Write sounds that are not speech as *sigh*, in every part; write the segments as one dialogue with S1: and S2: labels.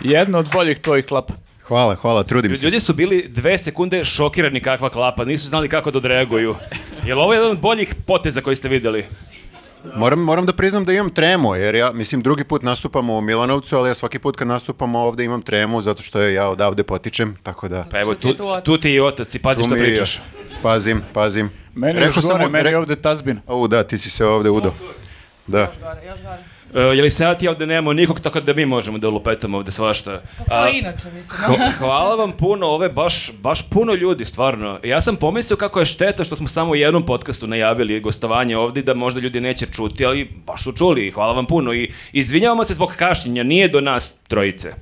S1: Jedna od boljih tvojih klapa.
S2: Hvala, hvala, trudim se.
S3: Ljudi su bili dve sekunde šokirani kakva klapa, nisu znali kako da odreaguju. Jel ovo je jedan od boljih poteza koji ste vidjeli?
S2: Moram, moram da priznam da imam tremu, jer ja, mislim, drugi put nastupam u Milanovcu, ali ja svaki put kad nastupam ovdje imam tremu, zato što ja odavde potičem, tako da...
S3: Pa evo,
S4: Što ti je
S3: tu,
S4: tu otac?
S3: tu ti je i otac i pazi
S2: Tu
S3: što
S2: mi-
S3: pričaš.
S2: Pazim, pazim.
S1: Meni je još
S2: sam
S1: gore,
S2: mu-
S1: meni
S2: re-
S1: je ovdje tazbin.
S2: Au, da, ti si se ovdje udo. Da.
S4: Gore, još gore.
S3: E, jeli se ja ti ovdje nemamo nikog, tako da mi možemo da lupetamo ovdje svašta.
S4: Pa
S3: A,
S4: inače, mislim.
S1: *laughs*
S3: Hvala vam puno, ove baš, baš puno ljudi, stvarno. Ja sam pomislio kako je šteta što smo samo u jednom podcastu najavili gostovanje ovdje, da možda ljudi neće čuti, ali baš su čuli. Hvala vam puno i izvinjavamo se zbog kašnjenja, nije do nas trojice.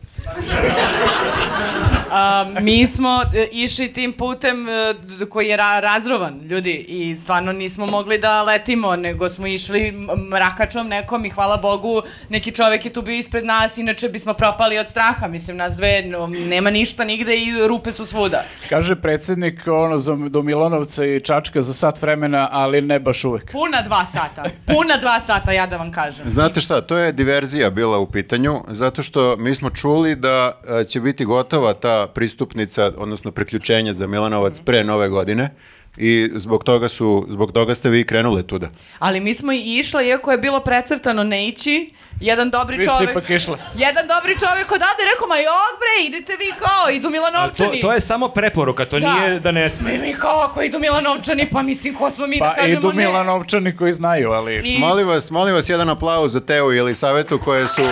S4: A, mi smo e, išli tim putem e, d- koji je ra- razrovan, ljudi, i stvarno nismo mogli da letimo, nego smo išli m- mrakačom nekom i hvala Bogu, neki čovek je tu bio ispred nas, inače bismo propali od straha, mislim, nas dve, no, nema ništa nigde i rupe su svuda.
S1: Kaže predsjednik ono, za, do Milanovca i Čačka za sat vremena, ali ne baš uvek.
S4: Puna dva sata, puna dva sata, ja da vam kažem.
S2: Znate šta, to je diverzija bila u pitanju, zato što mi smo čuli da e, će biti gotova ta pristupnica, odnosno priključenje za Milanovac pre nove godine i zbog toga, su, zbog toga ste vi krenule tuda.
S4: Ali mi smo i išle, iako je bilo precrtano ne ići, jedan dobri
S1: Vi ste
S4: čovek...
S1: ipak išle.
S4: Jedan dobri čovek odavde je rekao, ma jok bre, idite vi kao, idu
S3: Ali to,
S4: Milanovčani.
S3: to je samo preporuka, to
S4: Da.
S3: nije da ne sme.
S4: Mi, mi kao ako idu Milanovčani, pa mislim ko smo mi da
S1: Pa
S4: kažemo
S1: idu
S4: ne.
S1: Milanovčani koji znaju, ali...
S4: I
S2: Molim vas, molim vas jedan aplauz za Teo i Elisavetu koje su...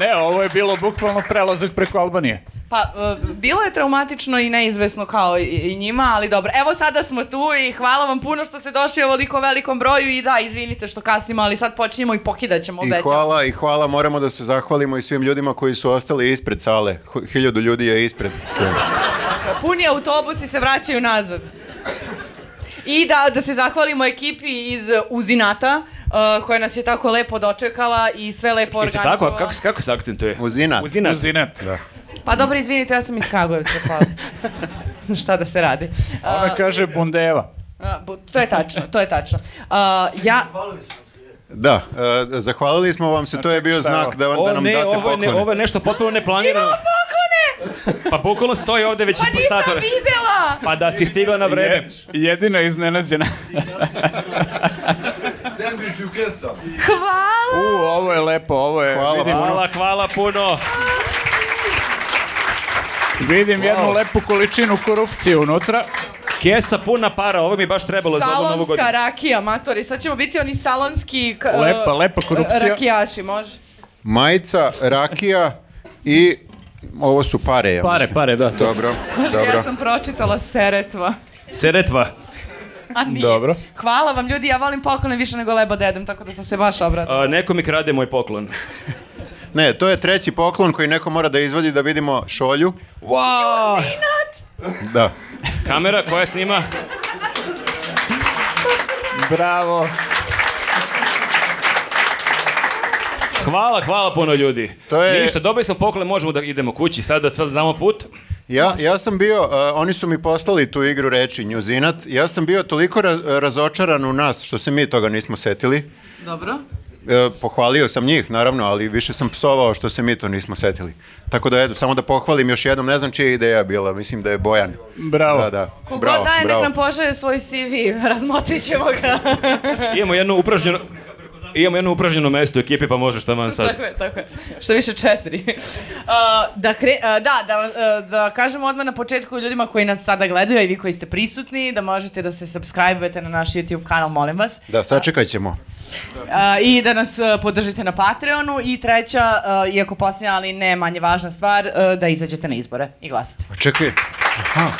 S1: Ne, ovo je bilo bukvalno prelazak preko Albanije.
S4: pa, e, bilo je traumatično i neizvesno kao i, i njima, ali dobro. Evo sada smo tu i hvala vam puno što ste došli u ovoliko velikom broju i da, izvinite što kasnimo, ali sad počinjemo i pokidat ćemo,
S2: I
S4: obećam.
S2: hvala, i hvala, moramo da se zahvalimo i svim ljudima koji su ostali ispred sale. Hu- Hiljadu ljudi je ispred. čujem.
S4: Puni autobus i se vraćaju nazad. I da, da se zahvalimo ekipi iz Uzinata, e, koja nas je tako lepo dočekala i sve lepo
S3: Jesi
S4: organizovala.
S3: tako? Kako, se- kako se akcentuje?
S2: Uzinat.
S3: Uzinat.
S1: Uzinat.
S2: Da.
S4: Pa dobro, izvinite, ja sam iz Kragujevca, pa šta da se radi.
S1: Ona kaže Bundeva.
S4: A, bu- to je tačno, to je tačno. A, ja,
S2: Da, e, zahvalili smo vam se, to je bio
S1: šta je
S2: znak
S1: ovo?
S2: da, vam, da
S3: O
S2: nam
S3: ne,
S2: date
S3: Znači, ovo je, ne,
S2: poklone.
S3: ovo je nešto potpuno neplanirano. Pa bukvalno stoji ovdje već
S4: pa
S3: po
S4: nisam
S3: satove.
S4: videla!
S3: Pa da si stigla na vreme.
S1: Jedina iznenađena.
S4: Hvala!
S1: U, ovo je lepo, ovo je...
S2: Hvala
S1: vidim,
S3: Hvala, hvala puno.
S1: Vidim jednu lepu količinu korupcije unutra.
S3: Kesa puna para, ovo mi baš trebalo za ovu novu godinu.
S4: Salonska rakija, matori, sad ćemo biti oni salonski... k-
S1: Lepa, lepa korupcija.
S4: Rakijaši, može?
S2: Majica, rakija i ovo su pare, ja
S1: Pare,
S2: mislim.
S1: pare, da. To.
S2: Dobro,
S4: Može,
S2: dobro.
S4: ja sam pročitala Seretva.
S3: Seretva. e,
S4: A nije.
S1: Dobro.
S4: Hvala vam ljudi, ja volim poklone više nego leba dedem, tako da sam se baš obratila.
S3: A, neko mi krade moj poklon.
S2: Ne, to je treći poklon koji neko mora da izvadi da vidimo šolju.
S3: Wow!
S2: Da.
S3: Kamera koja snima?
S1: Bravo.
S3: Hvala, hvala puno ljudi.
S2: To je-
S3: Ništa, dobili smo poklon, možemo da idemo kući. Sada sad znamo put.
S2: Ja, ja sam bio, a, oni su mi poslali tu igru reči Njuzinat, ja sam bio toliko ra- razočaran u nas što se mi toga nismo setili.
S4: Dobro.
S2: E, pohvalio sam njih, naravno, ali više sam psovao što se mi to nismo setili. Tako da, eto, samo da pohvalim još jednom, ne znam čija je ideja bila, mislim da je Bojan.
S1: Bravo.
S2: Da, da.
S4: Kogo
S2: bravo,
S4: daje, nek
S2: bravo.
S4: nam pošalje svoj CV, *laughs* razmotrit ćemo ga.
S3: Imamo jedno upražnjeno... Imamo jedno upražnjeno mesto u ekipi, pa može šta vam sad.
S4: Tako je, tako je. Što više
S3: *laughs*
S4: četiri. A, da, kre- a, da, da, a, da kažemo odmah na početku ljudima koji nas sada gledaju, a i vi koji ste prisutni, da možete da se subscribe-ujete na naš YouTube kanal, molim vas.
S2: Da, sačekat ćemo.
S4: A, I da nas a, podržite na Patreonu. I treća, a, iako posljednja, ali ne manje važna stvar, a, da izađete na izbore i glasite.
S2: Čekaj, aha,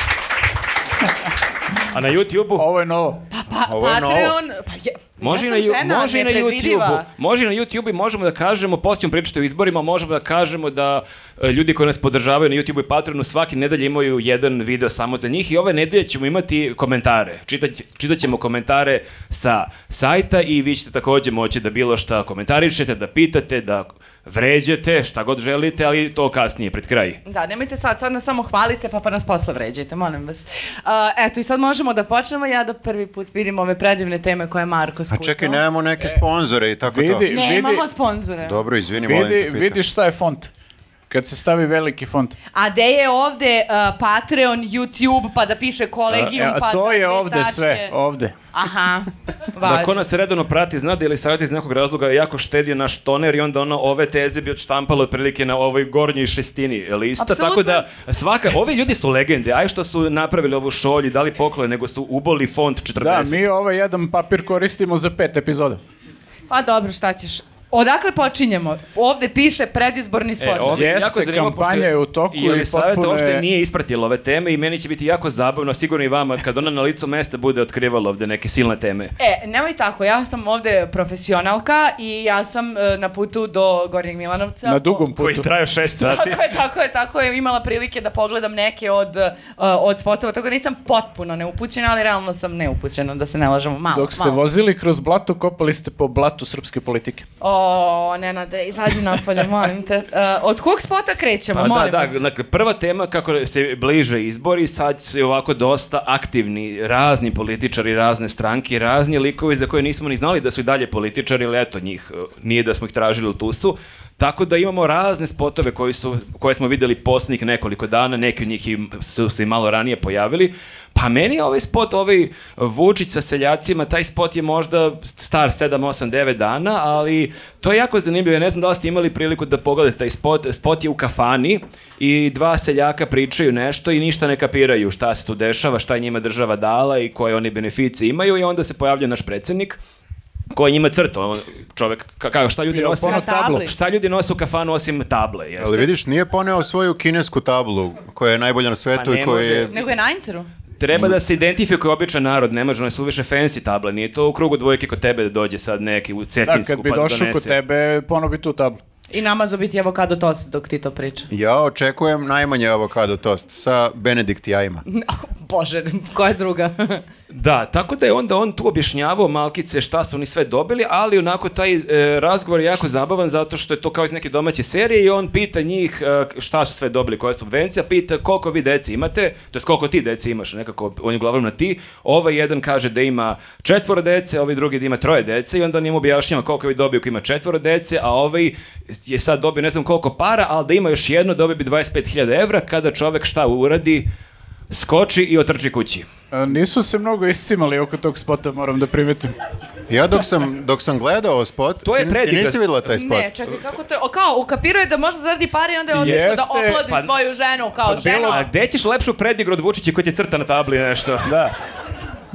S3: A na YouTube-u?
S1: Ovo je novo.
S4: Pa,
S2: Ovo je novo.
S4: Patreon... Pa je,
S3: Može i
S4: ja
S3: na,
S4: sam
S3: ju- može
S4: žena,
S3: i na
S4: nepredvidiva.
S3: YouTube-u. Može i na YouTube i možemo da kažemo, poslije pričate o izborima, možemo da kažemo da e, ljudi koji nas podržavaju na YouTube i Patreonu svaki nedelje imaju jedan video samo za njih i ove nedelje ćemo imati komentare. Čitat, čitat ćemo komentare sa sajta i vi ćete također moći da bilo šta komentarišete, da pitate, da vređete, šta god želite, ali to kasnije, pred kraj.
S4: Da, nemojte sad, sad nas samo hvalite pa pa nas posle vređajte, molim vas. A, eto, i sad možemo da počnemo, ja da prvi put vidim ove predivne teme koje je Marko
S2: A
S4: skucao.
S2: čekaj, nemamo neke sponzore i tako
S1: vidi.
S4: Nemamo sponzore.
S2: to. Dobro, izvini, molim te
S1: Vidi,
S2: pitam.
S1: vidi šta je font. Kad se stavi veliki font.
S4: A de je ovde uh, Patreon, YouTube, pa da piše kolegijum,
S1: E,
S4: pa
S1: a to
S4: da
S1: je
S4: dve
S1: ovde
S4: tačke.
S1: sve, ovde. *laughs*
S4: Aha, važno.
S3: Da ko nas redovno prati, zna da je Elisaveta iz nekog razloga jako štedio naš toner i onda ono ove teze bi odštampalo otprilike na ovoj gornjoj šestini lista. Tako
S4: Apsolutno.
S3: da svaka, ovi ljudi su legende, aj što su napravili ovu šolju, dali poklone, nego su uboli font 40.
S1: Da, mi ovaj jedan papir koristimo za pet epizoda.
S4: Pa dobro, šta ćeš? Odakle počinjemo? Ovde piše predizborni spot.
S3: E, ovo mislim
S1: Jeste,
S3: jako zanimljivo, pošto
S1: kampanja je u toku
S3: i Elisaveta
S1: i potpuno
S3: uopšte
S1: je-
S3: nije ispratila ove teme i meni će biti jako zabavno, sigurno i vama, kad ona na licu mesta bude otkrivala ovde neke silne teme.
S4: E, nemoj tako, ja sam ovde profesionalka i ja sam e, na putu do Gornjeg Milanovca.
S1: Na dugom
S3: Koji
S1: putu.
S3: traju šest
S4: *laughs*
S3: sati.
S4: Tako je, tako je, tako je. Imala prilike da pogledam neke od, e, od spotova, tako da nisam potpuno neupućena, ali realno sam neupućena, da se ne lažemo. Malo,
S1: Dok ste
S4: malo.
S1: vozili kroz blato, kopali ste po blatu srpske politike.
S4: O, Nenade, izađi napolje, molim te. E, od kog spota krećemo,
S3: Pa
S4: molim
S3: da, da,
S4: vas?
S3: dakle, prva tema kako se bliže izbori, sad se ovako dosta aktivni razni političari, razne stranke, razni likovi za koje nismo ni znali da su i dalje političari, ali eto njih, eh, nije da smo ih tražili u tusu. Tako da imamo razne spotove koji su, koje smo videli posljednjih nekoliko dana, neki od njih im- su se i malo ranije pojavili. Pa meni je ovaj spot, ovaj Vučić sa seljacima, taj spot je možda star 7, 8, 9 dana, ali to je jako zanimljivo. Ja ne znam da li ste imali priliku da pogledate taj spot. Spot je u kafani i dva seljaka pričaju nešto i ništa ne kapiraju šta se tu dešava, šta je njima država dala i koje oni beneficije imaju i onda se pojavlja naš predsednik koji njima crta, on- čovek, ka- kao šta ljudi
S1: Bio
S3: nose,
S1: pono
S4: Na tablu. tabli.
S3: šta ljudi nose u kafanu osim table, jeste?
S2: Ali vidiš, nije poneo svoju kinesku tablu koja je najbolja na svetu
S3: Pa ne
S2: i koja je...
S3: može.
S4: Nego je na Inceru.
S3: Treba da se identifikuje običan narod, ne može, one su više fancy table, nije to u krugu dvojke kod tebe da dođe sad neki u
S1: Da,
S3: Cetinsku
S1: kad bi
S3: pa da donese.
S1: došao kod tebe, ponovo bi tu tablu.
S4: I namazo biti avokado tost dok ti to priča. *laughs*
S2: Ja očekujem najmanje avokado tost sa Benedikt jajima.
S4: Bože, koja je druga?
S3: Da, tako da je onda on tu objašnjavao malkice šta su oni sve dobili, ali onako taj e, razgovor je jako zabavan zato što je to kao iz neke domaće serije i on pita njih e, šta su sve dobili, koja je subvencija, pita koliko vi deci imate, to jest koliko ti deci imaš, nekako on je uglavnom na ti. Ovaj jedan kaže da ima četvoro dece, ovaj drugi da ima troje dece i onda on im objašnjava koliko je dobio ko ima četvoro dece, a ovaj je sad dobio ne znam koliko para, ali da ima još jedno dobio bi 25.000 evra kada čovek šta uradi, skoči i otrči kući.
S1: A, E, Nisu se mnogo iscimali oko tog spota, moram da primetim.
S2: Ja dok sam, dok sam gledao spot,
S3: To je
S2: ti- ti
S3: predivan.
S2: nisi vidjela taj spot.
S4: ne, čekaj, kako to... O, kao, ukapiruje da možda zaradi pare i onda je otišao da
S1: Jeste,
S4: oplodi
S3: pa-
S4: svoju ženu kao
S1: pa
S4: ženu.
S1: bilo-
S3: A gde ćeš lepšu predigru od Vučića koji ti crta na tabli nešto?
S1: Da.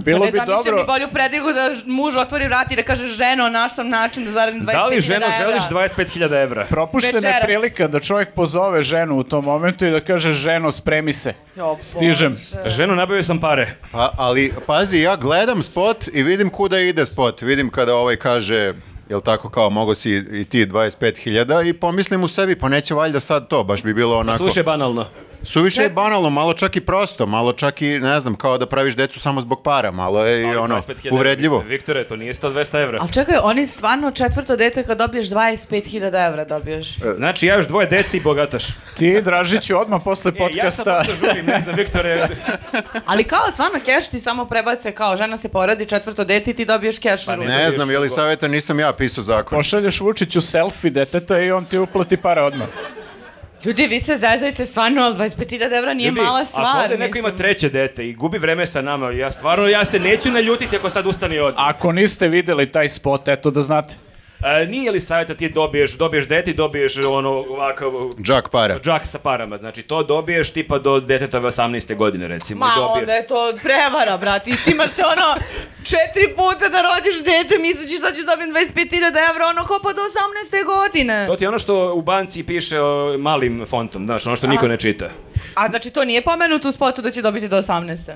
S1: Bilo
S4: Pa ne
S1: bi
S4: zamišljam
S1: dobro...
S4: mi bolju predrigu da ž- muž otvori vrat i da kaže ženo, naš sam način da zaradim 25.000 evra.
S3: Da li ženo želiš 25.000 evra?
S1: Propuštena je
S4: Večeras.
S1: prilika da čovjek pozove ženu u tom momentu i da kaže ženo spremi se.
S4: Jo, Bože.
S1: Stižem.
S4: E.
S3: Ženo, nabavio sam pare.
S2: Pa, ali, pazi, ja gledam spot i vidim kuda ide spot. Vidim kada ovaj kaže, jel tako kao, mogo si i ti 25.000 i pomislim u sebi, pa neće valjda sad to, baš bi bilo onako.
S3: Slušaj, banalno.
S2: Suviše je banalno, malo čak i prosto, malo čak i, ne znam, kao da praviš decu samo zbog para, malo je i
S3: Ali
S2: ono,
S3: 25.000 evra,
S2: uvredljivo.
S3: Viktore, to nije 100-200 evra.
S4: Ali čekaj, oni stvarno četvrto dete kad dobiješ 25.000 evra dobiješ.
S3: Znači, ja još dvoje deci i bogataš.
S1: Ti, Dražiću, odmah posle
S3: E, ja sam
S1: podcasta...
S3: možda žurim, ne znam,
S4: *laughs*
S3: Viktore.
S4: Ali kao stvarno keš ti samo prebace kao žena se poradi četvrto dete i ti dobiješ keš
S3: Pa
S4: na
S3: ne.
S4: ruku.
S2: Ne
S3: dobiješ
S2: znam, je li
S3: drugo.
S2: savjeta, nisam ja pisao zakon.
S1: Pošalješ Vučiću selfie deteta i on ti uplati para odmah.
S4: Ljudi, vi se zezajte stvarno, ali 25.000 evra nije
S3: Ljudi,
S4: mala stvar.
S3: Ako ovde neko
S4: mislim.
S3: ima treće dete i gubi vreme sa nama, ja stvarno, ja se neću naljutiti ako sad ustane i ode.
S1: Ako niste videli taj spot, eto da znate.
S3: E, nije li savjeta ti dobiješ, dobiješ dete i dobiješ ono ovakav
S2: Džak para.
S3: džak sa parama, znači to dobiješ tipa do detetove 18. godine recimo.
S4: Ma,
S3: i dobiješ.
S4: onda je to prevara, brat. Ti cimaš se ono četiri puta da rođeš dete, misliš sad ćeš dobijem 25.000 evra, ono ko pa do 18. godine.
S3: To ti je ono što u banci piše o, malim fontom, znaš, ono što niko ne čita.
S4: A znači to nije pomenuto u spotu da će dobiti do 18.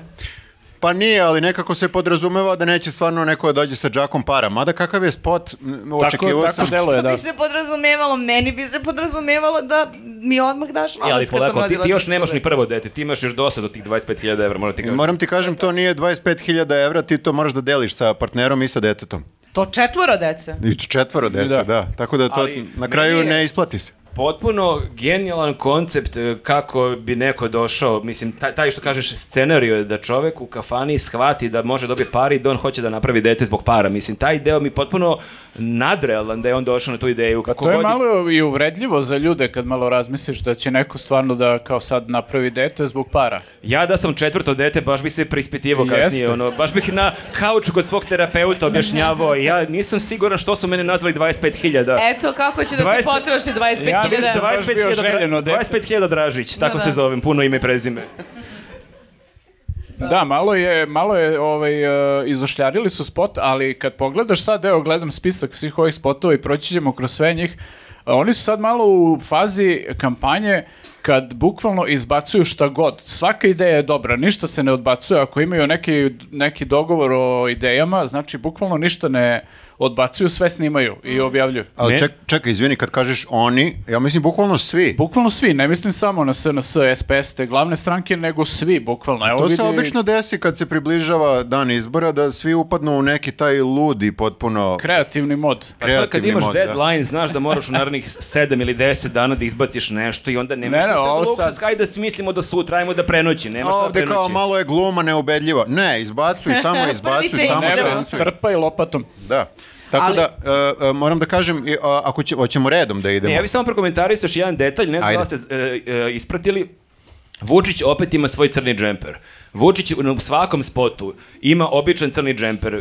S2: Pa nije, ali nekako se podrazumeva da neće stvarno neko da dođe sa džakom para. Mada kakav je spot, m,
S1: Tako,
S2: očekivao
S1: tako
S2: sam.
S1: deluje,
S4: Da.
S1: da.
S4: bi se podrazumevalo, meni bi se podrazumevalo da mi odmah daš novac
S3: I, E, ali
S4: kad sam
S3: polako, ti,
S4: rodila
S3: ti još
S4: četvrto
S3: nemaš ni
S4: dete.
S3: prvo dete, ti imaš još dosta do tih 25.000 evra, moram ti kažem.
S2: Moram ti kažem, to nije 25.000 evra, ti to moraš da deliš sa partnerom i sa detetom.
S4: To četvoro dece.
S2: I četvoro deca, da.
S1: Da.
S2: Tako da to
S3: Ali
S2: na kraju
S3: meni je-
S2: ne isplati se.
S3: Potpuno genijalan koncept e, kako bi neko došao, mislim, taj, taj što kažeš scenariju je da čovek u kafani shvati da može dobije pare i da on hoće da napravi dete zbog para. Mislim, taj deo mi je potpuno nadrealan da je on došao na tu ideju. Kako
S1: Pa To je
S3: god
S1: malo i uvredljivo za ljude kad malo razmisliš da će neko stvarno da kao sad napravi dete zbog para.
S3: Ja da sam četvrto dete, baš bi se preispitivao
S1: Jeste.
S3: kasnije. Ono, baš bih na kauču kod svog terapeuta objašnjavao. Ja nisam siguran što su mene nazvali 25.000.
S4: Eto kako će da se
S3: 20
S4: potroši 25.000
S1: Ja mislim
S4: evra.
S1: baš bio
S3: 25.000 dra-
S1: željeno dete.
S3: 25.000 Dražić, tako
S4: Da,
S3: se
S4: da.
S3: zovem, puno ime i
S1: *laughs*
S3: prezime.
S1: Da, malo je, malo je ovaj, e, izošljarili su spot, ali kad pogledaš sad, evo gledam spisak svih ovih spotova i proći ćemo kroz sve njih, e, oni su sad malo u fazi kampanje kad bukvalno izbacuju šta god. Svaka ideja je dobra, ništa se ne odbacuje. Ako imaju neki, neki dogovor o idejama, znači bukvalno ništa ne odbacuju, sve snimaju
S2: Mm.
S1: i objavljuju.
S2: Ali
S3: Ne.
S2: ček, čekaj, izvini, kad kažeš oni, ja mislim bukvalno svi.
S1: Bukvalno svi, ne mislim samo na SNS, SPS, te glavne stranke, nego svi, bukvalno. Evo
S2: To se
S1: vidi-
S2: obično desi kad se približava dan izbora da svi upadnu u neki taj ludi potpuno
S1: Kreativni mod.
S3: Pa to je kad
S2: kreativni
S3: imaš
S2: mod, da.
S3: deadline, znaš da moraš u narednih 7 ili 10 dana da izbaciš nešto i onda nema
S1: Ne,
S3: što
S1: ne,
S3: sad
S1: ovo
S3: luksuz,
S1: sad-
S3: kaj da smislimo do sutra, ajmo da prenoći, nema
S2: A
S3: šta da
S2: ovde
S3: prenoći.
S2: kao malo je gluma neubedljiva. Ne, izbacuj,
S3: *laughs*
S2: samo izbacuj,
S4: Prvi
S2: samo
S4: tek, da.
S2: štancuj.
S1: Trpa i lopatom.
S2: Da. Tako
S4: Ali-
S2: da, e, e, moram da kažem, i, a, ako će, hoćemo redom da idemo.
S3: Ne, ja bih samo prokomentarisao još jedan detalj, ne znam
S2: Ajde.
S3: da li ste e, e, ispratili. Vučić opet ima svoj crni džemper. Vučić u u svakom spotu ima običan crni džemper. e,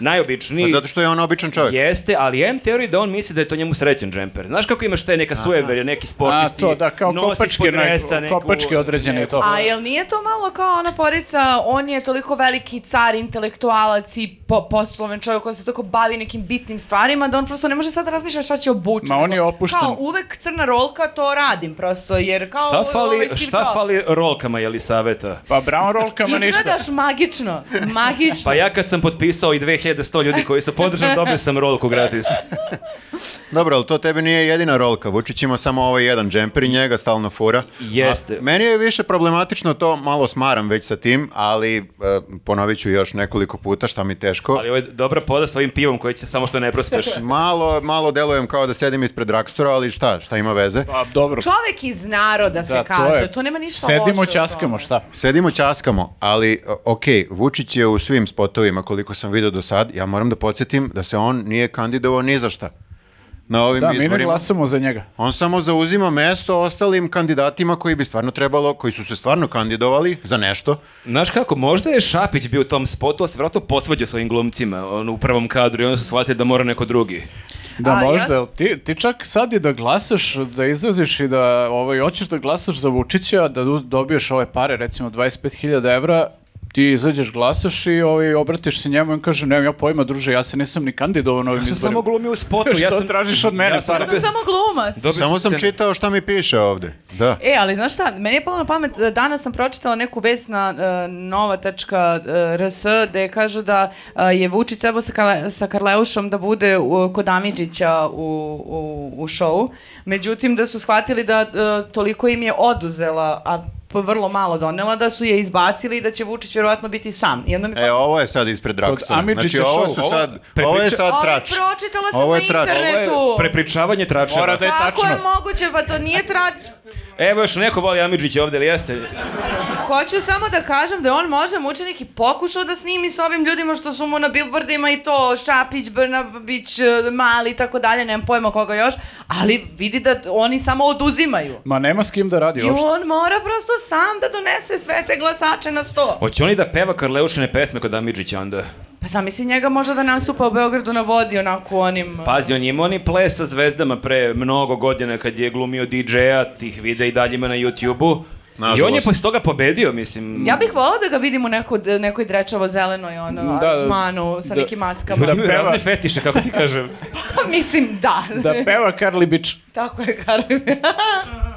S3: Najobičniji.
S2: Pa Zato što je on običan čovjek.
S3: Jeste, ali ja imam teoriju da on misli da je to njemu srećen džemper. Znaš kako imaš te neka suever, neki sportisti,
S1: A, to da, kao
S3: nosiš
S1: kopačke
S3: po dresa,
S1: neko- kopačke određene i to.
S4: A jel nije to malo kao ona porica, on je toliko veliki car, intelektualac i po posloven čovjek, on se toliko bavi nekim bitnim stvarima da on prosto ne može sad da razmišlja šta će obući.
S1: Ma, on
S4: nego
S1: je opušten.
S4: Kao uvek crna rolka, to radim prosto, jer kao...
S3: Šta
S4: ovaj
S3: fali,
S4: Steve
S3: šta
S4: Jobs.
S3: fali rolkama, je li saveta?
S1: Pa brown rollkama ništa.
S4: Izgledaš magično, magično.
S3: Pa ja kad sam potpisao i 2100 ljudi koji su podržali, dobio sam
S2: *laughs*
S3: rolku gratis.
S2: Dobro, ali to tebi nije jedina rolka. Vučić ima samo ovaj jedan džemper i njega stalno fura.
S3: Jeste.
S2: A, meni je više problematično to, malo smaram već sa tim, ali e, ponovit ću još nekoliko puta, šta mi teško.
S3: Ali ovo je dobra poda s ovim pivom koji će samo što ne prospeš.
S2: Malo, malo delujem kao da sedim ispred rakstora, ali šta, šta ima veze?
S1: Pa dobro.
S4: Čovek iz naroda se
S1: Da,
S4: kaže, to,
S1: je.
S4: nema ništa loše.
S1: Sedimo,
S4: u tome.
S1: ćaskamo, šta?
S2: Sedimo, časkamo, ali o- ok, Vučić je u svim spotovima koliko sam vidio do sad, ja moram da podsjetim da se on nije kandidovao ni za šta. Na ovim
S1: Da, mi ne
S2: izborima.
S1: glasamo za njega.
S2: On samo zauzima mesto ostalim kandidatima koji bi stvarno trebalo, koji su se stvarno kandidovali za nešto.
S3: *laughs* Znaš kako, možda je Šapić bio u tom spotu, a se vratno posvađao s ovim glumcima on, u prvom kadru i onda su shvatili da mora neko drugi.
S1: Da,
S4: A,
S1: možda,
S4: ja-
S1: jel ti, ti čak sad i da glasaš, da izraziš i da ovaj, hoćeš da glasaš za Vučića, da du- dobiješ ove pare, recimo 25.000 evra, ti izađeš, glasaš i ovaj, obratiš se njemu i on kaže, nemam ja pojma, druže, ja se nisam ni kandidovao na ovim
S3: Ja sam
S1: izborima.
S3: samo glumio u *laughs* spotu.
S1: *laughs*
S3: ja
S1: Što
S3: sam,
S1: tražiš od mene,
S4: Ja sam samo glumac.
S3: dobio
S2: Samo sam
S3: scenu.
S2: čitao šta mi piše ovde. Da.
S4: E, ali znaš šta, meni je palo na pamet, e, danas sam pročitala neku vest na e, nova.rs gde kažu da e, je Vučić trebao sa, Karle, sa Karleušom da bude u, kod Amidžića u, u, u šovu, međutim da su shvatili da e, toliko im je oduzela, a p- vrlo malo donela, da su je izbacili i da će Vučić vjerovatno biti sam. I onda mi
S2: E, ovo je sad ispred Rakstora.
S1: Amidžića
S2: Znači, ovo
S1: show.
S2: su
S1: Ovo-
S2: sad,
S3: prepriča-
S2: ovo je sad
S4: Ovo je
S2: trač.
S4: pročitala sam
S2: Ovo je
S4: na
S2: trač.
S4: internetu.
S3: Ovo je
S4: Netu.
S3: prepričavanje tračeva.
S1: Mora E, da je
S4: Kako je
S1: tačno.
S4: moguće, pa to nije trač...
S3: Evo još neko voli Amidžića ovdje, ili jeste?
S4: Hoću samo da kažem da je on možda mučenik i pokušao da snimi s ovim ljudima što su mu na billboardima i to Šapić, Brnabić, e, Mali i tako dalje, nemam pojma koga još, ali vidi da t- oni samo oduzimaju.
S1: Ma nema s kim da radi
S4: I
S1: uopšte.
S4: on mora prosto sam da donese sve te glasače na sto.
S3: Hoće oni da peva Karleušine pesme kod Amidžića onda?
S4: Pa zamisli njega možda da nastupa u Beogradu na vodi onako u onim...
S3: Pazi, on je imao ni ples sa zvezdama pre mnogo godina kad je glumio DJ-a, tih videa i dalje ima na YouTube-u. I
S2: Nažalost.
S3: on je posle toga pobedio, mislim.
S4: Ja bih volao da ga vidim u neko, nekoj drečavo-zelenoj ono,
S1: Da,
S4: da,
S1: da.
S4: sa
S1: Da.
S4: nekim maskama. Pa
S3: Ljudi
S4: *laughs*
S1: Da
S3: imaju
S1: peva.
S3: razne fetiše, kako ti kažem.
S4: Mislim, da. *laughs*
S1: Da peva Karli Bić.
S4: Tako je, Karim.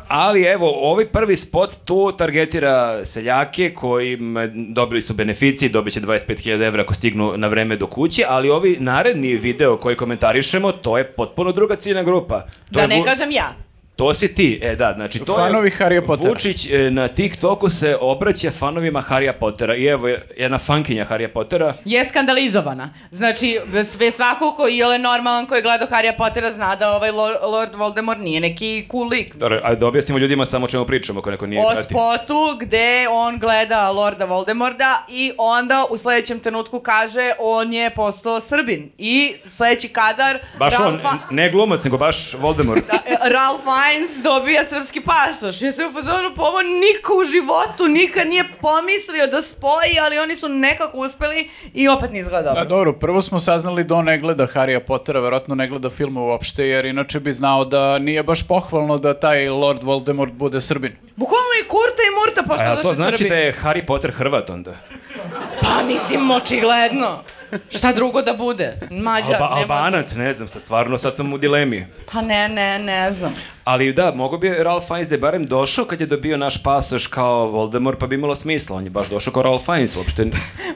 S3: Ali evo, ovaj prvi spot tu targetira seljake koji m, dobili su beneficije, dobit će 25.000 evra ako stignu na vreme do kuće, ali ovi naredni video koji komentarišemo, to je potpuno druga ciljna grupa. To
S4: Da
S3: je
S4: ne
S3: vu-
S4: kažem ja.
S3: To si ti, e da, znači to
S1: Fanovi
S3: je...
S1: Harryja Pottera.
S3: Vučić e, na TikToku se obraća fanovima Harrya Pottera i evo jedna fankinja Harrya Pottera.
S4: je skandalizovana. Znači, sve svako ko je ole normalan koji je gledao Harry Pottera zna da ovaj Lord, Lord Voldemort nije neki cool lik. mislim.
S3: Dobro, ajde da objasnimo ljudima samo o čemu pričamo ako neko nije
S4: o
S3: prati.
S4: spotu gde on gleda Lorda Voldemorda i onda u sledećem trenutku kaže on je postao Srbin. I sledeći kadar...
S3: Baš on,
S4: Ralfa-
S3: ne glumac, nego baš Voldemort.
S4: Da, e, Ralph Fiennes dobija srpski pasoš. Ja sam u fazonu, pa ovo niko u životu nikad nije pomislio da spoji, ali oni su nekako uspeli i opet ne izgleda
S1: Da,
S4: dobro.
S1: dobro, prvo smo saznali da on ne gleda Harrya Pottera, verovatno ne gleda filme uopšte, jer inače bi znao da nije baš pohvalno da taj Lord Voldemort bude Srbin.
S4: Bukvalno i Kurta i Murta, pošto
S3: A jel
S4: došli
S3: to znači
S4: Srbi.
S3: da je Harry Potter Hrvat onda?
S4: Pa mislim, očigledno. Šta drugo da bude? Mađar,
S3: Alba,
S4: ne može.
S3: Albanac, ne znam, sad stvarno, sad sam u dilemi.
S4: Pa ne, ne, ne znam.
S3: Ali da, mogo bi Ralph Fiennes da je barem došao kad je dobio naš pasoš kao Voldemort, pa bi imalo smisla. On je baš došao kao Ralph Fiennes uopšte.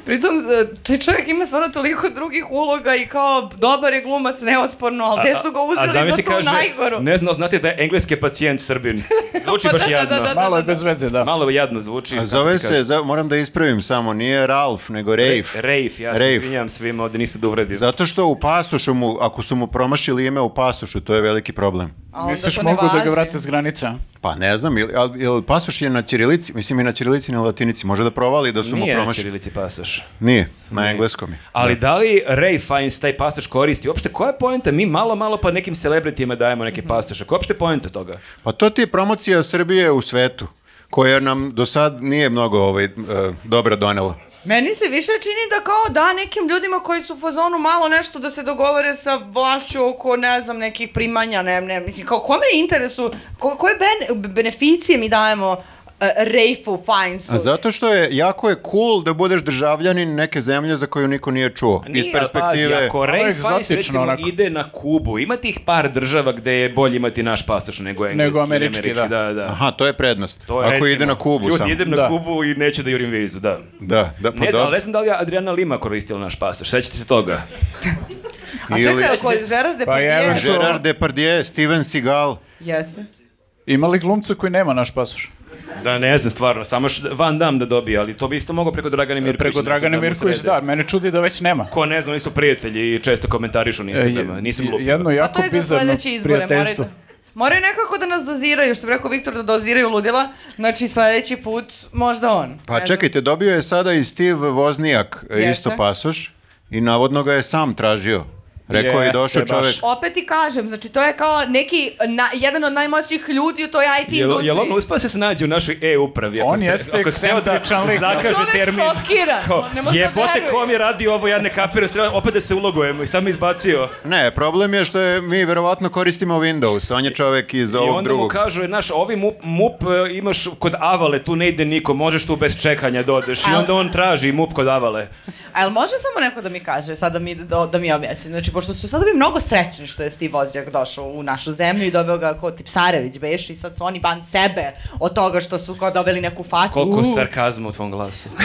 S4: Pritom, e, taj čovjek ima stvarno toliko drugih uloga i kao dobar je glumac, neosporno, ali gde su ga uzeli za
S3: zamisli
S4: tu najgoru?
S3: Ne znao, znate da je engleski pacijent
S4: *laughs*
S3: Srbin. Zvuči
S4: Pa
S3: baš
S4: da, da,
S3: jadno.
S4: da, da.
S1: Malo je bez veze, da.
S3: Malo jadno zvuči.
S2: A
S3: kako
S2: zove
S3: ti
S2: se,
S3: kažem.
S2: za- moram da ispravim samo, nije Ralf, nego Rafe.
S3: Rejf, ja se
S2: Rejf.
S3: izvinjam svima, ovde nisam da uvredim.
S2: Zato što u pasošu mu, ako su mu promašili ime u pasošu, to je veliki problem.
S4: A onda
S1: Misliš
S4: to ne
S1: mogu da
S4: važi.
S1: ga vrate s granica?
S2: Pa ne znam, ili, ali- jel pasoš je na ćirilici, mislim i na ćirilici i na latinici, može da provali da su
S3: Nije
S2: mu
S3: na
S2: promašili.
S3: ćirilici pasoš.
S2: Nije, na engleskom je.
S3: Ali da li Ray Fiennes taj pasoš koristi? Uopšte, koja je poenta? Mi malo, malo pa nekim celebritijima dajemo neke pasoše. Koja je uopšte poenta toga?
S2: Pa to ti je promocija Srbije u svetu, koja nam do sad nije mnogo ovaj, e, dobra donela.
S4: Meni se više čini da kao da nekim ljudima koji su u fazonu malo nešto da se dogovore sa vlašću oko, ne znam, nekih primanja, ne, ne, mislim, kao kome je interesu, ko, koje ben, beneficije mi dajemo uh, Rejfu, Fajnsu?
S2: A zato što je, jako je cool da budeš državljanin neke zemlje za koju niko nije čuo.
S3: Nije,
S2: iz
S3: ali
S2: perspektive... Ono
S3: Pazi, ako
S1: Ovo je
S3: Ray Fiennes
S1: egzotično
S3: recimo
S1: onako.
S3: ide na Kubu, ima tih par država gde je bolje imati naš pasoš nego engleski. ili
S1: američki, da.
S3: da, da.
S2: Aha, to je prednost.
S3: To je,
S2: ako
S3: recimo,
S2: ide na Kubu
S3: ljudi,
S2: samo.
S3: idem na
S1: Da.
S3: Kubu i neću da jurim vizu, da.
S2: Da, da, pa
S3: Ne znam,
S2: da.
S3: ali ne znam da li je Adriana Lima koristila naš pasoš, sećate se toga.
S4: A
S2: Ili- Pa
S4: čekaj, ako je Gerard Depardieu...
S1: Pa evo,
S2: Gerard Depardieu, Steven Seagal.
S4: Jeste.
S1: Ima li glumca koji nema naš pasoš?
S3: Da, ne znam, stvarno, samo još Van Dam da dobije, ali to bi isto mogao preko Dragane Mirković.
S1: Preko Dragane Mirković, da, mene čudi da već nema.
S3: Ko ne zna, oni su prijatelji i često komentarišu na Instagrama, nisam
S1: E,
S3: lupio.
S1: Jedno
S4: Pa to
S1: jako
S4: je za
S1: bizarno
S4: sledeće izbore. Moraju,
S1: prijateljstvo.
S4: da- moraju nekako da nas doziraju, što bi rekao Viktor, da doziraju ludila. Znači, sledeći put možda on.
S2: Pa
S4: Ne
S2: čekajte, dobio je sada i Steve Voznijak e,
S4: Jeste.
S2: isto pasoš i navodno ga je sam tražio. Rekao je
S1: Jeste,
S2: došao
S1: baš.
S2: čovek.
S4: znam. Opet ti kažem, znači to je kao neki, na, jedan od najmoćnijih ljudi u toj IT
S3: Jel,
S4: industriji.
S3: jel on uspio da se snađe u našoj e-upravi?
S1: On jeste
S3: ako treba da
S1: ekscentričan lik, da.
S3: zakaže
S4: Čovek
S3: termin.
S4: šokiran,
S3: Kao,
S4: on ne može da
S3: jebote,
S4: veruje.
S3: ko mi je radio ovo, ja ne kapiram, treba opet da se ulogujemo i sam me izbacio.
S2: Ne, problem je što je, mi verovatno koristimo Windows, on je čovek iz
S3: I
S2: ovog
S3: onda mu
S2: drugog.
S3: kažu, znaš, ovi MUP, MUP e, imaš kod Avale, tu ne ide niko, možeš tu bez čekanja da odeš. I
S4: Al-
S3: onda on traži MUP kod Avale.
S4: A jel može samo neko da mi kaže, sad da mi, da, da mi objasni? Znači, pošto su sada bi mnogo srećni što je Steve Ozjak došao u našu zemlju i doveo ga kao Tipsarević beš i sad su oni ban sebe od toga što su kao doveli neku facu.
S3: Koliko
S4: U.
S3: sarkazma u tvom glasu.
S1: *laughs*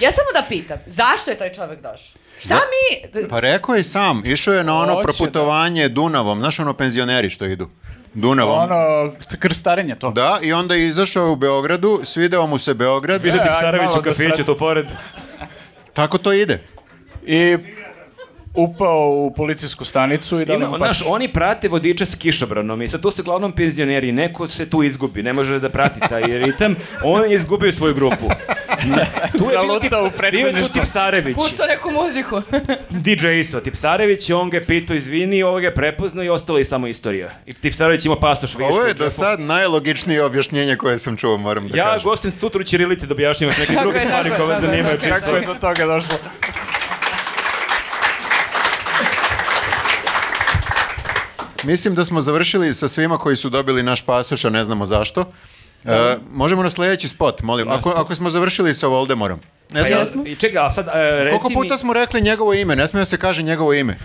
S4: Ja samo da pitam, zašto je taj čovek došao? Šta mi...
S2: Pa rekao je sam, išao je na ono
S1: Hoće,
S2: proputovanje Dunavom, znaš ono penzioneri što idu? Dunavom.
S1: Ono, krstarenje to.
S2: Da, i onda je izašao u Beogradu, svideo mu se Beograd,
S3: Vidio
S1: E,
S3: ti
S1: aj,
S3: Psarević
S1: malo
S3: u
S1: da
S3: kafiću,
S1: srati.
S3: to pored.
S2: tako to ide.
S1: I upao u policijsku stanicu i dali
S3: Ima,
S1: mu
S3: znaš,
S1: pasoš.
S3: oni prate vodiče s kišobranom i sad to su glavnom penzioneri, neko se tu izgubi, ne može da prati taj ritam, on je izgubio svoju grupu. tu je bio,
S1: Zalutao u
S3: tips, bio je tu
S1: predsedništvo.
S3: Tipsarević.
S4: Puštao neku muziku.
S3: DJ Iso, Tipsarević, on ga je pitao izvini, ovo ga je prepoznao i ostala je samo istorija. I Tipsarević ima pasoš vidiš
S2: Ovo
S3: kao
S2: je
S3: džepu.
S2: do sad najlogičnije objašnjenje koje sam čuo, moram da
S3: Ja
S2: kažem.
S3: gostim sutru u Čirilici da objašnjam još neke
S4: Kako
S3: druge
S4: je,
S3: stvari
S4: tako je,
S3: koje vas
S4: da, da,
S3: zanimaju
S4: da.
S3: čisto.
S1: Kako je do toga došlo?
S2: Mislim da smo završili sa svima koji su dobili naš pasoš, a ne znamo zašto. E, možemo na sljedeći spot, molim. Ako, ako smo završili sa Voldemorom. Ne smije-
S3: Pa Ja, I čekaj, a sad, e, reci
S2: koliko puta
S3: mi...
S2: smo rekli njegovo ime? Ne smije da se kaže njegovo ime.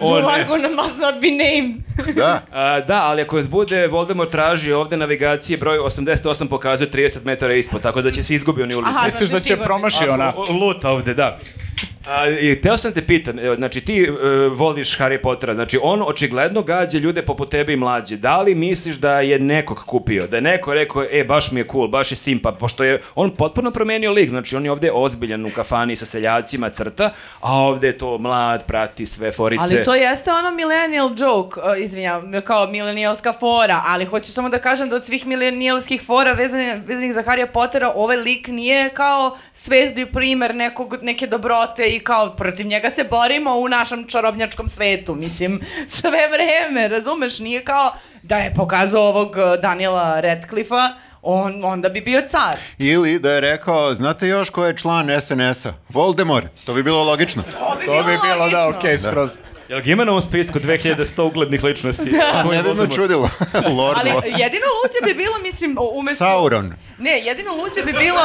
S3: O,
S4: You
S3: ne.
S4: are gonna must not be named.
S2: Da.
S3: A, e, da, ali ako vas bude Voldemort traži ovde navigacije, broj 88 pokazuje 30 metara ispod, tako da će se izgubi on u ulici.
S4: Aha,
S1: Misliš da će
S4: znači sigurni.
S1: promašio Znači, ona?
S3: O, Luta ovde, da. A, i teo sam te pitan, evo, znači ti e, voliš Harry Pottera, znači on očigledno gađa ljude poput tebe i mlađe. Da li misliš da je nekog kupio? Da je neko rekao, e, baš mi je cool, baš je simpa, pošto je on potpuno promenio lik, znači on je ovde ozbiljan u kafani sa seljacima crta, a ovde je to mlad, prati sve forice.
S4: Ali to jeste ono millennial joke, e, izvinjam, kao milenijalska fora, ali hoću samo da kažem da od svih milenijalskih fora vezanih, vezanih za Harry Pottera, ovaj lik nije kao svetli primer nekog, neke dobrote i kao protiv njega se borimo u našem čarobnjačkom svetu, mislim, *laughs* sve vreme, razumeš, nije kao da je pokazao ovog e, Daniela Radcliffe-a, on, onda bi bio car.
S2: Ili da je rekao, znate još ko je član SNS-a? Voldemort. To bi bilo logično.
S1: To bi bilo, da,
S4: logično.
S1: okej, skroz.
S3: Jel ga ima na ovom spisku 2100 uglednih
S4: *laughs*
S3: ličnosti?
S2: A ne bi me čudilo. Lord
S4: Ali
S2: Voldemort.
S4: jedino luđe bi bilo, mislim, o- umesto...
S2: Sauron.
S4: Ne, jedino luđe bi bilo...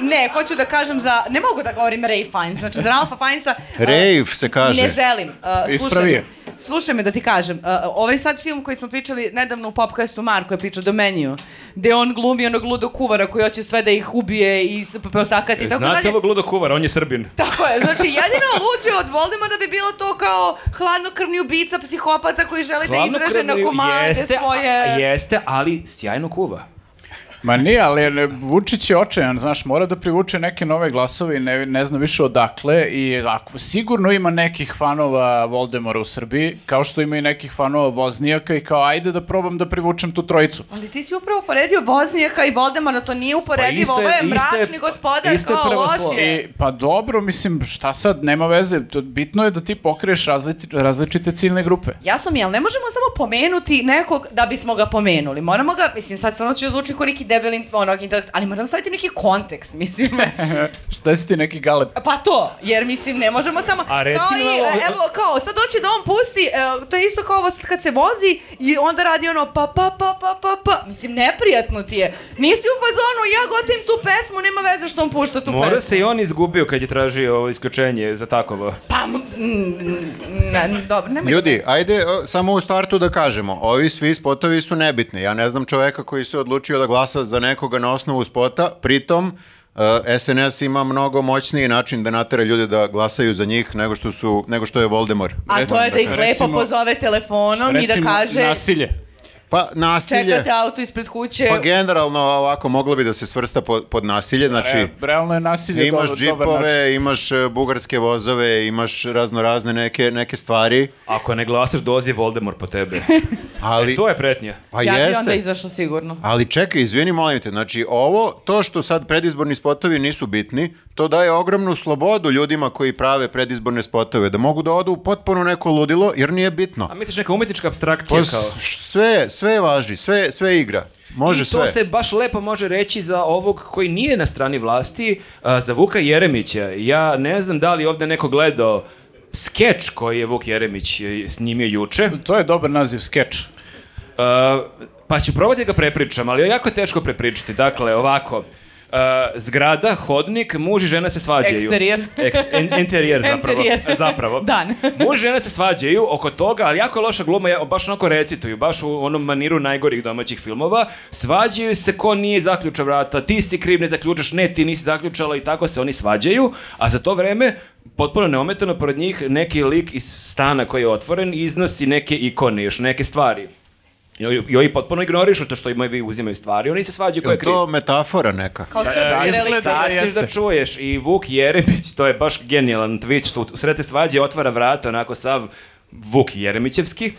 S4: Ne, hoću da kažem za... Ne mogu da govorim Ray Fiennes, znači za Ralfa
S3: *laughs*
S4: Fiennesa... e,
S2: Rave se kaže.
S4: Ne želim. Uh,
S1: Ispravi je.
S4: Slušaj me da ti kažem, uh, ovaj sad film koji smo pričali nedavno u Popcastu, Marko je pričao do meniju, gde on glumi onog ludog kuvara koji hoće sve da ih ubije i s- prosakati i tako
S3: Znate
S4: dalje.
S3: ovog ludog kuvara, on je srbin.
S4: Tako je, znači jedino luđe od Voldemora bi bilo to kao hladnokrvni ubica psihopata koji želi da izreže na
S3: Hladnokrvni
S4: komade
S3: jeste, a-
S4: svoje...
S3: Jeste, ali sjajno kuva.
S1: Ma nije, ali ne, Vučić je očajan, znaš, mora da privuče neke nove glasove i ne, ne zna više odakle i ako sigurno ima nekih fanova Voldemora u Srbiji, kao što ima i nekih fanova Voznijaka i kao ajde da probam da privučem tu trojicu.
S4: Ali ti si upravo poredio Voznijaka i Voldemara, to nije uporedivo,
S3: isto je-
S4: ovo je
S3: isto je-
S4: mračni gospodar,
S3: isto je
S4: kao
S3: prvo
S4: loš
S3: slovo.
S4: je.
S1: I, pa dobro, mislim, šta sad, nema veze, to, bitno je da ti pokriješ različite, različite ciljne grupe.
S4: Jasno mi je, ali ne možemo samo pomenuti nekog da bismo ga pomenuli. Moramo ga, mislim, sad stvarno ću zvuči kao neki debeli onog intelekt, ali moramo staviti u neki kontekst, *laughs* mislim.
S2: E.
S1: Šta si ti neki galeb?
S4: Pa to, jer mislim, ne možemo samo...
S3: A recimo,
S4: Kao i,
S3: evo-
S4: e, evo, kao, sad hoće da on pusti, e, to je isto kao ovo sad kad se vozi i onda radi ono pa, pa, pa, pa, pa, pa. Mislim, neprijatno ti je. Nisi u fazonu, ja gotim tu pesmu, nema veze što on pušta tu
S3: Mora
S4: pesmu.
S3: se i on izgubio kad je tražio ovo isključenje za takovo.
S4: Pa, m, mm, ne, dobro, nemoj.
S2: Ljudi, ajde o, samo u startu da kažemo, ovi svi spotovi su nebitni. Ja ne znam čoveka koji se odlučio da glasa za nekoga na osnovu spota, pritom e, SNS ima mnogo moćniji način da natera ljude da glasaju za njih nego što, su, nego što je Voldemort.
S4: A to je da ih lepo
S1: Recimo-
S4: pozove telefonom i
S1: Recimo,
S4: da kaže
S1: nasilje.
S2: Pa nasilje,
S4: čekate auto ispred kuće.
S2: pa generalno ovako moglo bi da se svrsta pod, pod nasilje, znači...
S1: E, realno je nasilje
S2: imaš
S1: dobar, dobar način.
S2: džipove, imaš e, bugarske vozove, imaš razno razne neke, neke stvari,
S3: Ako ne glasaš, dozi Voldemort po tebe.
S1: E,
S2: ali...
S3: *laughs* To je pretnja.
S2: Pa
S4: ja bi onda
S2: jeste.
S4: izašla sigurno.
S2: Ali čekaj, izvini, molim te, znači ovo, to što sad predizborni spotovi nisu bitni, to daje ogromnu slobodu ljudima koji prave predizborne spotove, da mogu da odu u potpuno neko ludilo, jer nije bitno.
S3: A misliš neka umetnička abstrakcija
S2: To
S3: kao...
S2: s- sve, sve važi, sve, sve igra, može
S3: I
S2: sve.
S3: to se baš lepo može reći za ovog koji nije na strani vlasti, a, za Vuka Jeremića. Ja ne znam da li je ovde neko gledao skeč koji je Vuk Jeremić e, snimio juče.
S1: To je dobar naziv, skeč.
S3: Uh, pa ću probati da ga prepričam, ali je jako teško prepričati. Dakle, ovako, uh, zgrada, hodnik, muž i žena se svađaju.
S4: Eksterijer.
S3: Eks, en, enterijer zapravo.
S4: Enterijer.
S3: zapravo.
S4: *laughs* Dan.
S3: muž i žena se svađaju oko toga, ali jako je loša gluma, ja- baš onako recituju, baš u onom maniru najgorih domaćih filmova. Svađaju se ko nije zaključao vrata, ti si kriv, ne zaključaš, ne, ti nisi zaključala i tako se oni svađaju, a za to vreme potpuno neometano pored njih neki lik iz stana koji je otvoren iznosi neke ikone, još neke stvari. I oni- I oni potpuno ignorišu to što imaju i uzimaju stvari. Oni se svađaju ko
S2: Je
S3: je
S2: li
S3: kriv.
S2: to metafora neka?
S4: Kao srpski
S1: izgleda-
S4: relikt.
S1: Da,
S3: Sad ćeš
S1: jeste.
S3: da čuješ i Vuk Jeremić, to je baš genijalan twist, što u sred te svađe otvara vrata onako sav Vuk Jeremićevski.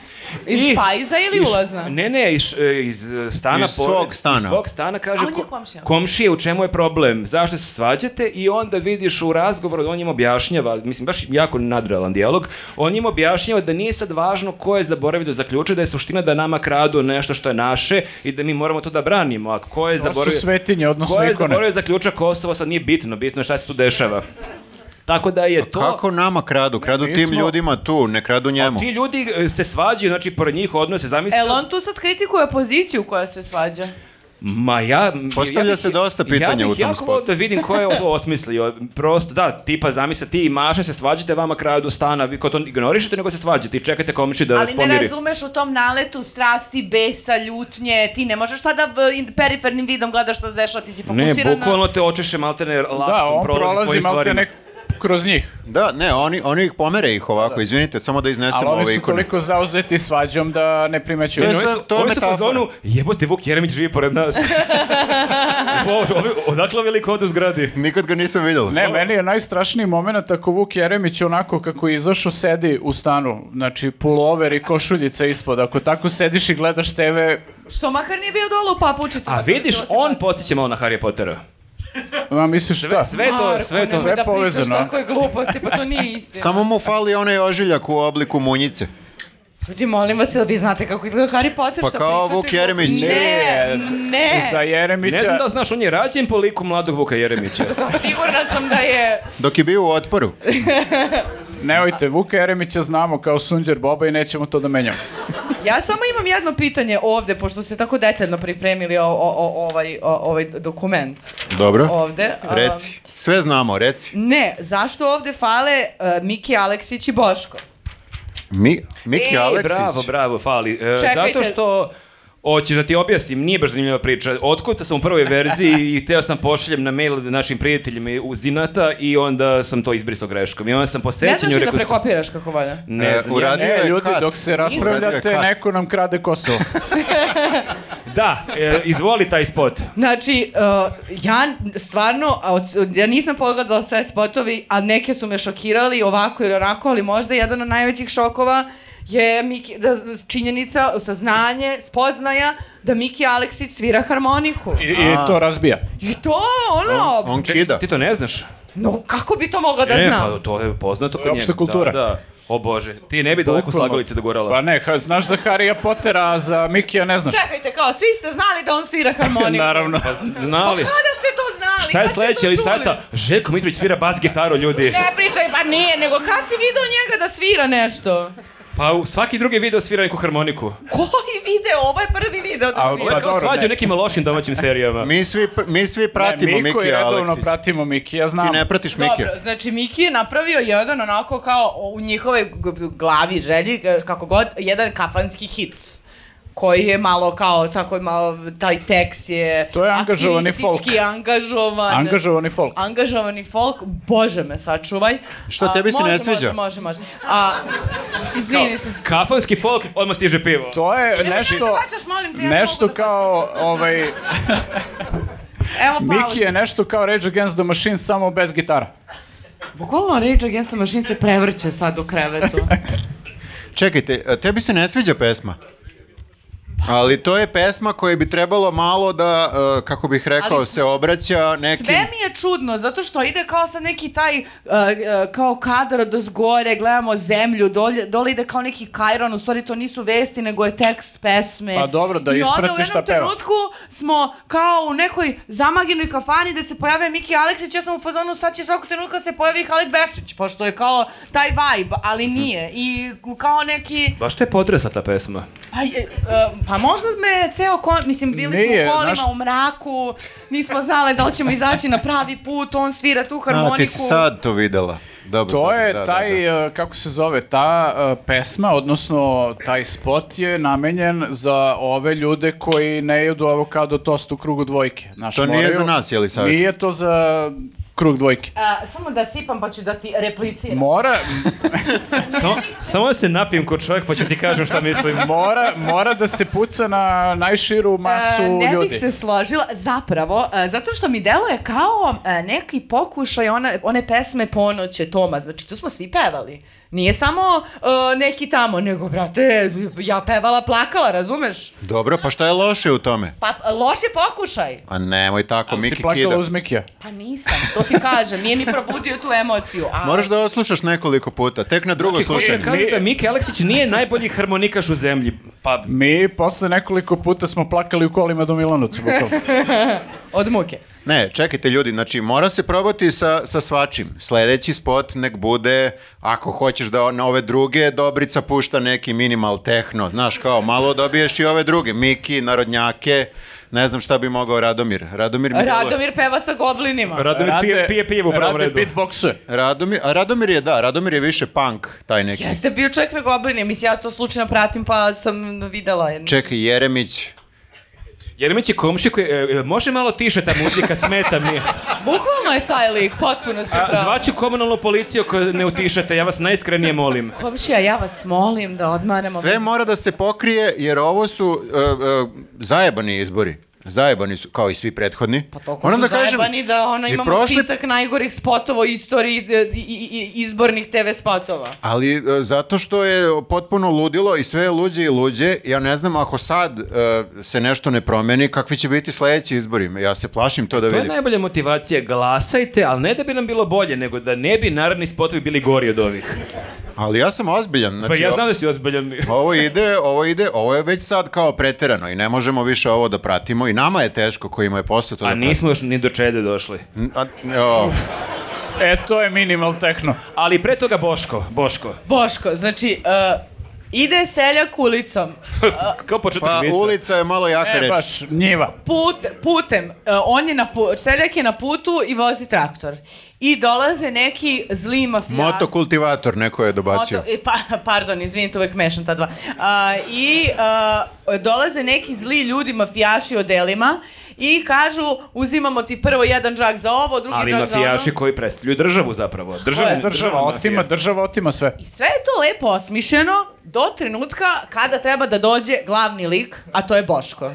S4: Iz
S3: I-
S4: špajza ili
S3: i š-
S4: ulazna?
S3: Ne, ne, iz, iz e, stana.
S2: Iz
S3: pored-
S2: svog stana.
S3: Iz svog stana kaže
S4: A on je
S3: ko-
S4: komšija.
S3: komšije u čemu je problem, zašto se svađate i onda vidiš u razgovoru, on im objašnjava, mislim baš jako nadrealan dijalog, on im objašnjava da nije sad važno ko je zaboravio da zaključe, da je suština da nama kradu nešto što je naše i da mi moramo to da branimo, a ko je
S1: To su
S3: zaboravio...
S1: svetinje, odnosno
S3: Ko je
S1: ikone.
S3: zaboravio zaključak Kosovo, sad nije bitno, bitno je šta se tu dešava. Tako da je to...
S2: Kako nama kradu? Kradu
S1: mi
S2: tim
S1: smo-
S2: ljudima tu, ne kradu njemu.
S3: Ti ljudi e, se svađaju, znači, pored njih odnose, zamisli...
S4: Jel on tu sad kritikuje opoziciju koja se svađa?
S3: Ma ja...
S2: Postavlja se dosta pitanja
S3: ja bih
S2: u tom
S3: jako
S2: spotu.
S3: volio da vidim ko je
S2: *laughs*
S3: ovo osmislio. Prosto, da, tipa, zamisli, ti i Maša se svađate, vama kradu stana, vi ko to ignorišete, nego se svađate i čekate komši da vas
S4: Ali ne
S3: pomiri.
S4: razumeš u tom naletu strasti, besa, ljutnje, ti ne možeš sada v- in- perifernim vidom gledaš što se dešava, ti si
S3: Ne,
S4: fokusirana.
S3: bukvalno te očeše maltene laptom,
S1: Da, on
S3: prolazi s
S1: prolazi
S3: tvojim
S1: malo te
S3: stvarima.
S1: nek... kroz njih.
S2: Da, ne, oni, oni ih pomere ih ovako, izvinite, samo da iznesemo
S1: Ali
S2: ove
S1: oni su
S2: ikone.
S1: toliko zauzeti svađom da ne primećuju.
S2: Ne,
S1: Ovi
S2: sve-
S1: su-
S2: to je
S3: Ovi su u
S2: metafora.
S3: fazonu, jebote, Vuk Jeremić živi pored
S4: *laughs*
S3: nas. Wow, ovi, odakle veliko od u zgradi?
S2: Nikad ga nisam vidjela.
S1: Ne, meni je najstrašniji moment ako Vuk Jeremić onako kako je izašao sedi u stanu, znači pulover i košuljica ispod. Ako tako sediš i gledaš TV,
S4: Što makar nije bio dole u papučicama.
S3: A vidiš,
S4: To pa- se
S3: on podsjeća malo na Harry Pottera.
S1: ma misliš šta?
S3: Sve, sve e, to,
S4: Marko,
S3: sve to.
S4: nemoj
S1: Sve
S4: da
S1: povezano.
S4: pričaš takve gluposti, pa to nije
S2: *laughs*
S4: istina.
S2: Samo mu fali onaj ožiljak u obliku munjice.
S4: Ljudi, molim vas, jel vi znate kako izgleda Harry Potter?
S2: Pa
S4: Šta
S2: kao
S4: pričate?
S2: Vuk Jeremić.
S4: Ne, ne.
S1: Za Jeremića.
S3: Ne znam da li znaš, on je rađen po liku mladog Vuka
S4: *laughs*
S3: Jeremića.
S4: Sigurna sam da je...
S2: Dok je bio u otporu.
S1: Nemojte, Vuka Jeremića znamo kao Sunđer Boba i nećemo to da menjamo.
S4: Ja samo imam jedno pitanje ovde, pošto ste tako detaljno pripremili o, o, o- ovaj, o- ovaj dokument
S2: Dobro.
S4: ovde. Um,
S2: Reci. Sve znamo, reci.
S4: Ne, zašto ovde fale uh, Miki Aleksić i Boško?
S2: Mi, Miki
S1: E,
S3: Ej,
S2: Aleksić.
S3: bravo, bravo, fali. E,
S4: Čekajte.
S3: zato što... Hoćeš da ti objasnim, nije baš zanimljiva priča. Otkuca sam u prvoj
S4: *laughs*
S3: verziji i teo sam pošaljem na mail našim prijateljima iz Inata i onda sam to izbrisao greškom. I onda sam po
S4: Ne znaš
S3: sećanju
S4: li da
S3: rekao...
S4: prekopiraš kako valja?
S3: Ne
S2: E,
S3: znam, ja
S2: uradi-
S1: Ne,
S2: Uradio je
S1: ljudi,
S2: kat.
S1: dok se
S2: Uradio
S1: raspravljate,
S2: je kat.
S1: neko nam krade
S2: *laughs*
S1: Kosovo.
S3: Da, e, izvoli taj spot.
S4: Znači, uh, ja stvarno, a od- ja nisam pogledala sve spotovi, a neke su me šokirali ovako ili onako, ali možda jedan od najvećih šokova je Miki, da, činjenica, saznanje, spoznaja da Miki Aleksić svira harmoniku.
S1: I, i to razbija.
S4: I to, ono,
S2: On kida.
S3: Ti to ne znaš?
S4: no kako bi to mogla da
S3: e,
S4: znam?
S3: pa to je poznato.
S1: To je opšta kultura.
S3: Da, da. O bože, ti ne bi daleko
S1: Bukvalno.
S3: slagalice da gorala.
S1: Pa ne, ha- znaš za Harrya Pottera, a za Mikija ne znaš.
S4: Čekajte, kao, svi ste znali da on svira harmoniku.
S1: Naravno.
S3: Pa
S4: Pa
S3: znali.
S4: kada ste to znali?
S3: Šta je
S4: Kad ste to
S3: sledeća ali
S4: čuli?
S3: sata? Željko Mitrović svira bas gitaru, ljudi.
S4: Ne pričaj, pa nije, nego kad si video njega da svira nešto?
S3: Pa u svaki drugi video svira neku harmoniku.
S4: Koji video? Ovo je prvi video da
S1: A,
S4: svira.
S3: Ovo je
S1: Pa
S3: kao
S1: dobro,
S3: svađa
S1: ne.
S3: u nekim lošim domaćim serijama.
S2: Mi svi, pr- mi svi pratimo
S1: ne, Miko i
S2: Miki
S1: redovno
S2: Aleksić.
S1: pratimo Mikija, znam.
S2: Ti ne pratiš Miki.
S4: Dobro, znači Miki je napravio jedan onako kao u njihovoj g- g- glavi, želji, e, kako god, jedan kafanski hit koji je malo kao, tako je malo, taj tekst je...
S1: To je angažovani folk.
S4: aktivistički, angažovan.
S1: Angažovani folk.
S4: Angažovani folk, bože me sačuvaj.
S2: Šta,
S4: A,
S2: tebi se
S4: može,
S2: ne
S4: može,
S2: sviđa?
S4: Može, može, A, izvinite.
S3: Kafanski folk, odmah stiže pivo.
S1: To je
S4: Nemoj
S1: nešto...
S4: da bacaš, molim te, ja ne
S1: Nešto
S4: mogu da-
S1: kao, ovaj,
S4: Evo pauza.
S1: Miki je nešto kao Rage Against the Machine, samo bez gitara.
S4: Bukvalno Rage Against the Machine se prevrće sad u krevetu.
S2: Čekajte, a tebi se ne sviđa pesma? Ali to je pesma koje bi trebalo malo da, e, kako bih rekao,
S4: Ali s-
S2: se obraća nekim...
S4: Sve mi je čudno, zato što ide kao sa neki taj, uh, uh, kao kadar od zgore, gledamo zemlju, dolje, dole ide kao neki kajron, u stvari to nisu vesti, nego je tekst pesme.
S1: Pa dobro, da isprati
S4: I onda u
S1: šta
S4: jednom
S1: peva.
S4: trenutku smo kao u nekoj zamaginoj kafani gde se pojave Miki Aleksić, ja sam u fazonu, sad će svakog trenutka se pojavi Halid Besić, pošto je kao taj vibe, ali
S1: Mhm.
S4: nije. I kao neki...
S3: Baš te potresa ta pesma.
S4: Pa, je, e, pa možda me ceo kon... Mislim, bili
S1: Nije,
S4: smo u kolima
S1: znaš-
S4: u mraku, nismo znali da li ćemo izaći na pravi put, on svira tu harmoniku.
S2: A, ti si sad to videla. Dobro,
S1: To
S2: dobro,
S1: je
S2: da, da,
S1: taj,
S2: da.
S1: e, kako se zove, ta e, pesma, odnosno taj spot je namenjen za ove ljude koji ne jedu avokado tost u krugu dvojke. Znaš,
S2: To nije
S1: moraju-
S2: za nas, je li, Saveta?
S1: Nije to za krug dvojke.
S4: A, samo da sipam pa ću da ti repliciram.
S1: Mora,
S3: Samo, samo da se napijem ko čovjek pa ću ti kažem
S1: *laughs*
S3: šta mislim.
S1: mora, mora da se puca na najširu masu
S4: E, ne
S1: ljudi.
S4: bih se složila, zapravo, e, zato što mi deluje kao e, neki pokušaj one, one pesme Ponoće Toma, znači tu smo svi pevali. Nije samo e, neki tamo, nego, brate, ja pevala, plakala, razumeš?
S2: Dobro, pa šta je loše u tome?
S4: Pa, loš je pokušaj.
S2: A nemoj tako,
S1: si
S2: Miki
S1: plakala
S2: kida.
S1: uz Mikija.
S4: Pa nisam, to ti kažem, nije mi probudio tu emociju. A...
S2: Moraš da oslušaš nekoliko puta, tek na drugo
S3: Znači, hoćeš da
S2: slušanje.
S3: kažeš da Miki Aleksić nije najbolji harmonikaš u zemlji. Pa,
S1: Mi posle nekoliko puta smo plakali u kolima do Milanovca, bukvalno.
S3: *laughs*
S4: Od muke.
S2: Ne, čekajte ljudi, znači mora se probati sa, sa svačim. Sledeći spot nek bude, ako hoćeš da na ove druge, Dobrica pušta neki minimal tehno, znaš kao, malo dobiješ i ove druge, Miki, Narodnjake, ne znam šta bi mogao Radomir. Radomir mi deluje-
S4: Radomir peva sa goblinima.
S3: Radomir pije, pije pivo u prvom
S1: Rade
S3: redu.
S1: beatboxuje.
S2: Radomir, a Radomir je, da, Radomir je više punk, taj neki.
S4: Jeste bio čovjek na goblinima, mislim ja to slučajno pratim pa sam videla. je.
S2: Čekaj, Jeremić,
S3: Jeremić je komšija koji, e, e, može malo tiše ta muzika,
S1: *laughs*
S3: smeta mi. je.
S4: Bukvalno je taj lik, potpuno si
S3: A,
S4: pravo.
S3: zvaću komunalnu policiju ako ne utišate, ja vas najiskrenije molim.
S4: Komšija, ja vas molim da odmaramo.
S2: Sve mora da se pokrije, jer ovo su uh, uh, zajebani izbori. Zajebani su, kao i svi prethodni.
S4: Pa toliko su zajebani da ono,
S2: i
S4: imamo
S2: prošli-
S4: spisak najgorih spotova u istoriji d- i, i, i- izbornih TV spotova.
S2: Ali e, zato što je potpuno ludilo i sve je luđe i luđe, ja ne znam ako sad e, se nešto ne promeni, kakvi će biti sledeći izbori. Ja se plašim to da
S3: To je
S2: vidim.
S3: najbolja motivacija, glasajte, ali ne da bi nam bilo bolje, nego da ne bi naredni spotovi bili gori od ovih.
S2: Ali ja sam ozbiljan.
S3: Pa
S2: Znači,
S3: ja
S2: o-
S3: znam da si ozbiljan.
S2: Ovo ide, ovo ide, ovo je već sad kao preterano i ne možemo više ovo da pratimo i nama je teško kojima je posle to
S3: A
S2: da
S3: nismo još ni do čede došli.
S2: pratimo. A- o,
S1: E, to je minimal techno.
S3: Ali pre toga Boško, Boško.
S4: Boško, znači, uh, ide seljak ulicom,
S3: Kao početak
S2: pa
S3: vica.
S2: ulica je malo jaka
S1: E,
S2: reč.
S1: baš, njiva.
S4: put, putem, uh, on je na pu, seljak je na putu i vozi traktor. I dolaze neki zli mafijaši.
S2: Motokultivator neko je dobacio.
S4: Moto- e, pa, pardon, izvinite, uvek mešam ta dva. A, I a, dolaze neki zli ljudi, mafijaši o delima i kažu uzimamo ti prvo jedan džak za ovo, drugi
S3: Ali
S4: džak za ono.
S3: mafijaši koji predstavljaju državu zapravo. Država,
S4: Ko je?
S1: Država otima, država otima sve.
S4: I sve je to lepo osmišljeno do trenutka kada treba da dođe glavni lik, a to je Boško.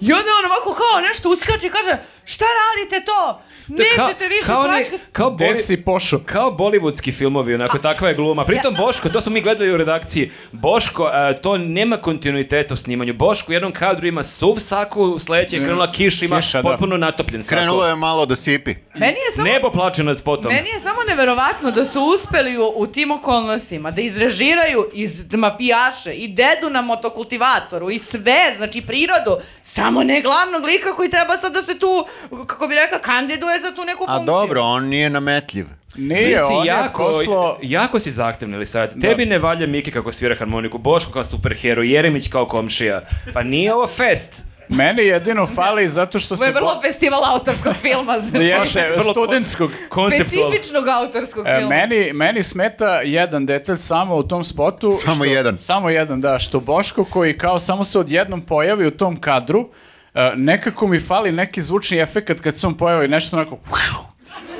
S4: I onda on ovako kao nešto uskače i kaže šta radite to? Nećete više
S3: kao, oni-
S4: plaćati.
S3: kao,
S1: Gde
S3: boli,
S1: si pošu?
S3: kao bollywoodski filmovi, onako, takva je gluma. Pritom Boško, to smo mi gledali u redakciji, Boško, a, to nema kontinuiteta u snimanju. Boško u jednom kadru ima suv saku, sledeće je krenula kiša, ima
S1: Mm. Kiša, da.
S3: potpuno natopljen sako.
S2: Krenulo je malo da sipi.
S4: Meni je samo
S3: Nebo plače nad spotom.
S4: Meni je samo neverovatno da su uspeli u, u tim okolnostima da izrežiraju iz mafijaše i dedu na motokultivatoru i sve, znači prirodu, samo ne glavnog lika koji treba sad da se tu, kako bi rekao, kandiduje za tu neku
S2: A
S4: funkciju.
S2: dobro, on nije nametljiv.
S1: Nije, E, on je poslo...
S3: jako si zahtevni, ili sad. Tebi ne valja Miki kako svira harmoniku, Boško kao superhero, Jeremić kao komšija. Pa nije ovo fest.
S1: Meni jedino fali zato što
S4: Ovo je
S1: se...
S4: vrlo festival autorskog filma, znači.
S1: Jeste,
S3: Vrlo po-
S1: studentskog.
S3: Konceptualno.
S4: Specifičnog autorskog
S1: E,
S4: filma.
S1: meni, meni smeta jedan detalj samo u tom spotu.
S2: Samo
S1: što-
S2: jedan.
S1: Samo jedan, da. Što Boško koji kao samo se odjednom pojavi u tom kadru, e, nekako mi fali neki zvučni efekt kad se on pojavi nešto onako...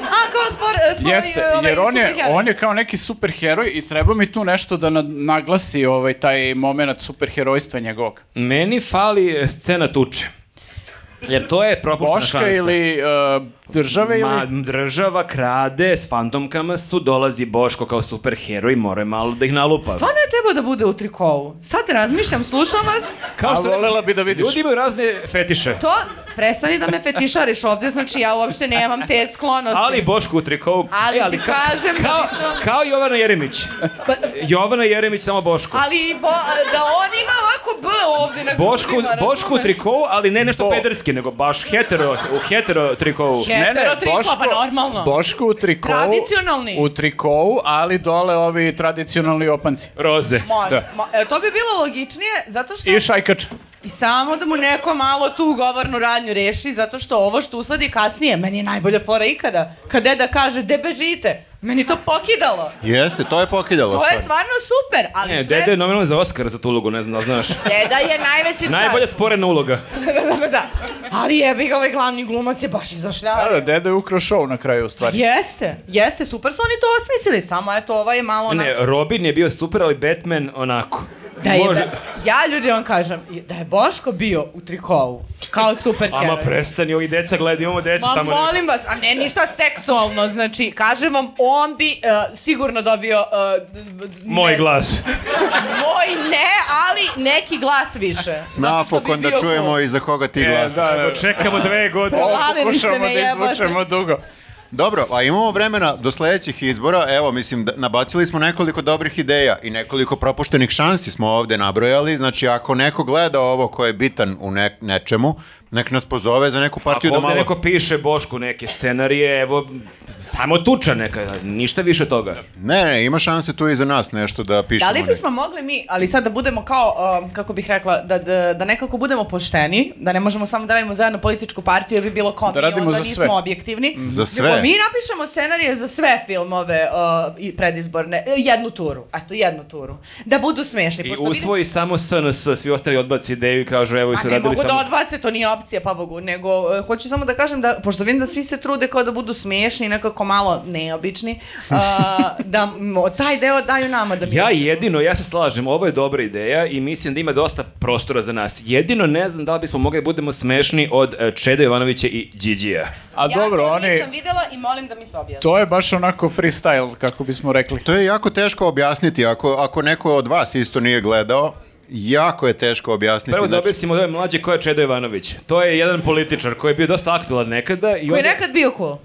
S4: A, kao spor, spor
S1: Jeste,
S4: ovaj,
S1: jer on je,
S4: superheroj.
S1: on je kao neki superheroj i treba mi tu nešto da na- naglasi ovaj, taj moment superherojstva njegovog.
S3: Meni fali e, scena tuče. Jer to je propuštena
S1: Boška
S3: šansa.
S1: ili e, države
S3: Ma,
S1: ili...
S3: država krade, s fantomkama su, dolazi Boško kao superheroj, mora malo da ih nalupa.
S4: Stvarno je trebao da bude u trikovu. Sad razmišljam, slušam vas,
S3: Kao
S1: A
S3: rekao,
S1: volela bi da vidiš.
S3: Ljudi imaju razne fetiše.
S4: to, prestani da me fetišariš ovdje, znači ja uopšte nemam te sklonosti.
S3: Ali Boško u trikovu. E,
S4: Ali ti
S3: ka-
S4: kažem da
S3: kao,
S4: bi to- Pa-
S3: Kao Jovana Jeremić. Jovana Jeremić, samo Boško.
S4: Ali bo, da on ima ovako B ovdje na
S3: Boško,
S4: grudima,
S3: Boško u
S4: razumeš?
S3: trikovu, ali ne nešto
S1: Bo.
S3: pederski, nego baš hetero, u hetero trikovu.
S4: He- Hetero triko, pa normalno.
S1: Boško u trikovu.
S4: Tradicionalni.
S1: U trikovu, ali dole ovi tradicionalni opanci.
S3: Roze.
S4: Može.
S1: Da.
S4: mo- e, to bi bilo logičnije, zato što...
S1: I šajkač.
S4: I samo da mu neko malo tu govornu radnju reši, zato što ovo što usadi kasnije, meni je najbolja fora ikada. Kad deda kaže, de bežite, meni to pokidalo.
S2: Jeste, to je pokidalo.
S4: To je
S2: stvarno.
S4: stvarno super, ali
S3: Ne,
S4: sve...
S3: dede je nominovan za Oscar za tu ulogu, ne znam da li znaš.
S4: Deda je najveći car.
S3: Najbolja sporena uloga.
S4: da, da, da. Ali jebi ga, ovaj glavni glumac je baš izašljavio.
S1: Da, da, deda je ukrao šov na kraju u stvari.
S4: Jeste, jeste, super su oni to osmislili, samo eto ovaj je malo... onako-
S3: Ne, Robin je bio super, ali Batman onako.
S4: Da je, ja ljudi vam kažem, da je Boško bio u trikovu, kao superheroj.
S3: Ama prestani, ovi deca gledaju, imamo decu
S4: Ma
S3: Znači, tamo.
S4: molim vas, a ne ništa seksualno, znači, kažem vam, on bi e, sigurno dobio... e, d- d- ne-
S3: Moj glas.
S4: Moj ne, ali neki glas više. Zato što bi
S2: Napokon da
S4: bio
S2: čujemo
S4: cool.
S2: i za koga ti
S1: E,
S2: glasaš.
S1: da, da, da.
S3: Čekamo dve godine.
S1: Ovo
S4: Hvalili ste
S1: pokušavamo
S4: me,
S1: da
S4: jebote.
S1: izvučemo dugo.
S2: Dobro, a imamo vremena do sledećih izbora. Evo, mislim, da- nabacili smo nekoliko dobrih ideja i nekoliko propuštenih šansi smo ovde nabrojali. Znači, ako neko gleda ovo ko je bitan u ne- nečemu, nek nas pozove za neku
S3: Ako
S2: partiju da
S3: ovde
S2: malo...
S3: neko piše Bošku neke scenarije, evo, Samo tuča neka, ništa više od toga.
S4: E,
S2: Ne, ne, ima šanse tu i za nas nešto da pišemo.
S4: Da li
S2: ne-
S4: bismo mogli mi, ali sad da budemo kao, um, kako bih rekla, da, da, da nekako budemo pošteni, da ne možemo samo da radimo zajedno političku partiju jer bi bilo komik,
S1: Da radimo
S4: onda
S1: za
S4: nismo
S1: sve.
S4: objektivni.
S2: Mhm. Za sve.
S4: Nego mi napišemo scenarije za sve filmove uh, i predizborne, e, jednu turu, eto jednu turu, da budu smešni.
S3: I
S4: pošto vidim-
S3: usvoji samo SNS, svi ostali odbaci ideju i kažu evo i su
S4: A ne mogu
S3: radili samo...
S4: da odbace, to nije opcija, pa bogu, nego e, hoću samo da kažem da, pošto vidim da svi se trude kao da budu smiješni, nekako malo neobični, a, da mo- taj deo daju nama da mi...
S3: Ja jedino, ja se slažem, ovo je dobra ideja i mislim da ima dosta prostora za nas. Jedino ne znam da li bismo mogli da budemo smešni od eh, Čeda Jovanovića i Điđija.
S1: A dobro,
S4: to
S1: oni...
S4: nisam videla i molim da mi se objasni.
S1: To je baš onako freestyle, kako bismo rekli.
S2: To je jako teško objasniti, ako, ako neko od vas isto nije gledao, jako je teško objasniti.
S3: Prvo da
S2: znači-
S3: objasnimo da je mlađe ko je Čeda Jovanović. To je jedan političar koji je bio dosta aktualan nekada. I
S4: Koji je
S3: onda-
S4: nekad bio cool.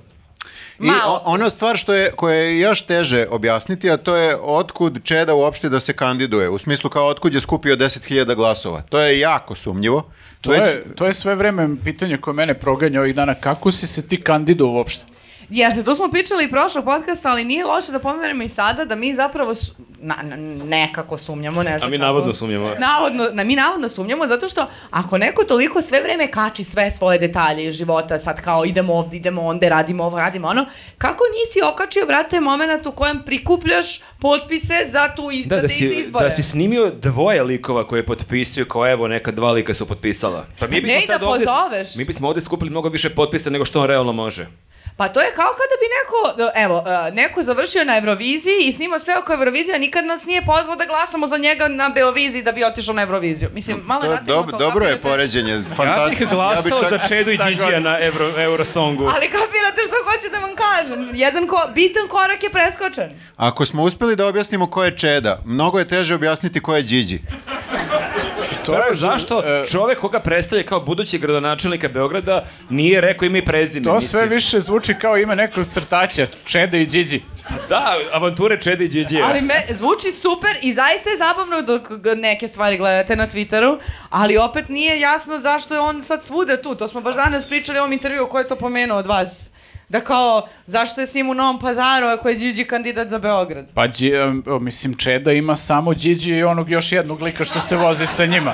S2: I
S4: Malo.
S2: o- ona stvar što je, koja je još teže objasniti, a to je otkud Čeda uopšte da se kandiduje. U smislu kao otkud je skupio 10.000 glasova. To je jako sumnjivo.
S1: To
S2: Već-
S1: je, to je sve vreme pitanje koje mene proganja ovih dana. Kako si se ti kandido uopšte?
S4: Jeste, to smo pričali i prošlog podcasta, ali nije loše da pomerimo i sada da mi zapravo su, na, na- nekako sumnjamo, ne znam
S3: A mi
S4: kako.
S3: navodno sumnjamo.
S4: Navodno, na, mi navodno sumnjamo zato što ako neko toliko sve vreme kači sve svoje detalje iz života, sad kao idemo ovdje, idemo onda, radimo ovo, radimo ono, kako nisi okačio, brate, moment u kojem prikupljaš potpise za tu iz,
S3: Da,
S4: za
S3: da
S4: te iste
S3: si,
S4: izbore?
S3: da si snimio dvoje likova koje je potpisuju, kao evo neka dva lika su potpisala. Pa mi bismo
S4: Ne, i
S3: sad
S4: da
S3: ovdje-
S4: pozoveš.
S3: mi bismo ovdje skupili mnogo više potpisa nego što on realno može.
S4: Pa to je kao kada bi neko, evo, e, neko završio na Euroviziji i snimao sve oko Eurovizije, a nikad nas nije pozvao da glasamo za njega na Beoviziji da bi otišao na Euroviziju. Mislim, malo
S2: To,
S4: je
S2: je
S4: naterano
S2: dob-
S4: to,
S2: dobro je
S4: kapirate?
S2: poređenje. Fantastično.
S3: Ja bih glasao
S2: čak-
S3: za Čedu i Điđija na Euro, Eurosongu.
S4: Ali kapirate što hoću da vam kažem. Jedan ko, bitan korak je preskočen.
S2: Ako smo uspeli da objasnimo ko je Čeda, mnogo je teže objasniti ko je Điđi.
S1: To
S3: Prvo, zašto
S1: e,
S3: čovek koga predstavlja kao budući gradonačelnika Beograda nije rekao ime i prezime?
S1: To
S3: mislim.
S1: sve više zvuči kao ime nekog crtaća, Čeda i Điđi.
S3: Da, avanture Čede i Điđije.
S4: Ali me zvuči super i zaista je zabavno dok g- neke stvari gledate na Twitteru, ali opet nije jasno zašto je on sad svude tu. To smo baš danas pričali u ovom intervju ko je to pomenuo od vas. Da kao, zašto je s njim u Novom pazaru ako je Điđi kandidat za Beograd?
S1: Pa, Đi- em, o, mislim, Čeda ima samo Điđi i onog još jednog lika što se vozi sa njima.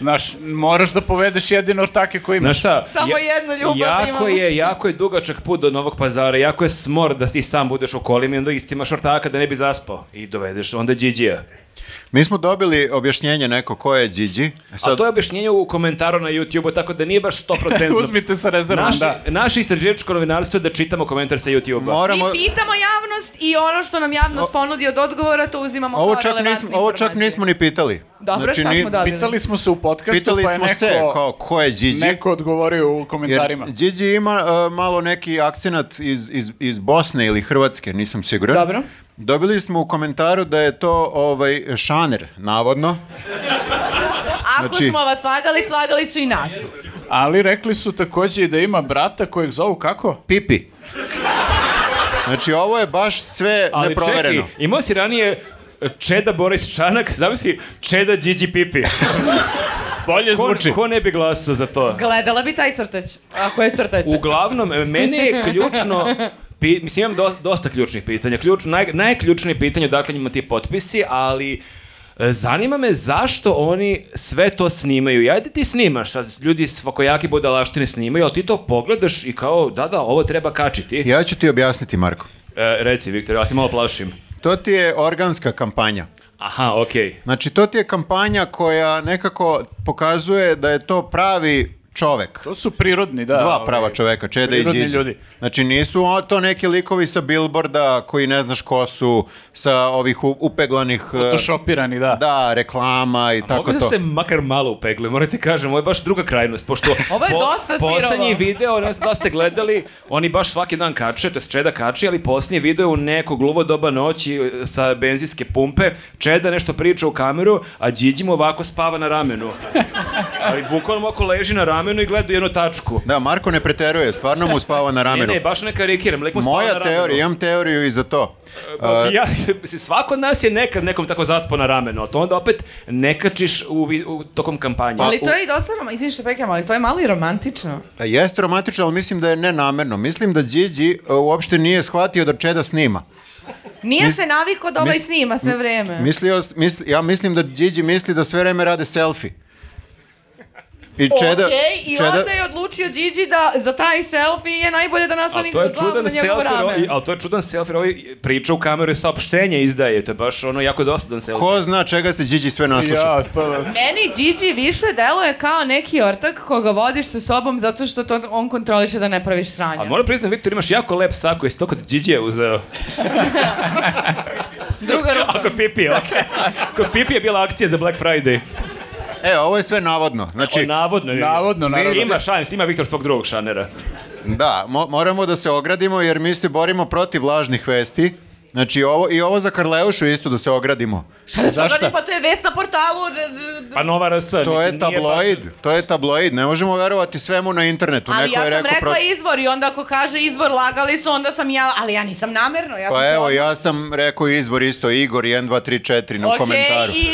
S1: Znaš, moraš da povedeš jedino ortake koji imaš.
S3: Znaš šta?
S4: Samo jednu ljubav
S3: jako
S4: imamo.
S3: je, jako je dugačak put do Novog pazara, jako je smor da ti sam budeš u kolima i onda istimaš ortaka da ne bi zaspao. I dovedeš onda Điđija.
S2: Mi smo dobili objašnjenje neko ko je Điđi.
S3: A to je objašnjenje u komentaru na YouTube-u, tako
S1: *laughs*
S3: da nije baš 100%.
S1: Uzmite sa rezervom,
S3: Naše,
S1: da.
S3: naše istraživačko novinarstvo je da čitamo komentar sa YouTube-a.
S2: moramo...
S4: Mi pitamo javnost i ono što nam javnost ponudi od odgovora, to uzimamo
S2: Ovo
S4: kao
S2: čak,
S4: relevantne
S2: nismo, ovo čak
S4: informacije.
S2: nismo ni pitali. Znači,
S4: Dobro, šta
S2: ni-
S4: smo dobili?
S1: Pitali smo se u podcastu,
S2: Pitali
S1: pa je
S2: smo
S1: neko,
S2: se kao ko je Điđi.
S1: neko odgovorio u komentarima.
S2: Jer Điđi ima e, malo neki akcenat iz, iz, iz Bosne ili Hrvatske, nisam siguran.
S4: Dobro.
S2: Dobili smo u komentaru da je to ovaj šaner, navodno.
S4: Ako
S2: Znači-
S4: smo vas slagali, slagali su i nas.
S1: Ali rekli su takođe i da ima brata kojeg zovu kako?
S2: Pipi. Znači, ovo je baš sve
S3: Ali
S2: neprovereno.
S3: čekaj, imao si ranije Čeda Boris Čanak, *laughs* znam si Čeda Điđi Pipi.
S1: Bolje
S3: Ko,
S1: zvuči.
S3: ko ne bi glasao za to?
S4: Gledala bi taj crteć, ako je crteć.
S3: Uglavnom, e, meni je ključno... pi- mislim, imam do- dosta ključnih pitanja. Ključ, naj, najključnije pitanje odakle njima ti potpisi, ali e, zanima me zašto oni sve to snimaju. Ja, ajde ti snimaš, sad ljudi svakojaki budalaštine snimaju, ali ti to pogledaš i kao, da, da, ovo treba kačiti.
S2: Ja ću ti objasniti, Marko.
S3: E, reci, Viktor, ja se malo plašim.
S2: To ti je organska kampanja.
S3: Aha, okej.
S2: Znači, to ti je kampanja koja nekako pokazuje da je to pravi čovek.
S1: To su prirodni, da.
S2: Dva
S1: ovaj,
S2: prava čoveka, Čeda i
S1: prirodni
S2: Điđi.
S1: ljudi.
S2: Znači nisu o- to neki likovi sa billboarda koji ne znaš ko su, sa ovih u- upeglanih... e,
S1: Photoshopirani, da.
S2: Da, reklama i tako to.
S3: Mogu da se makar malo upegle, morate kažem, ovo je baš druga krajnost, pošto
S4: *laughs* Ovo je dosta sirovo.
S3: Poslednji video, ne znam da li ste gledali, oni baš svaki dan kače, to je Čeda kači, ali posljednji video je u neko gluvo doba noći e, sa benzinske pumpe, Čeda nešto priča u kameru, a Điđi mu ovako spava na ramenu. Ali bukvalno mu ako leži na ramenu, ramenu i gledao jednu tačku. E,
S2: Da, Marko ne preteruje, stvarno mu spava na
S3: Ne,
S2: ramenu.
S3: ne, baš ne karikiram, lik mu spava na
S2: Moja
S3: ramenu.
S2: teorija, e, imam teoriju i za to.
S3: Pa, ja, *laughs* mislim, svako od nas je nekad nekom tako zaspao na rameno, a to onda opet ne kačiš u, vi- u, tokom kampanje.
S4: ali to je i dosta romantično, izvini što pekam, ali to je malo i romantično.
S2: A Jeste romantično, ali mislim da je nenamerno. Mislim da Điđi e, uopšte nije shvatio da Čeda snima.
S4: Nije
S2: Mis-
S4: se naviko da ovaj
S2: mis-
S4: snima sve vreme.
S2: Mislio, s- misli- ja mislim da Điđi misli da sve vreme rade selfie. I Čeda,
S4: Okej, i
S2: Čeda-
S4: onda je odlučio Gigi da za taj selfie je najbolje da nasloni
S3: Ali to je
S4: glavu
S3: čudan
S4: na njegovo
S3: selfie,
S4: rame.
S3: ovaj, ali to je čudan selfie, jer ovaj priča u kameru i saopštenje izdaje, to je baš ono jako dosadan selfie.
S2: ko zna čega se Điđi sve nasluša.
S1: Ja, pa,
S4: Meni Gigi više deluje kao neki ortak koga vodiš sa sobom zato što to on kontroliše da ne praviš sranja.
S3: A moram priznam, Viktor, imaš jako lep sako, jesi to kod Điđija
S4: *laughs*
S3: uzeo?
S4: Druga ruka.
S3: *laughs* A kod Pipi, je, okej. Kod Pipi je bila akcija za Black Friday.
S2: E, ovo je sve navodno.
S3: O,
S2: Znači,
S3: navodno. je.
S1: navodno, naravno.
S3: Ima šans, ima Viktor svog drugog šanera.
S2: da, mo- moramo da se ogradimo jer mi se borimo protiv lažnih vesti. Znači, ovo, i ovo za Karleušu isto da se ogradimo.
S4: Šta
S3: E,
S4: da se
S1: Zašta?
S4: ogladim? Pa to je vest na portalu. d- d- d-
S3: Pa Nova RS,
S2: To
S3: mislim,
S2: je
S3: nije
S2: tabloid,
S3: baš-
S2: to je tabloid. Ne možemo verovati svemu na internetu.
S4: Ali
S2: Neko
S4: ja
S2: je
S4: sam
S2: rekao
S4: rekla
S2: protiv-
S4: izvor i onda ako kaže izvor lagali su, onda sam ja, ali ja nisam namerno. Ja sam
S2: Pa
S4: se
S2: evo,
S4: odmah-
S2: ja sam rekao izvor isto, Igor 1234 na
S4: Okej,
S2: komentaru.
S4: i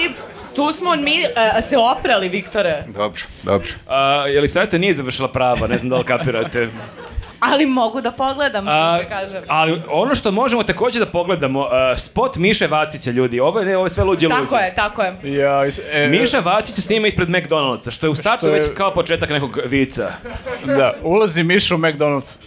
S4: tu smo mi e, se oprali, Viktore.
S2: Dobro, dobro.
S3: A, je li savjeta nije završila prava, ne znam da li
S4: *laughs*
S3: kapirate.
S4: Ali mogu da pogledam, što
S3: A,
S4: se kažem.
S3: ali ono što možemo takođe da pogledamo, a, spot Miše Vacića, ljudi, ovo je, ne, ovo je sve luđe luđe.
S4: Tako je, tako je.
S1: Ja, is- e,
S3: Miša Vacić se snima ispred McDonald'sa, što je u startu
S1: Što je-
S3: već kao početak nekog vica.
S1: Da, ulazi Miša u McDonald's.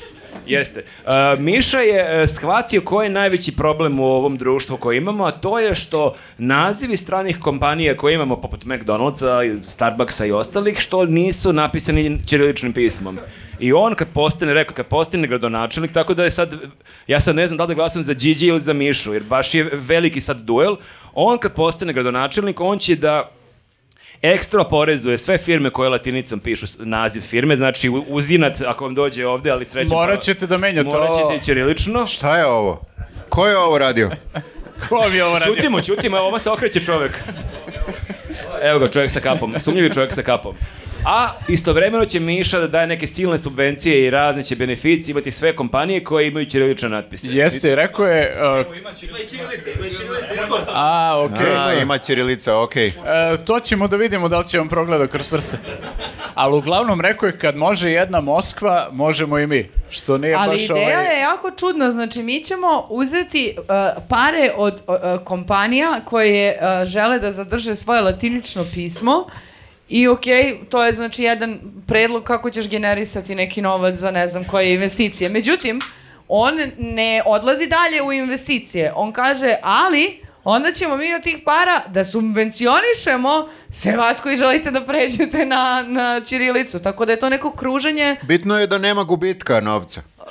S3: Jeste. A, Miša je e, shvatio koji je najveći problem u ovom društvu koje imamo, a to je što nazivi stranih kompanija koje imamo, poput McDonald'sa, i Starbucksa i ostalih, što nisu napisani ćiriličnim pismom. I on kad postane, rekao, kad postane gradonačelnik, tako da je sad, ja sad ne znam da li da glasam za Gigi ili za Mišu, jer baš je veliki sad duel. On kad postane gradonačelnik, on će da ekstra porezuje sve firme koje latinicom pišu s- naziv firme, znači u- uzinat ako vam dođe ovde, ali srećem.
S1: Morat ćete da menjate
S3: pa- Morat
S1: ovo.
S3: ćete i ćirilično.
S2: Šta je ovo? Ko je ovo
S3: *laughs*
S2: radio?
S1: Ko vam je ovo radio?
S3: Čutimo, čutimo, evo ovo se okreće čovek. Evo ga, čovek sa kapom, sumnjivi čovek sa kapom. A istovremeno će Miša da daje neke silne subvencije i razne će beneficije imati sve kompanije koje imaju ćirilične natpise.
S1: Jeste, rekao je... uh, A, okej.
S2: A, ima Ćirilica, okej.
S1: E, to ćemo da vidimo da li će vam progleda kroz prste. Ali uglavnom rekao je kad može jedna Moskva, možemo i mi. Što nije
S4: Ali
S1: baš
S4: ideja
S1: ovaj...
S4: je jako čudna, znači mi ćemo uzeti uh, pare od uh, uh, kompanija koje uh, žele da zadrže svoje latinično pismo i okej, to je znači jedan predlog kako ćeš generisati neki novac za ne znam koje investicije. Međutim, on ne odlazi dalje u investicije. On kaže, ali onda ćemo mi od tih para da subvencionišemo sve vas koji želite da pređete na, na Ćirilicu. Tako da je to neko kruženje. e,
S2: Bitno je da nema gubitka novca.
S4: uh,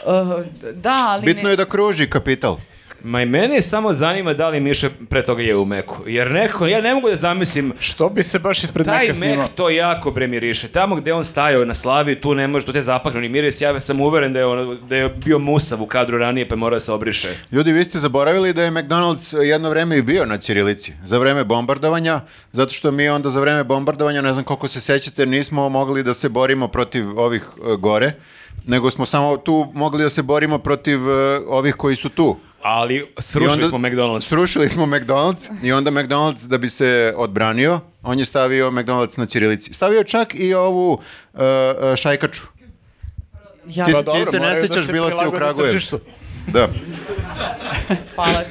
S4: da, ali ne-
S2: Bitno je da kruži kapital.
S3: Ma i mene samo zanima da li Miša pre toga je u Meku. Jer nekako, ja ne mogu da zamislim
S1: Što bi se baš ispred
S3: Taj
S1: neka snimao?
S3: mek to jako bre miriše. Tamo gde on stajao na slavi, tu ne može, tu te zapaknu ni miris. Ja sam uveren da je, ono, da je bio musav u kadru ranije, pa mora da se obriše.
S2: Ljudi, vi ste zaboravili da je McDonald's jedno vreme i bio na Ćirilici, za vreme bombardovanja, zato što mi onda za vreme bombardovanja, ne znam koliko se sećate, nismo mogli da se borimo protiv ovih e, gore, nego smo samo tu mogli da se borimo protiv e, ovih koji su tu.
S3: Ali
S2: I
S3: srušili
S2: onda-
S3: smo McDonald's.
S2: Srušili smo McDonald's i onda McDonald's da bi se odbranio, on je stavio McDonald's na Ćirilici. Stavio je čak i ovu e, e, šajkaču.
S4: Ja,
S2: Ti
S1: Pa
S2: se-
S1: dobro,
S2: ne
S1: moraju
S2: sećaš,
S1: se
S2: bila si u
S1: prilagode
S2: Kragujevcu.
S1: tržištu.
S2: Da.
S4: palac.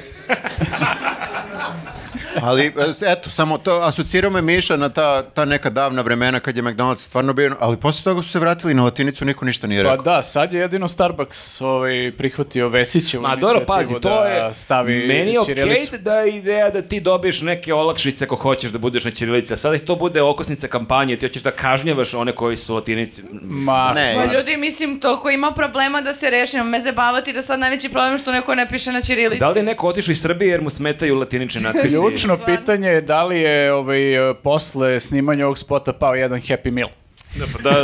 S2: Ali, e, eto, samo to, asocirao me Miša na ta, ta neka davna vremena kad je McDonald's stvarno bio, ali posle toga su se vratili na latinicu, niko ništa nije
S1: Pa
S2: rekao.
S1: da, sad je jedino Starbucks ovaj, prihvatio Vesićevu
S3: Ma dobro,
S1: inicijativu
S3: pazi, to
S1: da
S3: je...
S1: stavi
S3: meni je okej
S1: ćirilicu.
S3: da je ideja da ti dobiješ neke olakšice ako hoćeš da budeš na ćirilici. A sada to bude okosnica kampanje, ti hoćeš da kažnjavaš one koji su latinici.
S1: Ma,
S2: Ne,
S4: Pa
S2: ja-
S4: ljudi, mislim, toliko ima problema da se rešimo. Me zabavati da sad najveći problem je što neko ne piše na ćirilici.
S3: Da li je neko otišao iz Srbije jer mu smetaju
S1: *laughs*
S3: latinični natpisi?
S1: Ključno
S4: Stvarno.
S1: pitanje je da li je ovaj, e, posle snimanja ovog spota pao jedan Happy Meal.
S3: Da, pa da,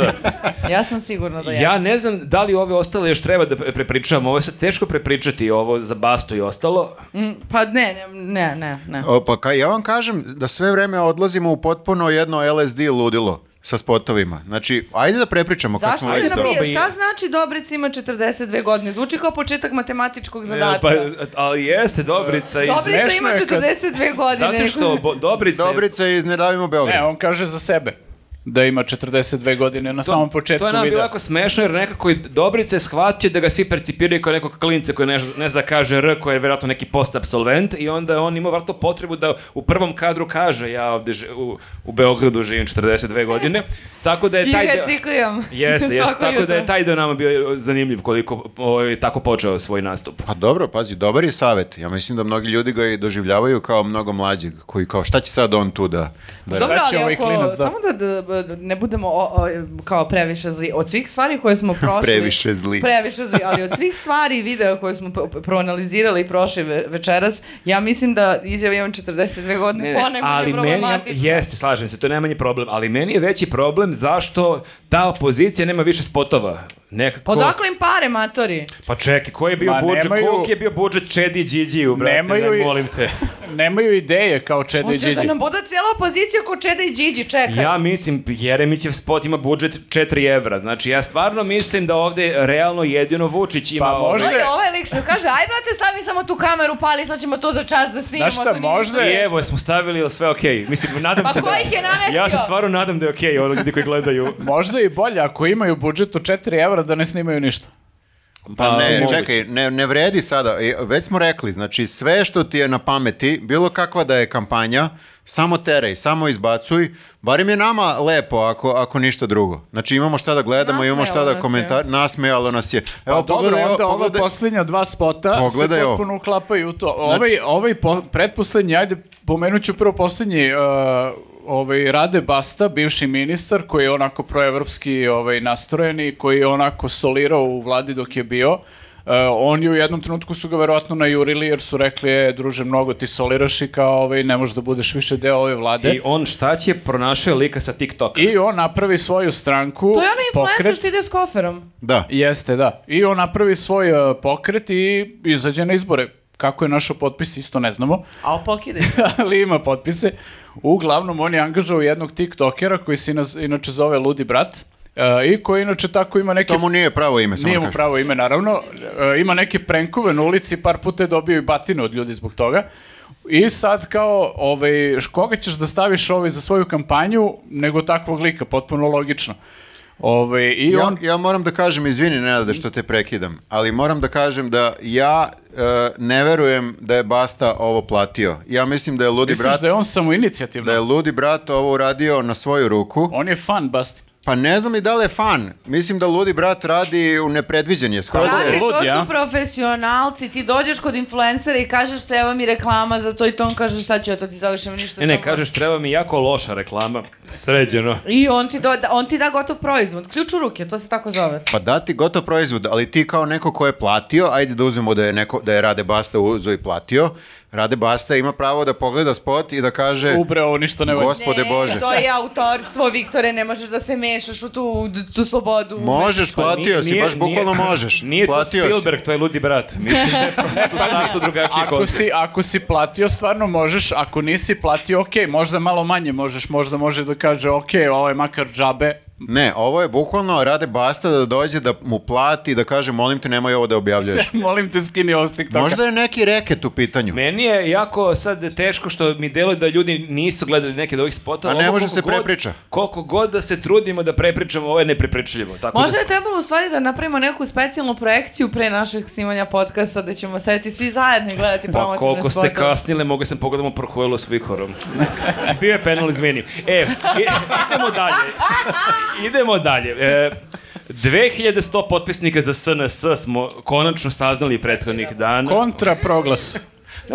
S3: da.
S4: Ja sam sigurna da ja.
S3: Ja ne znam da li ove ostale još treba da pre- prepričavamo. Ovo je sad teško prepričati ovo za Bastu i ostalo.
S4: Mm, pa ne, ne, ne, ne. ne.
S2: O, pa kaj, ja vam kažem da sve vreme odlazimo u potpuno jedno LSD ludilo. sa spotovima. Znači, ajde da prepričamo kad
S4: Zašto
S2: smo
S4: se
S2: već dobro.
S4: napijaš? Šta znači Dobric ima 42 godine? Zvuči kao početak matematičkog
S3: E,
S4: zadatka.
S3: Pa, ali jeste Dobrica iz...
S1: Dobri-
S4: Dobrica
S1: smešno
S4: ima
S1: je kad-
S4: 42 godine.
S3: Zato što bo, Dobrica... je-
S2: Dobrica iz Ne davimo Beograd.
S1: Ne, E, on kaže za sebe da ima 42 godine na samom početku
S3: To je nam bilo
S1: videa.
S3: jako smešno jer nekako je Dobrica je shvatio da ga svi percipiraju kao nekog klinca koji ne, ne zna da kaže R, koji je vjerojatno neki post-absolvent i onda je on imao vratno potrebu da u prvom kadru kaže ja ovde ži- u, u Beogradu živim 42 godine. Tako da je
S4: I
S3: e, taj deo-
S4: recikliram. *laughs*
S3: Jeste, jeste,
S4: Svako
S3: tako da je
S4: jutro.
S3: taj deo nama bio zanimljiv koliko ovaj, tako počeo svoj nastup.
S2: Pa dobro, pazi, dobar je savjet. Ja mislim da mnogi ljudi ga i doživljavaju kao mnogo mlađeg, koji kao šta će sad on tu da... da
S4: Dobro,
S1: Šta će
S4: ali
S1: ovaj
S4: ako,
S1: klinac da-
S4: samo da, da- da ne budemo o- o, kao previše zli. Od svih stvari koje
S1: *laughs*
S4: smo prošli...
S2: Previše zli.
S4: Previše zli, ali od svih stvari i videa koje smo pro- proanalizirali i prošli ve- večeras, ja mislim da izjava imam 42 godine pa ne, ponajmanje
S3: ali meni je,
S4: problematična.
S3: jeste, slažem se, to je najmanji problem, ali meni je veći problem zašto ta opozicija nema više spotova. Nekako...
S4: Pa Odakle im pare, matori?
S3: Pa čekaj, koji je bio
S1: Ma,
S3: budžet,
S1: nemaju-
S3: koliki je bio budžet Čedi Điđiju, brate,
S1: Nemaju
S3: ne,
S1: i-
S3: molim te.
S1: Nemaju ideje kao Čede i
S4: Hoćeš da
S1: Điđi.
S4: nam boda cijela opozicija ko Čeda i Điđi, čekaj.
S3: Ja mislim, Jeremićev spot ima budžet 4 evra, znači ja stvarno mislim da ovde realno jedino Vučić ima...
S1: Pa
S3: ovo.
S1: možda-
S4: Ovaj, ovaj lik što kaže, aj brate, stavi samo tu kameru, pali, sad ćemo to za čas da snimamo.
S1: Znaš šta,
S4: to nije
S1: možda
S4: ništa
S3: I
S1: je-
S4: teško.
S3: evo, smo stavili, sve okej. Mislim, nadam
S4: Pa
S3: se
S4: ko ih je namestio?
S3: Ja se stvarno nadam da je okej, ono ljudi koji gledaju.
S1: Možda i bolje ako imaju budžet od 4 evra da ne snimaju ništa.
S2: Pa
S3: A,
S2: ne,
S3: moguće.
S2: čekaj, ne, ne vredi sada. I, Već smo rekli, znači sve što ti je na pameti, bilo kakva da je kampanja, samo teraj, samo izbacuj. Barim je nama lepo ako, ako ništa drugo. Znači imamo šta da gledamo, imamo šta
S4: Nasmejalo nas
S2: da
S4: je.
S2: komentar, nasmejalo nas je.
S1: Pa
S2: Evo pogledaj,
S1: dobro,
S2: evo,
S1: onda ova
S2: pogledaj-
S1: posljednja dva spota
S2: Pogledaj
S1: se
S2: ovo. Znači-
S1: potpuno uklapaju u to. Ovaj, ovaj po, pretposlednji, ajde, pomenut ću prvo posljednji, uh, ovaj, Rade Basta, bivši ministar, koji je onako proevropski ovaj, nastrojeni, koji je onako solirao u vladi dok je bio. Uh, on je u jednom trenutku su ga verovatno najurili jer su rekli, e, druže, mnogo ti soliraš i kao ovaj, ne možeš da budeš više deo ove vlade.
S3: I
S1: I,
S3: on šta će pronašao lika sa TikToka.
S1: on napravi svoju stranku,
S4: To je ono onaj influencer
S1: pokret.
S4: što ide s koferom.
S2: Da.
S1: Jeste, da. I on napravi svoj uh, pokret i izađe na izbore. Kako je našao potpis, isto ne znamo, *laughs*
S4: A opokide.
S1: ali ima potpise. Uglavnom, on je angažao jednog tiktokera koji se ina- inače zove Ludi Brat uh, i koji inače tako ima neke...
S2: To mu nije pravo ime, samo
S1: Nije
S2: da
S1: mu
S2: kažem.
S1: pravo ime, naravno. E, ima neke prenkove na ulici, par puta je dobio i batinu od ljudi zbog toga. I sad kao, ovaj, š- koga ćeš da staviš ovaj za svoju kampanju nego takvog lika, potpuno logično. Ovaj, i
S2: ja,
S1: on...
S2: ja moram da kažem, izvini Nenade što te prekidam, ali moram da kažem da ja e, ne verujem da je Basta ovo platio. Ja mislim da je Ludi
S1: Misliš
S2: brat
S1: da je on samo
S2: da je Ludi brat ovo uradio na svoju ruku.
S1: On je fan, Bastin.
S2: Pa ne znam i da li je fan. Mislim da Ludi brat radi u nepredviđen je skroz.
S1: Pa,
S4: Brate, to
S1: lud, ja?
S4: su profesionalci. Ti dođeš kod influencera i kažeš treba mi reklama za to i to on kaže sad ću ja to ti završim ništa.
S2: E,
S3: Ne, ne,
S4: samo-
S3: kažeš, treba mi jako loša reklama. Sređeno.
S4: I on ti, do, on ti da gotov proizvod. Ključ u ruke, to se tako zove.
S2: Pa dati gotov proizvod, ali ti kao neko ko je platio, ajde da uzmemo da je, neko, da je Rade Basta uzo i platio, Rade Basta ima pravo da pogleda spot i da kaže
S1: Ubre, ovo ništa ne valja.
S2: gospode
S4: ne,
S2: Bože.
S4: to je autorstvo, Viktore, ne možeš da se mešaš u tu, tu slobodu.
S2: Možeš, platio
S3: Pa Nije-
S2: si,
S3: nije-
S2: baš bukvalno
S3: nije-
S2: možeš.
S3: Nije
S2: platio
S3: to
S2: si.
S3: Spielberg, to je ludi brat. Mislim da je
S4: *laughs*
S3: to zato drugačiji
S1: Ako
S3: koncept.
S1: si, ako si platio, stvarno možeš. Ako nisi platio, ok, možda malo manje možeš. Možda može da kaže, ok, ovo je makar džabe. *laughs*
S2: Ne, ovo je bukvalno rade basta da dođe da mu plati i da kaže molim te nemoj ovo da objavljuješ.
S1: Molim te, skini ovo s TikToka.
S2: Možda je neki reket u pitanju.
S3: Meni je jako sad teško što mi deluje da ljudi nisu gledali neke od ovih spotova.
S2: A ne
S3: Ovo
S2: može
S3: koliko
S2: se
S3: god-
S2: prepriča.
S3: Koliko god da se trudimo da prepričamo, ovo je neprepričljivo. Tako
S4: Možda
S3: da,
S4: je trebalo u stvari da napravimo neku specijalnu projekciju pre našeg snimanja podcasta da ćemo sedeti svi zajedno i gledati
S3: Pa
S4: promotivne spotove.
S3: koliko ste kasnile, mogu sam pogledamo prohojilo s vihorom. *laughs* Bio je penal, izvinim. E, i- idemo dalje. Idemo dalje. E, 2100 potpisnika za SNS smo konačno saznali prethodnih dana.
S1: Kontra proglas.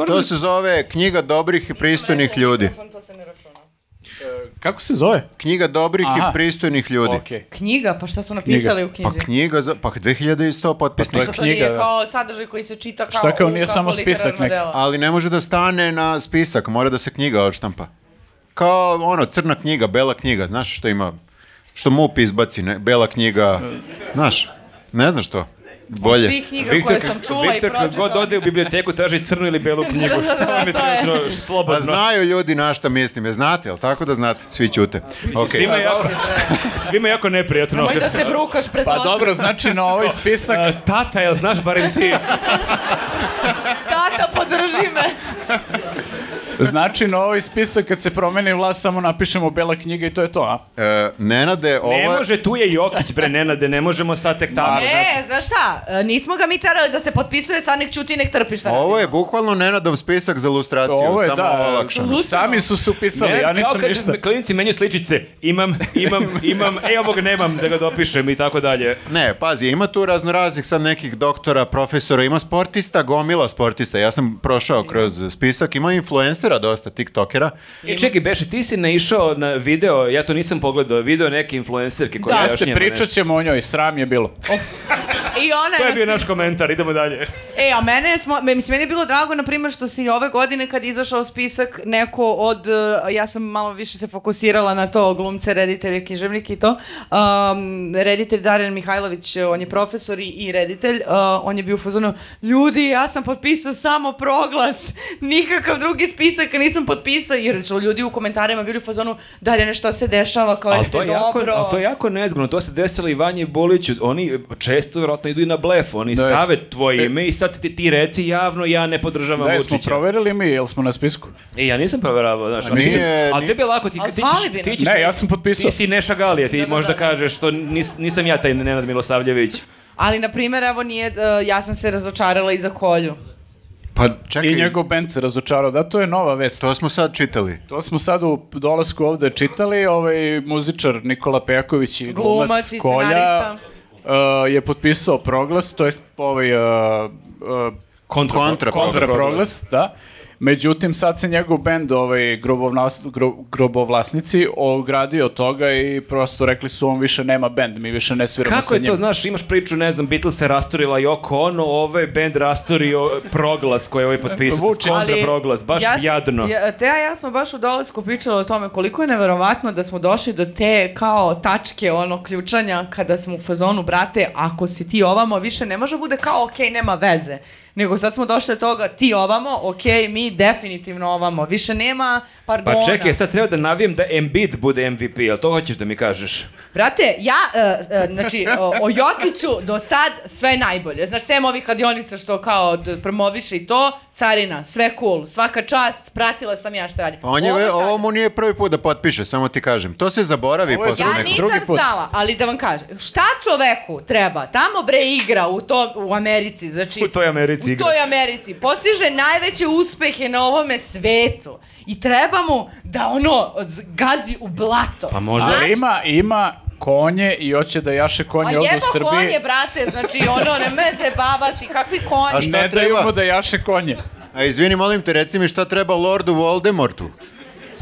S2: To se zove knjiga dobrih i pristojnih ljudi.
S1: Kako se zove?
S2: Knjiga dobrih
S1: Aha.
S2: i pristojnih ljudi.
S1: Ok.
S4: Knjiga, pa šta su napisali u
S2: Pa
S4: knjizi?
S2: knjiga za pa 2100 potpisnika.
S4: Što to
S1: knjiga,
S4: nije
S1: da.
S4: kao sadržaj koji se čita kao...
S1: Šta kao
S4: u-
S1: nije samo
S4: likarno
S1: spisak neki?
S4: delo?
S2: Ali ne može da stane na spisak, mora da se knjiga odštampa. Kao ono crna knjiga, bela knjiga, znaš što ima što MUP izbaci, ne? bela knjiga. Znaš? Ne znaš to? Bolje.
S4: Svih knjiga koje sam čula i
S3: Viktor,
S4: pročitala.
S3: kad god ode u biblioteku traži crnu ili belu
S4: *laughs*
S3: knjigu. Šta vam je
S4: to je.
S3: trenutno slobodno?
S2: Pa znaju ljudi na šta mislim, je znate, jel tako da znate? Svi ćute. Ok.
S3: Svima je jako, svima je jako neprijatno.
S4: Nemoj da se brukaš pred
S1: Pa
S4: ocem.
S1: dobro, znači na ovaj spisak
S3: *laughs* A, tata, jel znaš barem ti?
S4: Tata, podrži me.
S1: Znači, na ovaj spisak kad se promeni vlast samo napišemo bela knjiga i to je to, a?
S2: E, Nenade, ovo...
S3: Ne može, tu je Jokić, bre, Nenade, ne možemo sad tek tamo.
S4: E, znaš šta, e, nismo ga mi terali da se potpisuje, sad nek čuti i nek trpi šta
S2: Ovo
S4: radi.
S2: je bukvalno Nenadov spisak za lustraciju,
S1: Ovo je,
S2: samo
S1: da,
S2: ovo olakšano.
S4: Lucidno.
S1: sami su se upisali, ja nisam
S3: kao kad
S1: ništa.
S3: klinci menju sličice, imam, imam, imam, e, ovog nemam da ga dopišem i tako dalje.
S2: Ne, pazi, ima tu raznoraznih sad nekih doktora, profesora, ima sportista, gomila sportista. Ja sam prošao kroz spisak, ima influencera dosta, tiktokera.
S3: I E, čekaj, Beši, ti si naišao na video, ja to nisam pogledao, video neke influencerke koja
S4: Da.
S3: da, još
S1: Jeste,
S3: njema nešto.
S1: pričat ćemo o njoj, sram je bilo.
S4: I ona
S3: To je
S4: nas
S3: bio naš komentar, idemo dalje.
S4: E, a mene, smo, me- mislim, meni je bilo drago, na primjer, što se i ove godine kad je izašao spisak neko od, e, ja sam malo više se fokusirala na to, glumce, reditelje, književnike i to. Um, reditelj Darjan Mihajlović, e, on je profesor i, i reditelj, e, on je bio u fazonu, ljudi, ja sam potpisao samo proglas, nikakav drugi spisak nisam potpisao, jer su ljudi u komentarima bili u fazonu, Darjane, šta se dešava, kao
S3: Ali
S4: jeste
S3: to, je jako,
S4: dobro.
S3: ali to je jako nezgodno, to se desilo i Vanji Boliću, oni često vjerojatno idu i na blef, oni
S1: Da,
S3: stave
S1: jest.
S3: tvoje ime i sad ti, ti reci javno ja ne podržavam
S1: Da, smo
S3: Vučića.
S1: proverili mi, jel smo na spisku?
S3: E, ja nisam proveravao, znaš.
S1: A
S3: ali-
S2: nije-
S3: ali tebi je lako, ti,
S4: Ali
S3: ti, ćeš-
S4: zvali bi
S3: ti
S4: nas.
S3: ćeš-
S1: Ne, ja sam potpisao.
S3: Ti si Neša Galija, ti
S4: Da, da,
S3: možda
S4: da, da.
S3: kažeš što nis, nisam ja taj Nenad Milosavljević.
S4: Ali, na primjer, evo nije, e, ja sam se razočarala i za kolju.
S2: Pa čekaj,
S1: I njegov band se razočarao, da, to je nova vest.
S2: to smo sad čitali.
S1: To smo sad u dolasku ovde čitali, ovaj muzičar Nikola Pejaković i
S4: Glumac
S1: glumac,
S4: i
S1: Kolja
S4: scenarista.
S1: uh, je potpisao proglas, to jest ovaj uh, uh,
S3: Kontra,
S2: Kontra-
S1: kontra
S2: Proglas.
S1: proglas, da. Međutim, sad se njegov bend, ovaj, grobovnas, gro, grobovlasnici, ogradio od toga i prosto rekli su, on više nema bend, mi više ne sviramo
S3: Kako
S1: sa
S3: je
S1: njim.
S3: to, znaš, imaš priču, ne znam, Beatles se rasturila Yoko Ono, ovaj band rasturio proglas koji je ovaj potpisao.
S1: Vučić.
S3: Kontra proglas, baš
S4: ja s-
S3: jadno.
S4: Ja, te ja smo baš u dolazku pričali o tome koliko je neverovatno da smo došli do te kao tačke ono ključanja kada smo u fazonu, brate, ako si ti ovamo, više ne može bude kao okej, nema veze. Nego sad smo došli do toga, ti ovamo, okej, mi definitivno ovamo. Više nema
S3: Pa
S4: pardona.
S3: čekaj, sad treba da navijem da Embiid bude MVP, jel to hoćeš da mi kažeš?
S4: Brate, ja, e, e, znači, o, o Jokiću do sad sve najbolje. Znaš, sem ovih kladionica što kao d- promoviše i to, carina, sve cool, svaka čast, pratila sam ja šta radi.
S2: Pa on je,
S4: Ovo
S2: ovo,
S4: sad-
S2: mu nije prvi put da potpiše, samo ti kažem. To se zaboravi
S1: Ovo je
S2: posle
S1: drugi-
S4: Ja
S2: nekog.
S4: nisam
S1: put.
S4: znala, ali da vam kažem, šta čoveku treba? Tamo bre igra u, to, u Americi, znači...
S3: U toj Americi
S4: u
S3: igra.
S4: toj Americi. Postiže najveće uspehe na ovome svetu. I treba mu da ono z- gazi u blato.
S3: Pa možda-
S4: Znaš?
S1: Ali ima, ima konje i hoće da jaše
S4: A
S1: konje ovde
S4: jebo
S1: u Srbiji.
S4: konje, brate, znači ono, ne me zebavati, kakvi konji.
S2: A šta
S1: ne daju
S2: treba?
S1: mu da jaše konje.
S4: Ono
S2: A izvini, molim te, reci mi šta treba Lordu Voldemortu?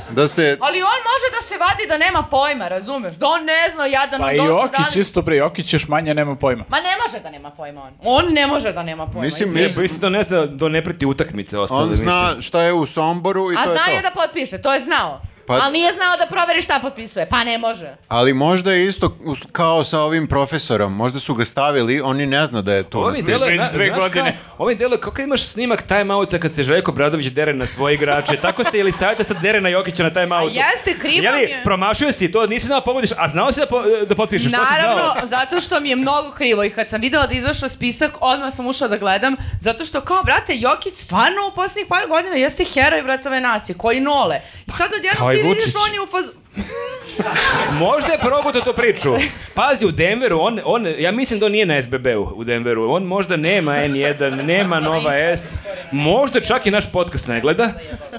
S2: Da se...
S4: Ali on može da se vadi da nema pojma, razumeš? Da on ne zna, jadan,
S1: Pa
S4: on
S1: i
S4: došao
S1: Jokić
S4: danas-
S1: isto bre, Jokić još manje nema pojma.
S4: Ma ne može da nema pojma on. On ne može da nema pojma.
S2: Mislim,
S4: izvini.
S2: mislim-
S3: Mislim da ne zna do ne preti utakmice ostalo.
S2: On zna šta je u Somboru i
S4: A
S2: to je
S4: znao
S2: to.
S4: je da potpiše, to je znao.
S2: Pa-
S4: Ali nije znao da proveri šta potpisuje, pa ne može.
S2: Ali možda je isto us- kao sa ovim profesorom. Možda su ga stavili, oni ne zna da je to.
S3: Ovo
S2: na
S3: mi
S2: spisku.
S3: deluje,
S1: Ono već
S3: na-
S1: dve
S3: znaš
S1: godine.
S3: Kao, ovo mi deluje kao kad imaš snimak timeouta kad se Željko Bradović dere na svoje
S1: *laughs*
S3: igrače. Tako se ili savjeta sad dere na Jokića na timeoutu.
S4: A jeste, krivo
S3: Jeli,
S4: mi je.
S3: promašio si to, nisi znao da pogodiš, a znao si da, po, da potpišeš, to si znao.
S4: Naravno, zato što mi je mnogo krivo i kad sam videla da je izašao spisak, odmah sam ušla da gledam, zato što kao, brate, Jokić stvarno u posljednjih par godina jeste heroj bratove nacije, koji nole. I sad
S3: kao
S4: odjednom
S3: i
S4: ti vidiš
S3: Vučić.
S4: on je u fazu...
S3: Možda je progutao tu
S4: *laughs*
S3: priču. Pazi, u Denveru, on, on, ja mislim da on nije na SBB-u u Denveru. On možda nema
S4: *laughs*
S3: N1, nema Nova S. Možda čak i naš podcast ne gleda.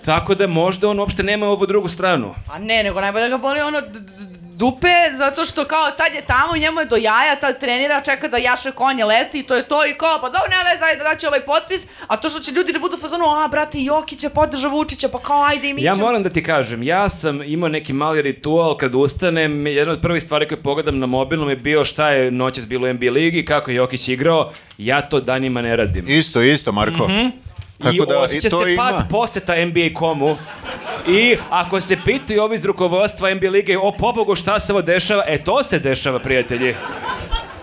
S3: Tako da možda on uopšte nema ovu drugu stranu.
S4: A Pa ne, nego najbolje ga boli ono d- d- d- dupe, zato što kao sad je tamo, njemu je do jaja, tad trenira, čeka da jaše konje leti i to je to i kao, pa dobro, nema veze, ajde da će ovaj potpis, a to što će ljudi da budu u fazonu, a brate, Jokić je podržao Vučića, pa kao, ajde i mi
S3: Ja
S4: ćemo.
S3: moram da ti kažem, ja sam imao neki mali ritual kad ustanem, jedna od prvih stvari koje pogledam na mobilnom je bio šta je noćas bilo u NBA ligi, kako je Jokić igrao, ja to danima ne radim.
S2: Isto, isto, Marko.
S1: Mhm.
S3: I osjeća se pad poseta NBA komu. I ako se pitaju ovi iz rukovodstva NBA lige, o pobogu šta se ovo dešava, e to se dešava, prijatelji.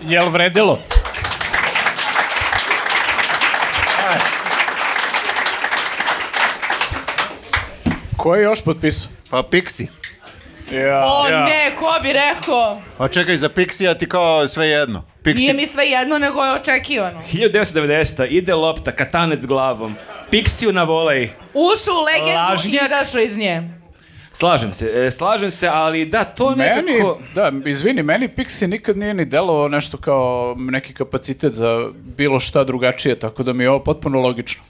S1: Jel vredilo? Ko je još potpisao?
S2: Pa Pixi.
S1: Ja.
S4: O
S3: ja.
S4: ne, ko bi rekao?
S2: Pa čekaj, za Pixija ti kao sve jedno. Pixi.
S4: Nije mi sve jedno, nego je očekivano.
S3: 1990. ide lopta, katanec glavom, piksiju na volej.
S4: Ušao u legendu
S3: Lažnjak.
S4: i izašao iz nje.
S3: Slažem se, e, slažem se, ali da, to
S1: Meni,
S3: nekako...
S1: da, izvini, meni Pixi nikad nije ni delovao nešto kao neki kapacitet za bilo šta drugačije, tako da mi je ovo potpuno logično.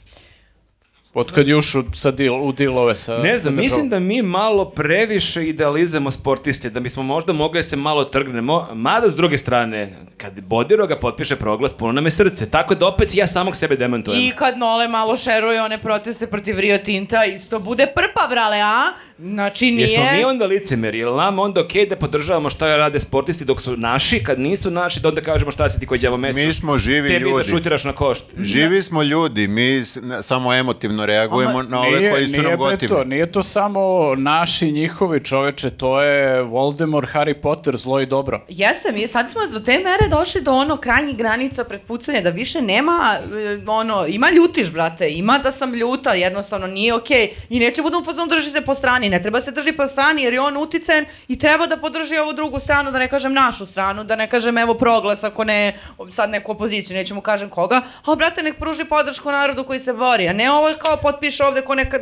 S1: Od kad je ušao sa deal, u dilove sa...
S3: Ne
S1: sa
S3: znam,
S1: državom.
S3: mislim da mi malo previše idealizamo sportiste, da bismo možda mogli da se malo trgnemo, mada s druge strane, kad Bodiroga potpiše proglas, puno nam je srce, tako da opet ja samog sebe demantujem.
S4: I kad Nole malo šeruje one proteste protiv Rio Tinta, isto bude prpa, brale, a? Znači nije...
S3: Jesmo mi onda licemeri, jel nam onda okej da podržavamo šta rade sportisti dok su naši, kad nisu naši, da onda kažemo šta si ti koji djavo
S2: Mi smo živi
S3: tebi da
S2: ljudi.
S3: šutiraš na košt.
S2: Živi smo ljudi, mi s- na- samo emotivno reagujemo na ove
S1: Nije-
S2: koji su
S1: nije
S2: nam
S1: bre To,
S2: gotivi.
S1: nije to samo naši njihovi čoveče, to je Voldemort, Harry Potter, zlo i dobro.
S4: Jesam, i sad smo do te mere došli do ono krajnjih granica pretpucanja, da više nema, e, ono, ima ljutiš, brate, ima da sam ljuta, jednostavno nije okej. I neće budem u fazonu drži se po strani, ne treba se drži po strani jer je on uticen i treba da podrži ovu drugu stranu, da ne kažem našu stranu, da ne kažem evo proglas ako ne, sad neku opoziciju, neću mu kažem koga, a brate nek pruži podršku narodu koji se bori, a ne ovo kao potpiše ovde ko neka...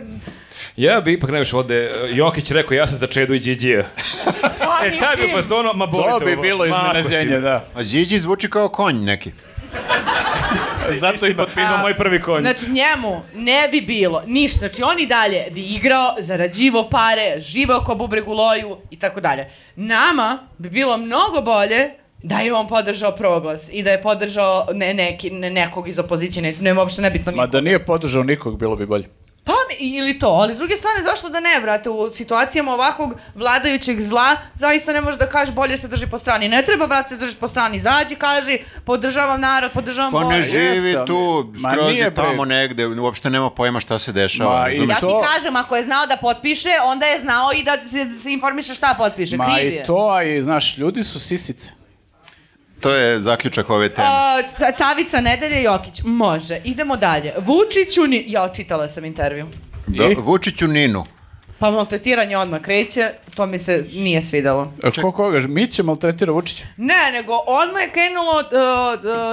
S3: Ja bi ipak najviše ovde, e, Jokić rekao ja sam za Čedu i Điđija.
S4: Pa,
S3: E,
S4: *laughs*
S3: taj bi
S4: mislim,
S3: pa ono, ma
S1: To
S3: bolite
S1: bi
S3: ovo.
S1: bilo
S3: Mako si me.
S1: iznenađenje, da.
S2: A Điđi zvuči kao konj neki.
S1: Zato i potpisao.
S3: Ima moj prvi konj.
S4: Znači njemu ne bi bilo ništa. Znači on i dalje bi igrao, zarađivo pare, živao ko bubreg u loju i tako dalje. Nama bi bilo mnogo bolje da je on podržao proglas i da je podržao ne, neki, ne, nekog iz opozicije, ne, ne uopšte nebitno
S1: Ma
S4: nikog.
S1: da nije podržao nikog, bilo bi bolje.
S4: Pa mi- ili to, ali s druge strane zašto da ne, brate, u situacijama ovakvog vladajućeg zla zaista ne možeš da kažeš bolje se drži po strani. Ne treba, brate, se držiš po strani, izađi, kaži, podržavam narod, podržavam
S2: Pa ne
S4: Boris.
S2: živi
S1: jeste, ali-
S2: tu,
S1: Ma
S2: skroz
S1: nije
S2: je
S1: bre.
S2: tamo negde, uopšte nema pojma šta se dešava.
S1: Ma i-
S2: razumeš?
S4: Ja
S1: To-
S4: ti kažem, ako je znao da potpiše, onda je znao i da se, se informiše šta potpiše.
S1: Ma
S4: Kriv
S1: i
S4: je.
S1: to, a i znaš, ljudi su sisice.
S2: To je zaključak ove teme.
S4: A, ca- cavica nedelje Jokić. Može. Idemo dalje. Vučiću ni... Ja, čitala sam intervju.
S2: Da,
S1: i-
S2: Vučiću Ninu.
S4: Pa maltretiranje odmah kreće, to mi se nije svidalo.
S1: A E, Ko koga? Mi će maltretira Vučića.
S4: Ne, nego odmah je krenulo d-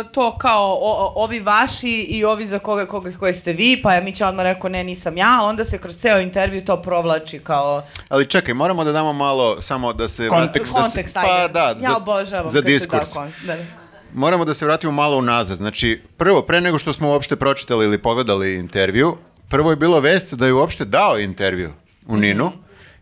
S4: d- to kao o- o- ovi vaši i ovi za koga, koga koje ste vi, pa je Mića odmah rekao ne, nisam ja, a onda se kroz ceo intervju to provlači kao...
S2: Ali čekaj, moramo da damo malo samo da se... vrat-
S1: Kontekst.
S2: da se-
S4: Kontekst,
S2: pa
S4: ajde.
S2: da,
S4: ja obožavam
S2: za
S4: kad se da
S2: diskurs.
S4: kontekst, da, da.
S2: Moramo da se vratimo malo unazad. Znači, prvo, pre nego što smo uopšte pročitali ili pogledali intervju, prvo je bilo vest da je uopšte dao intervju u Ninu.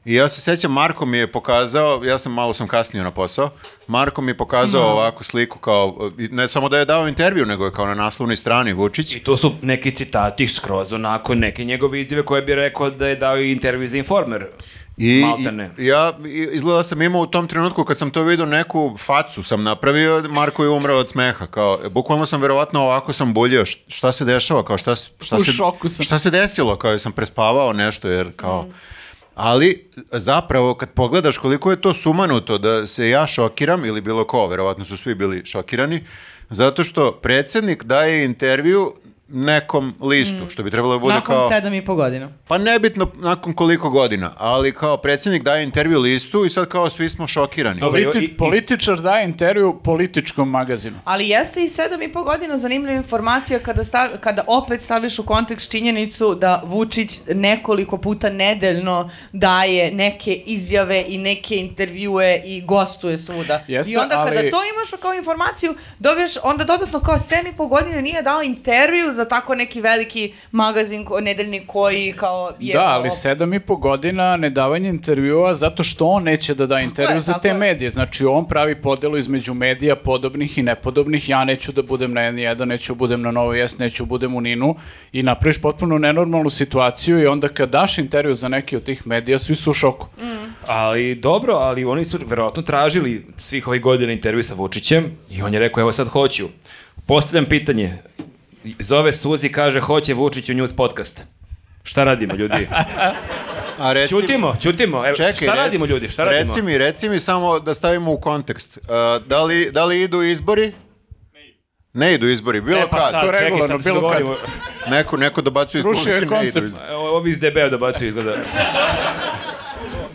S2: I ja se sećam, Marko mi je pokazao, ja sam malo sam kasnio na posao, Marko mi je pokazao ovakvu sliku kao, i ne samo da je dao intervju, nego je kao na naslovnoj strani Vučić.
S3: I to su neki citati skroz onako, neke njegove izjave koje bi rekao da je dao i intervju za Informer.
S2: I,
S3: Maltene.
S2: i- ja i- izgleda sam imao u tom trenutku kad sam to vidio neku facu sam napravio, Marko je umrao od smeha. Kao, bukvalno sam verovatno ovako sam boljio, š- šta se dešava, kao šta, s- šta
S1: U
S2: se,
S1: šoku sam.
S2: šta se desilo, kao sam prespavao nešto, jer kao... Ali zapravo kad pogledaš koliko je to sumanuto da se ja šokiram ili bilo ko, verovatno su svi bili šokirani, zato što predsjednik daje intervju nekom listu, što bi trebalo da bude
S4: Nakon
S2: kao...
S4: sedam i po godina.
S2: Pa nebitno nakon koliko godina, ali kao predsjednik daje intervju listu i sad kao svi smo šokirani.
S3: Dobro.
S1: Politi-
S3: i- i-
S1: političar daje intervju političkom magazinu.
S4: Ali jeste i sedam i po godina zanimljiva informacija kada, stav, kada opet staviš u kontekst činjenicu da Vučić nekoliko puta nedeljno daje neke izjave i neke intervjue i gostuje svuda.
S1: Jeste,
S4: I onda kada
S1: ali-
S4: to imaš kao informaciju, dobiješ onda dodatno kao sedam i po godina nije dao intervju za tako neki veliki magazin ko, nedeljni koji kao je...
S1: da, ali
S4: op-
S1: sedam i po godina nedavanje intervjua zato što on neće da da intervju
S4: je,
S1: za
S4: tako
S1: te
S4: je.
S1: medije. Znači, on pravi podelu između medija podobnih i nepodobnih. Ja neću da budem na N1, neću da budem na Novo Jes, neću da budem u Ninu i napraviš potpuno nenormalnu situaciju i onda kad daš intervju za neki od tih medija, svi su u šoku.
S4: Mm.
S3: Ali dobro, ali oni su verovatno tražili svih ovih godina intervju sa Vučićem i on je rekao evo sad hoću. Postavljam pitanje. Zove Suzi i kaže hoće Vučić u news podcast. Šta radimo ljudi?
S2: *laughs* A reci,
S3: Ćutimo, ćutimo. Evo,
S2: Čekaj,
S3: šta
S2: reci-
S3: radimo ljudi? Šta radimo?
S2: Reci mi, reci mi samo da stavimo u kontekst. E, da, li, da li idu izbori? Ne idu izbori, bilo
S3: E, pa
S2: kad.
S3: sad, čekaj,
S1: regularno,
S3: E, pa sad se
S1: bilo kad.
S3: dogovorimo.
S2: Neko, neko dobacuje iz
S1: Srušio je
S2: publike, ne idu
S1: koncept.
S2: izbori.
S3: Evo, ovi iz DB-a dobacuju izgleda.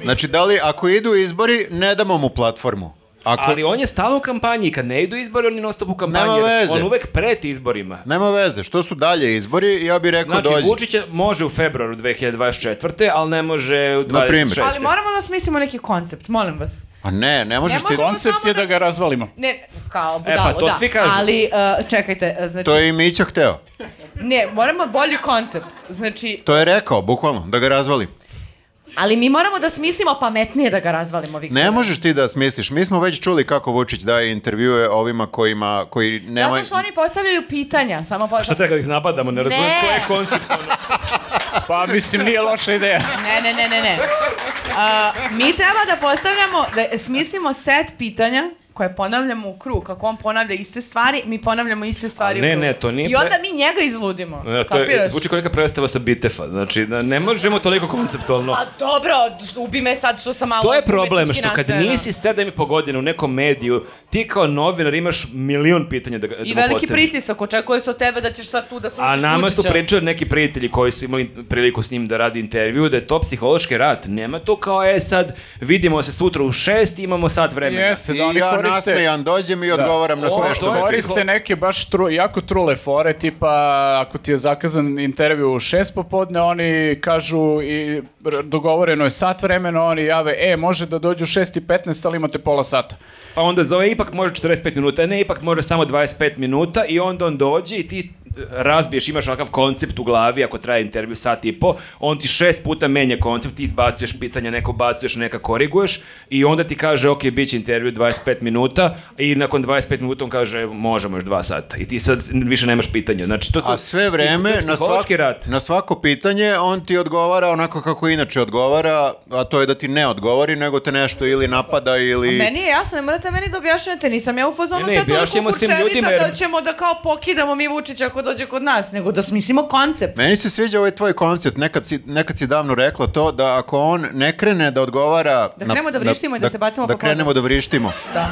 S2: Znači, da li ako idu izbori, ne damo mu platformu? Ako,
S3: Ali on je stalno u kampanji, kad ne idu izbori, on je non stop u kampanji.
S2: Nema
S3: jer
S2: veze.
S3: On uvek preti izborima.
S2: Nema veze, što su dalje izbori, ja bih rekao
S3: Znači,
S2: dođi.
S3: Vučić je- može u februaru 2024. ali ne može u
S2: Na primer.
S3: 26.
S4: Ali moramo da smislimo neki koncept, molim vas.
S2: Pa ne, ne možeš
S4: Ne
S2: ti...
S4: može-
S1: Koncept
S4: samo
S1: je da
S4: da-
S1: ga razvalimo.
S4: Ne, kao
S3: E,
S4: budalo,
S3: pa to
S4: da.
S3: svi kažu.
S4: Ali, uh, čekajte, uh, znači,
S2: To je i Mića hteo.
S4: ne, moramo bolji koncept. Znači,
S2: To je rekao, bukvalno, da ga razvali.
S4: ali mi moramo da smislimo pametnije da ga razvalimo, Viktor.
S2: Ne možeš ti da smisliš. Mi smo već čuli kako Vučić daje intervjue ovima kojima, koji nemaju...
S4: Zato što oni postavljaju pitanja, samo po...
S3: Šta treba da ih napadamo, ne razumijem
S4: Ne.
S3: koji je koncept. ono.
S4: *laughs*
S1: Pa mislim, nije loša ideja.
S4: Ne, ne, ne, ne, ne. A, mi treba da postavljamo, da smislimo set pitanja koje ponavljamo u krug. Kako on ponavlja iste stvari, mi ponavljamo iste stvari
S3: ne,
S4: u krug.
S3: ne, to nije
S4: I onda
S3: pre-
S4: mi njega izludimo.
S3: Ne, to je,
S4: Kapiraš?
S3: zvuči kao neka predstava sa Bitefa, znači da ne možemo toliko konceptualno.
S4: A Pa dobro, š- ubi me sad što sam malo...
S3: To je problem
S4: umetnički
S3: što kad
S4: nastrojena.
S3: nisi sedam i po godina u nekom mediju, ti kao novinar imaš milion pitanja da, ga- da
S4: I
S3: mu
S4: veliki
S3: postaviš.
S4: pritisak, očekuje se od tebe da ćeš sad tu da slušiš
S3: A nama su
S4: Vučića.
S3: pričali neki prijatelji koji su imali priliku s njim da radi intervju, da je to psihološki rat. Nema to kao, e sad, vidimo se sutra u šest, imamo sat vremena.
S1: Jeste,
S2: I
S1: da oni
S2: ja
S1: koriste...
S2: nasmejan dođem i odgovaram na sve
S3: O,
S2: što...
S3: to je
S2: me-
S1: Koriste
S3: psiho-
S1: neke baš tru, jako trule fore, tipa ako ti je zakazan intervju u šest popodne, oni kažu i r- dogovoreno je sat vremena, oni jave, e, može da dođu u šest i petnaest, ali imate pola sata. *laughs*
S3: Pa onda zove, ipak može 45 minuta, e, ne, ipak može samo 25 minuta i onda on dođe i ti e, razbiješ, imaš onakav koncept u glavi, ako traje intervju sat i po, on ti šest puta menja koncept, ti izbacuješ pitanja, neko bacuješ, neka koriguješ i onda ti kaže, ok, bit će intervju 25 minuta i nakon 25 minuta on kaže, možemo još dva sata i ti sad više nemaš pitanja. Znači, to su
S2: A sve
S3: psiho- to
S2: vreme
S3: je
S2: na,
S3: psihološki
S2: svak-
S3: rat.
S2: na svako pitanje on ti odgovara onako kako inače odgovara, a to je da ti ne odgovori, nego te nešto ili napada ili...
S4: Meni je jasno, ne morate meni da objašnjate, nisam ja u fazonu
S3: Ne, ne,
S4: sve toliko
S3: objašnjamo svim
S4: kurčevita
S3: ljudima jer-
S4: da ćemo da kao pokidamo mi Vučića ako dođe kod nas, nego da smislimo koncept.
S2: Meni se sviđa ovaj tvoj koncept, nekad si, nekad si davno rekla to, da ako on ne krene da odgovara...
S4: Da krenemo da vrištimo i da se bacamo
S2: Da
S4: po podu.
S2: krenemo da vrištimo.
S4: Da.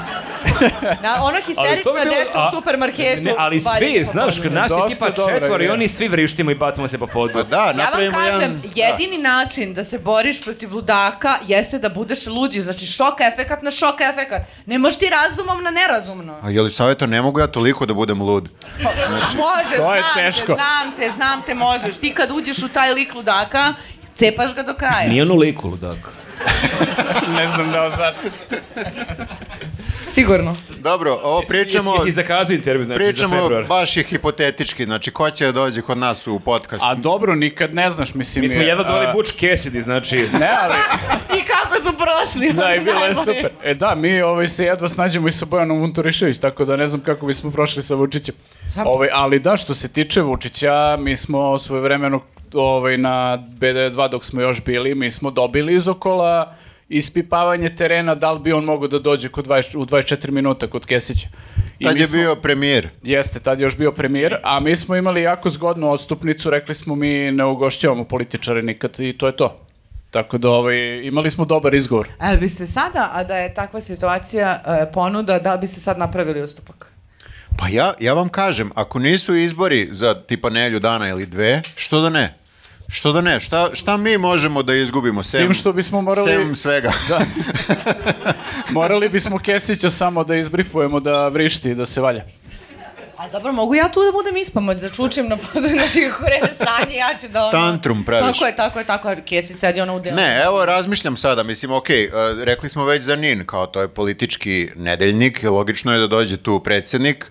S4: Na, ono
S3: *laughs* Ali to
S4: histerična
S3: bi bilo-
S4: deca
S3: a-
S4: u supermarketu.
S3: Ne, ali
S4: valjaju
S3: svi,
S4: po
S3: znaš,
S4: podu.
S3: kod nas je
S1: Dosta
S3: tipa
S1: dobra
S3: četvor i
S1: ideja.
S3: oni svi vrištimo i bacamo se po podu.
S2: Pa da,
S4: Ja vam
S2: napravimo
S4: kažem,
S2: jedan...
S4: jedini način da se boriš protiv ludaka jeste da budeš luđi. Znači, šok efekat na šok efekat. Ne možeš ti razumom na nerazumno.
S2: A je li savjeto, ne mogu ja toliko da budem lud?
S3: Znači,
S4: Možeš,
S1: to je
S4: znam
S1: teško.
S4: te, znam te, znam te, možeš. Ti kad uđeš u taj lik ludaka, cepaš ga do kraja.
S3: Nije ono liku, ludak.
S1: Ne znam da li znate.
S4: Sigurno.
S2: Dobro, ovo pričamo...
S3: Jesi, jesi zakazao intervju, znači, za
S2: Pričamo
S3: februar?
S2: baš je hipotetički, znači ko će da dođe kod nas u podcast?
S1: A dobro, nikad ne znaš, mislim.
S3: Mi smo
S1: je,
S3: jedva doveli
S1: a,
S3: Butch Cassidy, znači...
S1: Ne, ali,
S4: *laughs* I kako su prošli. ono,
S1: da, i bilo je
S4: Najbolje.
S1: super. E da, mi ovaj, se jedva snađemo i sa Bojanom Vunturišević, tako da ne znam kako bismo prošli sa Vučićem.
S4: Sam-
S1: Ovaj, ali da, što se tiče Vučića, mi smo svoje vremeno ovaj, na BD2 dok smo još bili, mi smo dobili iz okola ispipavanje terena, da li bi on mogao da dođe kod 20, u 24 minuta kod Kesića. I
S2: Tad
S1: mi
S2: je
S1: smo-
S2: bio premijer.
S1: Jeste, tad je još bio premijer, a mi smo imali jako zgodnu odstupnicu, rekli smo mi ne ugošćavamo političare nikad i to je to. Tako da ovaj, imali smo dobar izgovor.
S4: Ali biste E, sada, a da je takva situacija e, ponuda, da li biste sad napravili ustupak?
S2: Pa ja, ja vam kažem, ako nisu izbori za tipa nelju dana ili dve, što da ne? Što da ne? Šta, šta mi možemo da izgubimo? Sem,
S1: Tim što bismo morali-
S2: Sem svega.
S1: *laughs*
S2: *laughs*
S1: Morali bismo Kesića samo da izbrifujemo da vrišti i da se valja.
S4: A dobro, mogu ja tu da budem ispamoć, začučim na podu *laughs* naših horene sranje, ja ću da ono...
S2: Tantrum praviš.
S4: Tako je, tako je, tako je, Kesić sedi ono u delu.
S2: Ne, evo razmišljam sada, mislim, ok, e, rekli smo već za NIN, kao to je politički nedeljnik, i logično je da dođe tu predsjednik,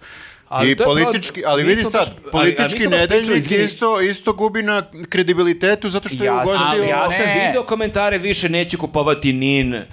S3: Ali
S2: I
S3: to je pravo-
S2: politički, ali
S3: nismo
S2: vidi
S3: baš-
S2: sad,
S3: ali- ali
S2: politički
S3: nismo baš pričali,
S2: nedeljnik
S3: izvini.
S2: isto, isto gubi na kredibilitetu zato što je
S3: Ja sam,
S2: ugostio...
S3: ali ja sam
S1: Ne.
S3: video komentare, više neću kupovati nin.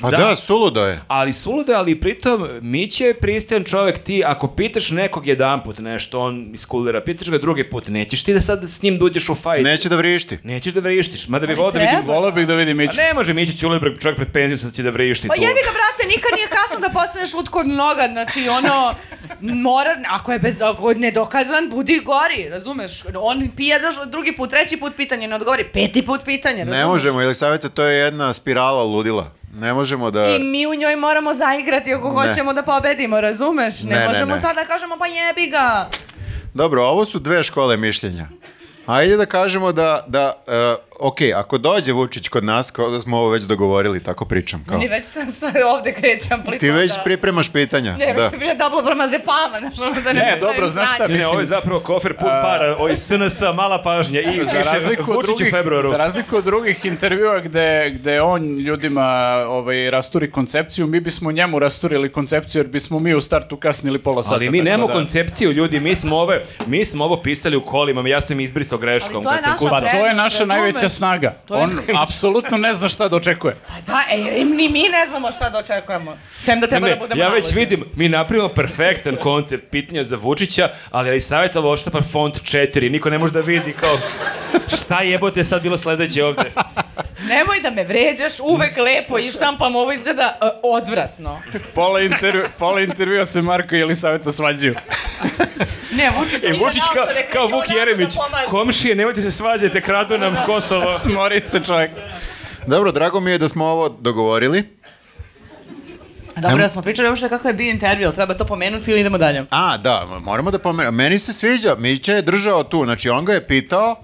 S2: Pa da, suludo je.
S3: Ali suludo, je, ali pritom Miće je pristajan čovjek ti, ako pitaš nekog jedan put nešto, on iskulira, pitaš ga drugi put, nećeš ti da sad s njim duđeš u fajt.
S2: Neće Pa da vrišti.
S3: Nećeš da vrištiš, mada bi
S4: Ali
S3: volao da vidim...
S4: treba.
S1: Volao bih da vidim
S3: A
S1: Miću.
S3: ne može Miće Ćulibrg, čovjek pred penzijom sad će da vrišti
S4: Pa
S3: tu.
S4: jebi ga, brate, nikad nije kasno da postaneš lutkor noga, znači ono, mora, ako je bez, ako je nedokazan, budi gori, razumeš? On pije druž- drugi put, treći put pitanje, ne odgovori, peti put pitanje, razumeš?
S2: Ne možemo, ili savjeta, to je jedna spirala ludila. Ne možemo da...
S4: I mi u njoj moramo zaigrati ako
S2: Ne.
S4: hoćemo da pobedimo, razumeš? Ne,
S2: Ne, ne,
S4: možemo
S2: ne.
S4: sad da kažemo pa jebi ga.
S2: Dobro, ovo su dve škole mišljenja. Ajde da kažemo da, da uh, ok, ako dođe Vučić kod nas, kao da smo ovo već dogovorili, tako pričam. Kao.
S4: Ni već sam sad ovde krećem amplituda.
S2: Ti već pripremaš pitanja.
S4: *laughs* Ne,
S2: da.
S4: već bi dobro pramazepama, znaš, ono da ne...
S1: Ne, dobro,
S4: stavim
S1: znaš šta,
S4: sranje.
S3: Ne, ne,
S1: Mislim-
S3: ovo je zapravo kofer pun para, ovo je SNS-a, mala pažnja i
S1: za razliku, od
S3: Vučić u
S1: drugih,
S3: februaru.
S1: za razliku od drugih intervjua gde, gde on ljudima ovaj, rasturi koncepciju, mi bismo njemu rasturili koncepciju jer bismo mi u startu kasnili pola sata.
S3: Ali mi
S1: tako
S3: nemamo
S1: da-
S3: koncepciju, ljudi, mi smo, ove, mi smo ovo pisali u kolima, ja sam izbrisao greškom.
S4: Ali to je
S3: kad sam
S4: naša
S3: kucao.
S1: Pa to je naša
S4: E, Razumeš?
S1: najveća snaga.
S4: To je-
S1: On apsolutno ne zna šta da očekuje.
S4: Pa Da, ej, ni mi ne znamo šta da očekujemo. Sem da treba
S3: Ne,
S4: da budemo
S3: ja već
S4: naloženi.
S3: vidim, mi napravimo perfektan koncept pitanja za Vučića, ali ali savjeta ovo pa font 4, niko ne može da vidi kao šta jebote je sad bilo sledeće ovde.
S4: Nemoj da me vređaš, uvek lepo i štampam, ovo izgleda e, odvratno.
S1: Pola, intervju, pola intervjua se Marko i Elisaveta svađaju.
S4: Ne, Vučić,
S3: E,
S4: *laughs* ide
S3: Vučić kao,
S4: naopore, kreće
S3: kao
S4: odavde
S3: Vuk
S4: da
S3: Jeremić,
S4: pomaže.
S3: komšije, nemojte se svađajte, kradu nam Kosovo.
S1: Smori se čovjek.
S2: Dobro, drago mi je da smo ovo dogovorili.
S4: Dobro, da smo pričali uopšte kako je bio intervju, jel treba to pomenuti ili idemo dalje?
S2: A, da, moramo da pomenemo. Meni se sviđa, Mića je držao tu, znači on ga je pitao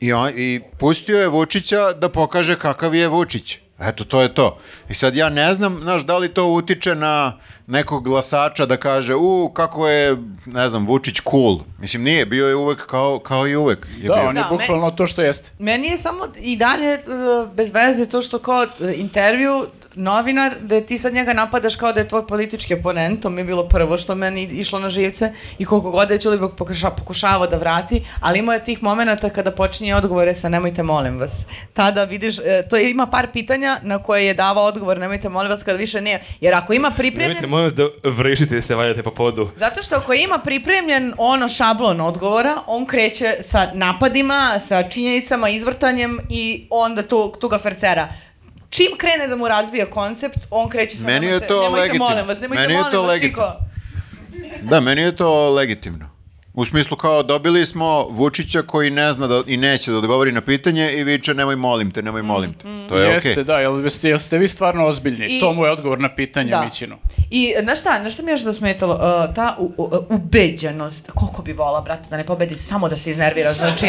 S2: i, on, i pustio je Vučića da pokaže kakav je Vučić. Eto, to je to. I sad ja ne znam, znaš, da li to utiče na nekog glasača da kaže, u, kako je, ne znam, Vučić cool. Mislim, nije, bio je uvek kao, kao i uvek. Je
S1: Da,
S2: bio.
S1: on je
S4: Da, me-
S1: bukvalno to što jeste.
S4: Meni je samo i dalje e, bez veze to što kao e, intervju novinar, da ti sad njega napadaš kao da je tvoj politički oponent, to mi je bilo prvo što meni išlo na živce i koliko god da je Ćulibog pokuša, pokušavao da vrati, ali imao je tih momenata kada počinje odgovore sa nemojte molim vas. Tada vidiš, e, to je, ima par pitanja na koje je davao odgovor nemojte molim vas kada više ne, jer ako ima
S3: Nemojte,
S4: pripremljen...
S3: molim vas da vrišite i se valjate po podu.
S4: Zato što ako ima pripremljen ono šablon odgovora, on kreće sa napadima, sa činjenicama, izvrtanjem i onda tu, tu ga fercera. Čim krene da mu razbija koncept, on kreće sa
S2: Meni je
S4: nemojte,
S2: to
S4: nemojte
S2: legitimno.
S4: molim vas, nemojte
S2: Meni je
S4: molim
S2: to
S4: vas,
S2: legitimno.
S4: Čiko.
S2: Da, meni je to legitimno. U smislu kao dobili smo Vučića koji ne zna da, i neće da odgovori na pitanje i viče nemoj molim te, nemoj molim te. To Pa je okej.
S1: Jeste, da, jel, jeste- jel ste vi stvarno ozbiljni?
S4: I-
S1: To mu je odgovor na pitanje
S4: Da.
S1: Mićinu.
S4: I e, znaš šta, znaš šta mi je još da smetalo? Uh, ta u, u, ubeđenost, koliko bi vola, brate, da ne pobedi, samo da se iznervira, znači...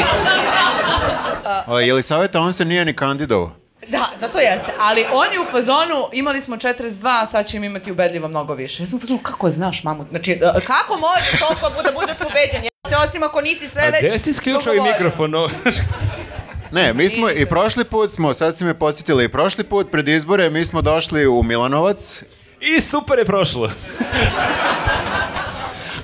S2: A Jelisaveta, on se nije ni kandidovao.
S4: Da, zato jeste. Ali on je u fazonu, imali smo 42, a sad ćemo imati ubedljivo mnogo više. Ja sam u fazonu, kako znaš, mamu? Znači, e, kako možeš toliko da budeš ubeđen? Jel te osim ako nisi sve
S3: A
S4: već...
S3: gde si isključio i
S4: dogovorio?
S3: mikrofon? ovo?
S4: *laughs*
S2: Ne, mi smo i prošli put smo, sad si me podsjetila, i prošli put pred izbore mi smo došli u Milanovac.
S3: I super je prošlo.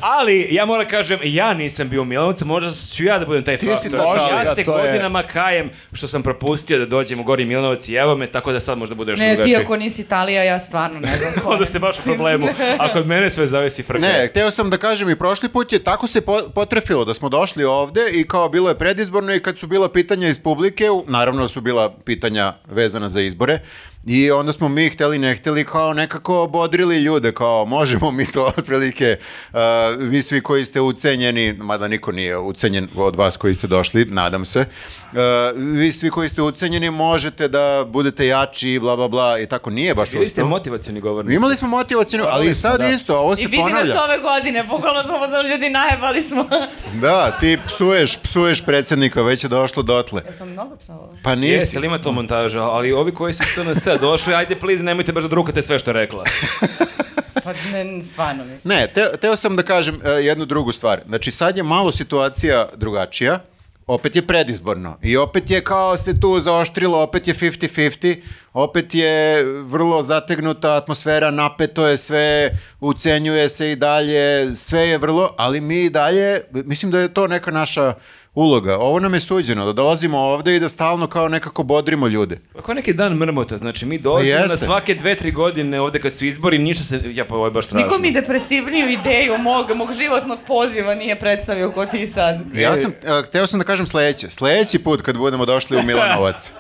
S3: Ali, ja moram kažem, ja nisam bio u Milanovcu, možda ću ja da budem taj
S2: si
S3: faktor.
S2: totalni.
S3: ja
S1: Da,
S3: se
S1: to je-
S3: godinama kajem što sam propustio da dođem u Gori Milanovac i evo me, tako da sad možda bude još
S4: Ne, ti
S3: drugačije.
S4: ako nisi Italija, ja stvarno ne znam ko.
S3: *laughs* Onda ste baš u problemu. A kod mene sve zavisi frka.
S2: Ne, hteo sam da kažem i prošli put je tako se po- potrefilo da smo došli ovde i kao bilo je predizborno i kad su bila pitanja iz publike, u- naravno su bila pitanja vezana za izbore, I onda smo mi hteli ne hteli kao nekako bodrili ljude, kao možemo mi to *laughs* otprilike, uh, vi svi koji ste ucenjeni, mada niko nije ucenjen od vas koji ste došli, nadam se, uh, vi svi koji ste ucenjeni možete da budete jači, bla bla bla i tako, nije baš
S3: Bili ste
S2: uspelo.
S3: motivacioni govornici.
S2: Imali smo motivaciju, ali i sad isto, ovo se
S4: I vidi
S2: ponavlja.
S4: nas ove godine, bukvalno smo pozvali ljudi, najebali smo. *laughs*
S2: Da, ti psuješ, psuješ predsjednika, već je došlo dotle.
S4: ja sam mnogo psovala.
S2: Pa
S3: Jesi,
S2: nisi.
S3: ali ima to montaža, ali ovi koji su SNS došli, ajde please nemojte baš da drukate sve što je rekla.
S4: Pa ne, stvarno mislim.
S2: Ne, te, teo sam da kažem e, jednu drugu stvar. Znači, sad je malo situacija drugačija, opet je predizborno i opet je kao se tu zaoštrilo, opet je 50-50, opet je vrlo zategnuta atmosfera, napeto je sve, ucenjuje se i dalje, sve je vrlo, ali mi i dalje, mislim da je to neka naša uloga. Ovo nam je suđeno, da dolazimo ovde i da stalno kao nekako bodrimo ljude.
S3: Ako neki dan mrmota, znači mi dolazimo
S2: Pa
S3: na
S2: jeste.
S3: svake dve, tri godine ovde kad su izbori, ništa se, ja pa ovo je baš strašno.
S4: Niko mi depresivniju ideju mog, mog životnog poziva nije predstavio ko ti sad.
S2: Ja sam, e, hteo sam da kažem sledeće. Sledeći put kad budemo došli u Milanovac.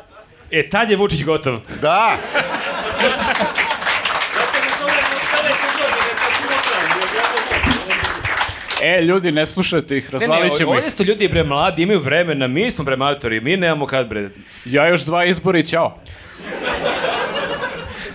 S3: E, tad je Vučić gotov.
S2: Da,
S1: E, ljudi, ne slušajte ih,
S3: Ne, ne,
S1: razvalit ćemo ih.
S3: ovdje su ljudi bre mladi, imaju vremena, mi smo bre matori, mi nemamo kad bre.
S1: Ja još dva izbori, ćao.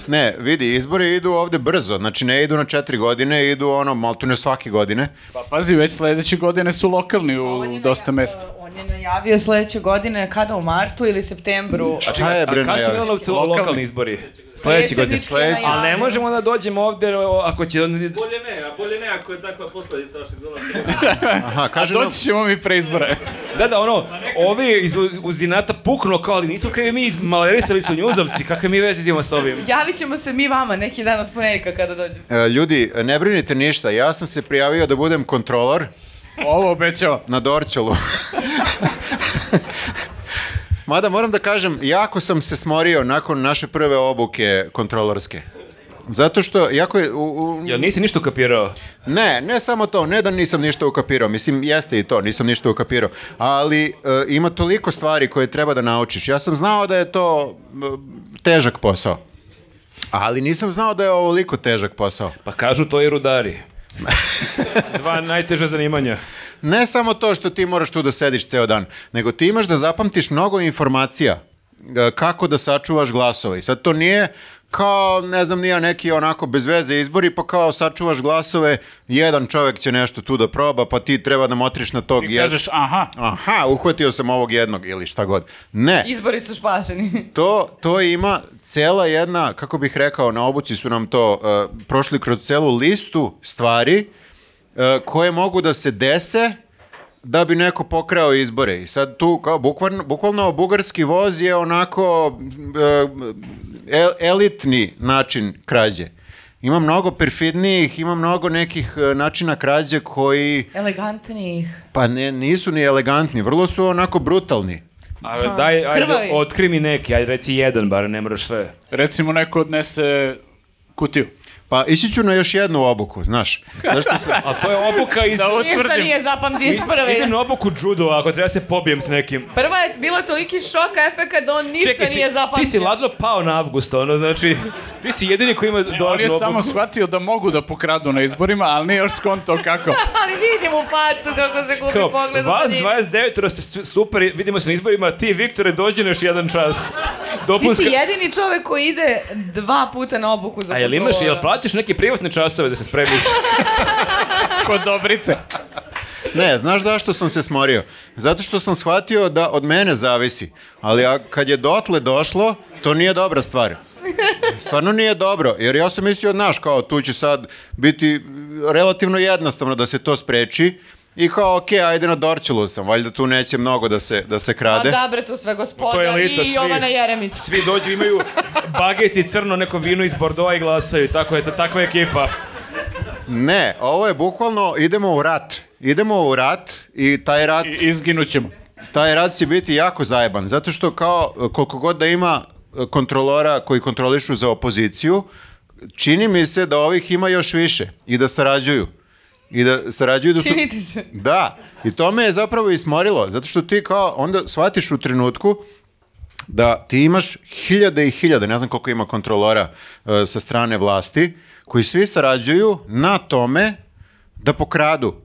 S2: Ne, vidi, izbori idu ovde brzo, znači ne idu na četiri godine, idu ono, maltene svake godine.
S1: Pa pazi, već sledeće godine su lokalni
S4: On je
S1: u
S4: naja-
S1: dosta mesta.
S4: On je najavio sledeće godine, kada u martu ili septembru.
S2: Šta je, bre,
S3: A kad su
S2: najavio?
S3: Milanovcu
S1: Lokalni.
S3: lokalni izbori? Sledeći godine.
S4: Predsjednički
S2: Sledeći.
S3: Ali ne
S4: najavio.
S3: možemo da dođemo ovde o, ako će...
S5: Bolje ne, a bolje ne ako je takva posledica vašeg dolaska.
S2: Aha,
S1: A
S2: kaže nam,
S1: doći ćemo mi pre
S4: *laughs*
S1: izbore.
S3: Da, da, ono, ovi iz u- uzinata pukno kao, ali nismo krivi mi, malerisali su njuzavci, kakve mi veze imamo sa ovim?
S4: Javit ćemo se mi vama neki dan od ponedjeljka kada dođe.
S2: e, ljudi, ne brinite ništa, ja sam se prijavio da budem kontrolor
S1: Ovo obećava.
S2: na Dorčelu. *laughs* Mada moram da kažem, jako sam se smorio nakon naše prve obuke kontrolorske. Zato što, jako je... U, u,
S3: Jel nisi ništa kapirao?
S2: Ne, ne samo to, ne da nisam ništa ukapirao, mislim jeste i to, nisam ništa ukapirao, ali e, ima toliko stvari koje treba da naučiš. Ja sam znao da je to m, težak posao, ali nisam znao da je ovoliko težak posao.
S3: Pa kažu to i
S1: *laughs*
S3: rudari. Dva najteža zanimanja.
S2: Ne samo to što ti moraš tu da sediš ceo dan, nego ti imaš da zapamtiš mnogo informacija e, kako da sačuvaš glasove. I sad to nije kao, ne znam, nije neki onako bez veze izbori, pa kao sačuvaš glasove, jedan čovek će nešto tu da proba, pa ti treba da motriš na tog
S1: I
S2: jed-
S1: kažeš, aha,
S2: aha, uhvatio sam ovog jednog ili šta god. Ne,
S4: Izbori su špašeni.
S2: to, to ima cela jedna, kako bih rekao, na obuci su nam to uh, prošli kroz celu listu stvari uh, koje mogu da se dese da bi neko pokrao izbore. I sad tu, kao, bukvalno, bukvalno bugarski voz je onako uh, el- elitni način krađe. Ima mnogo perfidnijih, ima mnogo nekih uh, načina krađe koji
S4: Elegantnijih.
S2: pa ne, nisu ni elegantni, vrlo su onako brutalni.
S3: A, daj, ajde,
S4: Krvavi.
S3: otkri mi neki, ajde reci jedan, bar ne moraš sve.
S1: recimo neko odnese kutiju.
S2: Pa ići ću na još jednu obuku, znaš. Zašto
S1: *laughs*
S2: se...
S3: A to je obuka iz...
S1: Da,
S4: Ništa
S1: utvrdim.
S4: nije zapamtio
S3: I-
S4: iz
S3: Idem
S4: prve.
S3: na obuku judo, ako treba se pobijem s nekim.
S4: Prva je bilo toliki šok efekt da on ništa nije
S3: ti,
S4: zapamtio.
S3: ti si ladno pao na avgust, ono, znači, ti si jedini koji ima
S2: Pa
S3: dodatnu
S1: On je
S3: obuku.
S1: samo shvatio da mogu da pokradu na izborima, ali nije još skonto kako.
S4: Ali vidim u facu kako se gubi
S3: Kao,
S4: pogled.
S3: vas
S4: od njih.
S3: 29 ste su- super, vidimo se na izborima, ti Viktore dođi na još jedan čas.
S4: Ti si
S3: Dopunska...
S4: jedini čovek koji ide dva puta na obuku za
S3: A jel imaš, jel
S4: kontrolora.
S3: plaćaš neke privatne časove da se spremiš?
S1: Kod Dobrice.
S2: Ne, znaš zašto sam se smorio? Zato što sam shvatio da od mene zavisi. Ali a, kad je dotle došlo, to nije dobra stvar. Stvarno nije dobro, jer ja sam mislio, znaš, kao tu će sad biti relativno jednostavno da se to spreči i kao, okej, ajde na Dorčelu sam, valjda tu neće mnogo da se, da se
S4: Pa
S2: krade.
S4: da bre, tu sve
S3: To
S4: gospoda
S3: je elita,
S4: i
S3: svi.
S4: Jovana Jeremić.
S3: *laughs* Svi dođu, imaju baget i crno neko vino iz Bordeaux i glasaju, tako je, to, takva je ekipa.
S2: Ne, ovo je bukvalno, idemo u rat. Idemo u rat i taj rat...
S1: I izginućemo.
S2: taj rad će biti jako zajeban, zato što kao e, koliko god da ima e, kontrolora koji kontrolišu za opoziciju, čini mi se da ovih ima još više i da sarađuju. I da sarađuju da su...
S4: Činiti se.
S2: Da, i to me je zapravo i smorilo, zato što ti kao onda shvatiš u trenutku da ti imaš hiljade i hiljade, ne znam koliko ima kontrolora e, sa strane vlasti, koji svi sarađuju na tome da pokradu.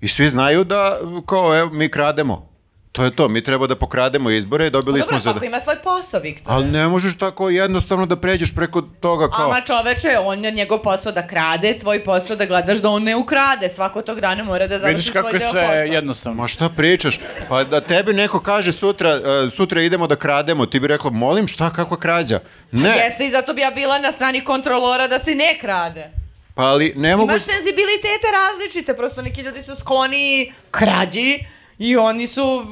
S2: I svi znaju da, kao, evo, mi krademo. To je to, mi treba da pokrademo izbore i dobili
S4: Pa
S2: smo
S4: Dobro,
S2: za...
S4: svako ima svoj posao, Viktor.
S2: Ali ne možeš tako jednostavno da pređeš preko toga kao...
S4: Ama čoveče, on je njegov posao da krade, tvoj posao da gledaš da on ne ukrade. Svako tog dana mora da završi
S1: Vidiš
S4: svoj deo
S1: kako
S4: posla.
S1: je sve jednostavno.
S2: Ma šta pričaš? Pa da tebi neko kaže sutra, e, sutra idemo da krademo, ti bi rekla, molim, šta, kakva krađa? Ne,
S4: Jeste i zato bi ja bila na strani kontrolora da se ne krade.
S2: pa ali ne mogu...
S4: Imaš senzibilitete različite, prosto neki ljudi su skloni krađi i oni su...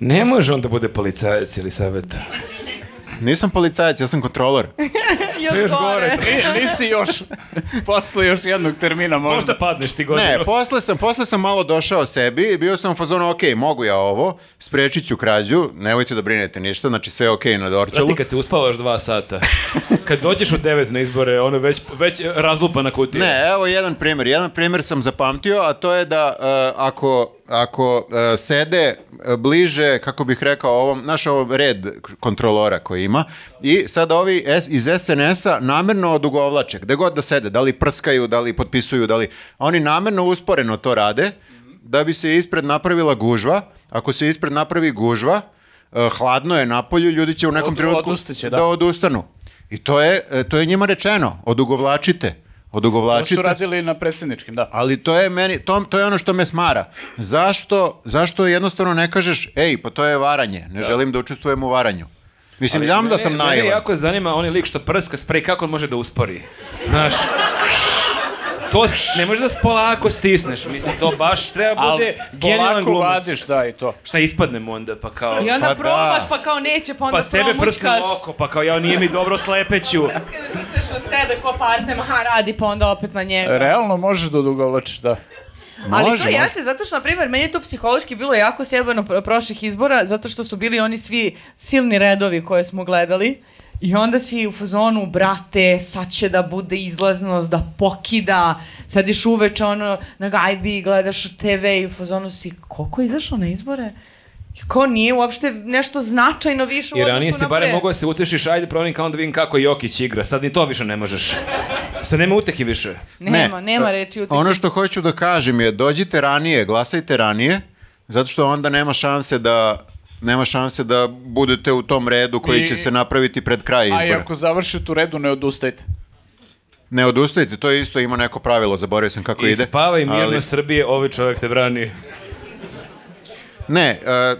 S3: Ne može on da bude policajac ili savjet.
S2: Nisam policajac, ja sam kontrolor.
S4: Još,
S3: još gore,
S4: gore.
S3: to
S1: Ni- nisi još, posle još jednog termina
S3: Možda
S1: možda.
S3: padneš ti godinu.
S2: Ne, posle sam, posle sam malo došao sebi i bio sam u fazonu, ok, mogu ja ovo, sprečit ću krađu, nemojte da brinete ništa, znači sve je ok na
S3: Čelu?
S2: Dorčelu.
S3: Ti kad se uspavaš dva sata, kad dođeš u devet na izbore, ono je već, već razlupana kutija.
S2: Ne, evo jedan primjer. Jedan primjer sam zapamtio, a to je da e, ako, ako e, sede e, bliže, kako bih rekao, ovom, naš ovom red kontrolora koji ima, i sad ovi S, iz SNS-a namerno odugovlače, gde god da sede, da li prskaju, da li potpisuju, da li... Oni namerno usporeno to rade, da bi se ispred napravila gužva. Ako se ispred napravi gužva, e, hladno je napolju, ljudi će u nekom
S1: Od-
S2: trenutku
S1: odustaće, da.
S2: da odustanu. I to je, e, to je njima rečeno, odugovlačite,
S1: To su
S2: odugovlačite.
S1: radili na predsjedničkim, da.
S2: Ali to je meni, to, to je ono što me smara. Zašto, zašto jednostavno ne kažeš, ej, pa to je varanje, ne želim da učestvujem u varanju. Mislim, znam da sam
S3: Mene
S2: naivan.
S3: jako zanima onaj lik što prska sprej, kako on može da uspori. Znaš, to s- ne možeš da s polako stisneš, mislim, to baš treba
S1: Ali
S3: bude genijalan
S1: polako
S3: glumac.
S1: vadiš, da, i to.
S3: Šta ispadnem onda, pa kao...
S4: I onda
S2: Pa da.
S4: probaš, pa kao neće, pa onda
S3: Pa sebe prsnem
S4: promućkaš.
S3: u oko, pa kao ja nije mi dobro slepeću.
S4: Prskane prsteš na sebe ko partner, aha, radi, pa onda opet na njega.
S1: Realno možeš da odugovlačiš, da.
S4: Ali
S2: Može, može.
S4: to jeste, zato što, na primjer, meni je to psihološki bilo jako sjebano pro- prošlih izbora, zato što su bili oni svi silni redovi koje smo gledali. I onda si u fazonu, brate, sad će da bude izlaznost, da pokida, sediš uveče ono na gajbi i gledaš TV i u fazonu si, koliko je izašlo na izbore? I ko nije uopšte nešto značajno više u
S3: I
S4: odnosu na pre?
S3: ranije si barem mogao da se utešiš, ajde pronim kao da vidim kako Jokić igra, sad ni to više ne možeš. Sad nema utehi više.
S4: Nema,
S2: Ne.
S4: nema
S2: E,
S4: reči u
S2: Ono što hoću da kažem je dođite ranije, glasajte ranije, zato što onda nema šanse da nema šanse da budete u tom redu koji
S1: I-
S2: će se napraviti pred kraj
S1: A i
S2: izbora.
S1: ako završite u redu, ne odustajte.
S2: Ne odustajte, to je isto ima neko pravilo, zaboravio sam kako
S3: I
S2: ide.
S3: spavaj mirno
S2: ali-
S3: Srbije, ovaj čovjek te brani.
S2: Ne, e, e,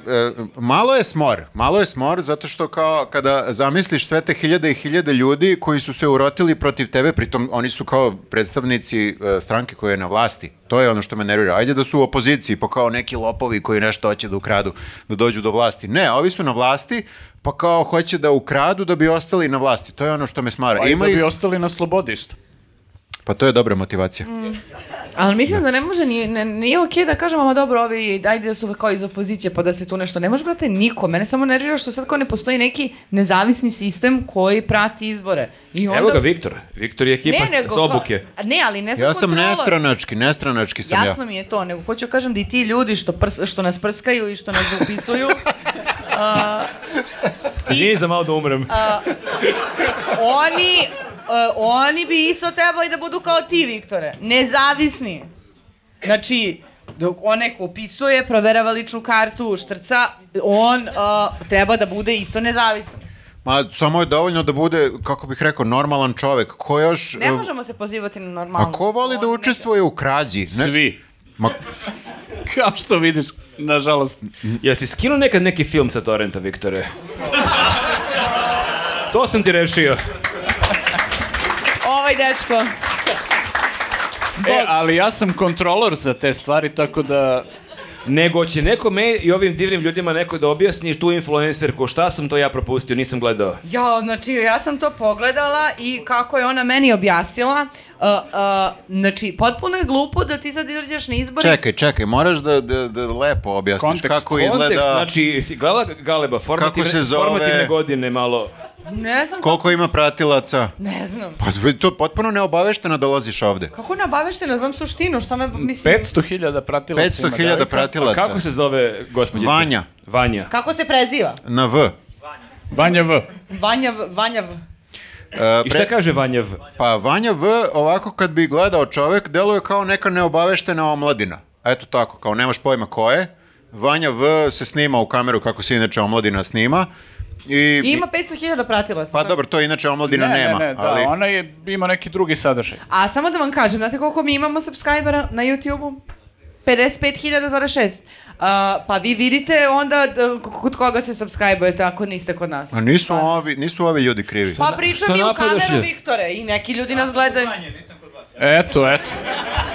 S2: malo je smor, malo je smor zato što kao kada zamisliš sve te hiljade i hiljade ljudi koji su se urotili protiv tebe, pritom oni su kao predstavnici e, stranke koja je na vlasti. To je ono što me nervira. Ajde da su u opoziciji, pa kao neki lopovi koji nešto hoće da ukradu, da dođu do vlasti. Ne, ovi su na vlasti, pa kao hoće da ukradu da bi ostali na vlasti. To je ono što me smara.
S1: Pa i
S2: Ima
S1: da bi
S2: ih-
S1: ostali na slobodi isto.
S2: Pa to je dobra motivacija.
S4: Mm, Ali mislim da ne može, ni, ne, nije okej da kažemo, ma dobro, ovi, ajde da su kao iz opozicije, pa da se tu nešto, ne može, brate, niko. Mene samo nervira što sad kao ne postoji neki nezavisni sistem koji prati izbore. I onda...
S3: Evo ga Viktor. Viktor je ekipa s- s
S4: kao-
S3: obuke.
S4: Ne, ali ne sam
S2: Ja sam
S4: kontrola-
S2: nestranački, nestranački sam
S4: Jasno
S2: ja.
S4: mi je to, nego hoću da kažem da i ti ljudi što, prs, što nas prskaju i što nas
S2: *laughs*
S4: upisuju,
S3: Izvini za malo da umrem.
S4: oni, e, oni bi isto trebali da budu kao ti, Viktore. Nezavisni. Znači, dok onaj ko upisuje, proverava ličnu kartu, štrca, on e, treba da bude isto nezavisan.
S2: Ma samo je dovoljno da bude, kako bih rekao, normalan čovek. Ko još...
S4: Ne
S2: e,
S4: možemo se pozivati na normalnost.
S2: A ko voli da
S4: On-
S2: učestvuje u krađi? Ne-
S1: Svi.
S2: Ma,
S1: Kao što vidiš, nažalost.
S3: Jesi skinuo nekad neki film sa torrenta, Viktore? To sam ti rešio.
S4: Ovaj dečko.
S1: E, ali ja sam kontrolor za te stvari, tako da...
S3: Nego će neko me i ovim divnim ljudima neko da objasni tu influencerku, šta sam to ja propustio, nisam gledao.
S4: Ja, znači, ja sam to pogledala i kako je ona meni objasnila, uh, uh, znači, potpuno je glupo da ti sad izađeš na izbore i
S2: čekaj, čekaj, moraš da, da, da lepo objasniš
S1: Kontekst,
S2: kako
S3: Kontekst,
S2: izgleda,
S3: znači, si gledala Galeba, formativne,
S2: se zove?
S3: formativne godine malo.
S4: ne znam,
S2: koliko ima pratilaca.
S4: ne znam.
S2: Pa vi to potpuno neobavešteno dolaziš ovde.
S4: Kako nabaveštena, znam suštinu, šta me, mislim...
S1: 500.000 pratilaca ima
S2: 500.000
S1: devojka.
S3: A
S2: pratilaca.
S3: kako se zove gospođica?
S2: Vanja.
S3: Vanja.
S4: Kako se preziva?
S2: Na V. E,
S1: Vanja V.
S4: Vanjav, Vanjav.
S3: I šta
S2: pre-
S3: kaže Vanjev?
S2: pa Vanja V, ovako kad bi gledao čovek, deluje kao neka neobaveštena omladina. Eto tako, kao nemaš pojma ko je. Vanja V se snima u kameru kako se inače omladina snima. I,
S4: I ima 500.000 pratilaca.
S2: Pa dobro, to inače omladina nema.
S1: ne, ne, da,
S2: ali...
S1: ona je, ima neki drugi sadržaj.
S4: A samo da vam kažem, znate koliko mi imamo subscribera na YouTube-u? 55.000,6. Uh, pa vi vidite onda d- k- kod koga se subscribe-ujete ako niste kod nas.
S2: A nisu
S4: Pa-
S2: ovi, nisu ovi ljudi krivi.
S4: Pa
S3: Što
S4: pričam i u
S3: napadaš
S4: kameru
S3: ljudi?
S4: Viktore i neki ljudi nas gledaju.
S1: Eto, eto.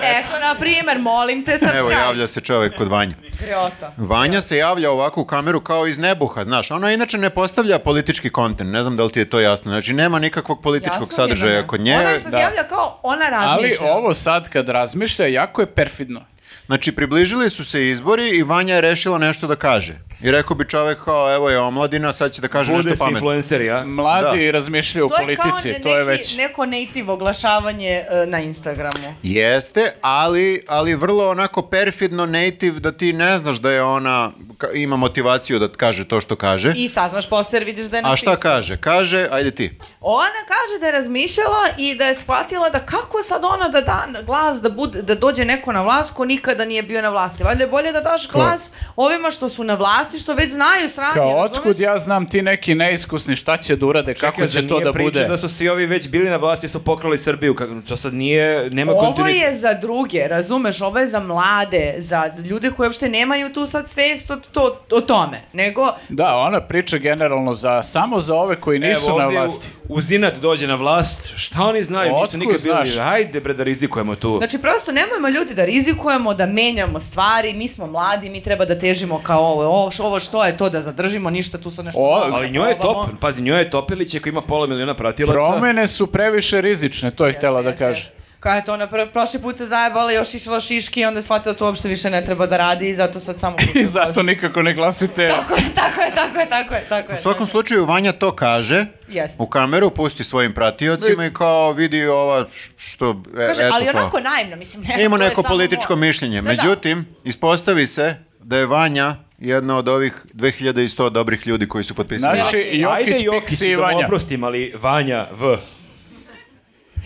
S4: Eto, na primer, molim te,
S2: Evo,
S4: subscribe.
S2: javlja se čovek kod Vanja.
S4: Griota.
S2: Vanja se javlja ovako u kameru kao iz nebuha, znaš. Ona inače ne postavlja politički kontent, ne znam da li ti je to jasno. Znači, nema nikakvog političkog
S4: Jasno mi je da
S2: sadržaja
S4: ne.
S2: kod nje.
S4: Ona se
S1: da.
S4: javlja kao ona
S1: Ali
S4: razmišlja.
S1: ovo sad kad razmišlja, jako je perfidno.
S2: Znači, približili su se izbori i Vanja je rešila nešto da kaže. I rekao bi čovek kao, evo je omladina, sad će da kaže
S3: Bude si
S2: nešto pametno.
S3: influencer, ja?
S1: Mladi razmišljaju o
S4: To je kao
S1: politici,
S4: ne-
S1: to je
S4: neki-
S1: već...
S4: neko native oglašavanje e, na Instagramu.
S2: Jeste, ali, ali vrlo onako perfidno native da ti ne znaš da je ona ka- ima motivaciju da kaže to što kaže.
S6: I saznaš posle jer vidiš da je
S2: A šta
S6: napisao.
S2: kaže? Kaže, ajde ti.
S4: Ona kaže da je razmišljala i da je shvatila da kako sad ona da da glas, da, bude, da dođe neko na vlast ko nikada nije bio na vlasti. Valjda je bolje da daš glas ovima što su na vlasti, što već znaju sranje.
S1: Kao,
S4: razumeš?
S1: otkud ja znam ti neki neiskusni šta će da urade, kako
S3: Čekaj, zar
S1: će to
S3: nije
S1: da
S3: priča
S1: bude?
S3: da su svi ovi već bili na vlasti i su pokrali Srbiju, kako, to sad nije, nema
S4: Ovo
S3: kontinuiteta.
S4: je za druge, razumeš, ovo je za mlade, za ljude koji uopšte nemaju tu sad svest o, to, o tome, nego
S1: Da, ona priča generalno za, samo za ove koji nisu
S3: Evo,
S1: na
S3: ovdje
S1: vlasti.
S3: U, Uzinat dođe na vlast, šta oni znaju, nisu
S1: Otkud
S3: nikad bili,
S1: znaš?
S3: ajde bre da rizikujemo tu.
S4: Znači, prosto nemojmo ljudi da rizikujemo, da menjamo stvari, mi smo mladi, mi treba da težimo kao ovo, ovo, š- ovo što je to da zadržimo, ništa, tu su nešto...
S1: O,
S4: novo,
S3: Ali njoj je top,
S4: probamo.
S3: pazi, njoj je Topelić koji ima pola miliona pratilaca.
S1: Promene su previše rizične, to je htela da
S4: Jeste,
S1: kaže.
S4: jeste. Kad je to ona pr- prošli put se zajebala, još išla šiški i onda je shvatila da to uopšte više ne treba da radi i zato sad samo...
S1: *laughs* I zato nikako ne glasite.
S4: Tako je, tako je, tako je, tako je, tako je.
S2: U svakom slučaju, Vanja to kaže
S4: Jeste.
S2: u kameru, pusti svojim pratiocima i kao vidi ova š- što... e,
S4: Kaže,
S2: eto
S4: ali
S2: kao.
S4: onako naivno, mislim, ne
S2: Ima
S4: to je
S2: neko
S4: samo
S2: političko
S4: moje.
S2: mišljenje.
S4: Da, da.
S2: Međutim, ispostavi se da je Vanja jedna od ovih 2100 dobrih ljudi koji su potpisali.
S1: Znači,
S3: Ajde
S1: Jokić,
S3: Jokić,
S1: Piksi i
S3: da mu
S1: Vanja.
S3: oprostim, ali Vanja V.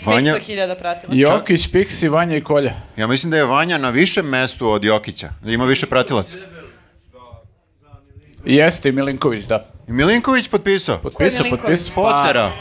S2: Vanja,
S4: 500.000 pratila.
S1: Jokić, Piksi, Vanja i Kolja.
S2: ja mislim da je Vanja na višem mestu od Jokića. Da ima više pratilaca.
S1: Jeste i Milinković, da.
S2: I Milinković potpisao.
S1: Potpisao,
S4: Milinković?
S1: potpisao. Pa,
S2: Potera.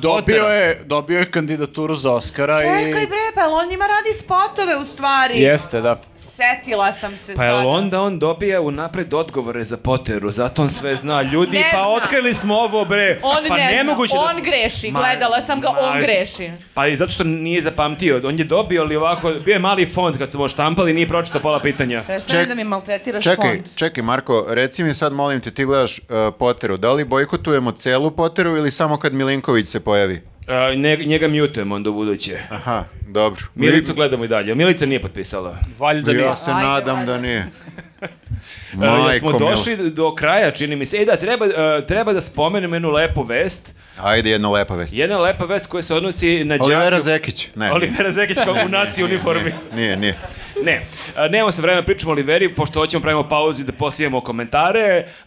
S1: Dobio
S2: Potera.
S1: je, dobio je kandidaturu za Oscara i...
S4: Čekaj bre, pa jel on njima radi spotove u stvari.
S1: Jeste, da.
S4: Setila sam se
S3: Pa
S4: sada.
S3: jel onda on dobija unapred odgovore za Poteru, zato on sve zna. Ljudi,
S4: Ne
S3: pa
S4: zna.
S3: otkrili smo ovo, bre.
S4: On
S3: pa
S4: ne zna,
S3: nemoguće da-
S4: on greši,
S3: Ma-
S4: gledala sam ga, on
S3: ma-
S4: greši.
S3: Pa i zato što nije zapamtio, on je dobio ali ovako, bio je mali fond kad smo oštampali, nije pročitao pola
S4: *laughs*
S3: pitanja.
S4: Prestani
S2: Ček-
S4: da mi maltretiraš
S2: Čekaj,
S4: Pa- fond.
S2: čekaj Marko, reci mi sad molim te, ti gledaš uh, Poteru, da li bojkotujemo celu Poteru ili samo kad Milinković se pojavi?
S3: A, E, ne- njega mutujemo onda u buduće.
S2: Aha, dobro.
S3: Milicu gledamo i dalje. Milica nije potpisala.
S1: Valjda nije.
S2: Ja se
S4: Ajde,
S2: nadam
S4: ajde. E,
S2: da
S4: *laughs*
S2: nije.
S3: Majko,
S2: Majko,
S3: E, smo
S2: mila.
S3: došli do kraja, čini mi se. E da, treba, e, treba da spomenem jednu lepu vest.
S2: Ajde, jedna lepa vest.
S3: Jedna lepa vest koja se odnosi na
S2: Olivera
S3: đake-
S2: Zekić. Ne,
S3: Olivera Zekić kao
S2: *laughs*
S3: u naci uniformi.
S2: nije, nije.
S3: Ne, e, nemamo se vremena da pričamo o Oliveri, pošto hoćemo pravimo pauzu i da posijemo komentare,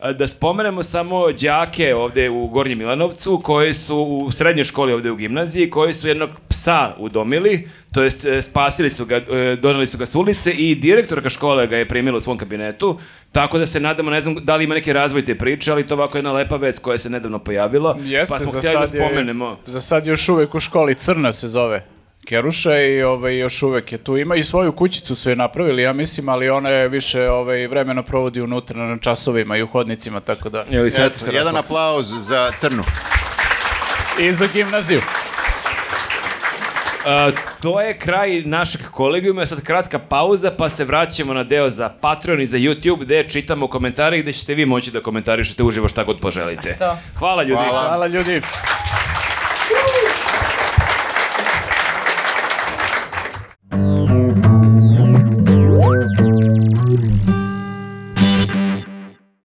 S3: e, da spomenemo samo đake ovde u Gornjem Milanovcu, koji su u srednjoj školi ovde u gimnaziji, koji su jednog psa udomili, to jest e, spasili su ga, e, doneli su ga s ulice i direktorka škole ga je primila u svom kabinetu, tako da se nadamo, ne znam da li ima neki razvoj te priče, ali to je ovako jedna lepa vest koja se nedavno pojavila,
S1: Jeste,
S3: pa smo
S1: za
S3: htjeli da
S1: sad je-
S3: spomenemo.
S1: za sad je još uvek u školi Crna se zove. Keruša i ovaj, još uvek je tu. Ima i svoju kućicu su je napravili, ja mislim, ali ona je više ovaj, vremena provodi unutra na časovima i u hodnicima, tako da.
S3: Jel i sad se
S2: Eto, jedan
S3: razmak-
S2: aplauz za Crnu.
S1: I za gimnaziju.
S3: E, to je kraj našeg kolegijuma, sad kratka pauza pa se vraćamo na deo za Patreon i za YouTube gde čitamo komentare i gde ćete vi moći da komentarišete uživo šta god poželite.
S4: To.
S3: Hvala ljudi.
S2: Hvala.
S1: Hvala ljudi.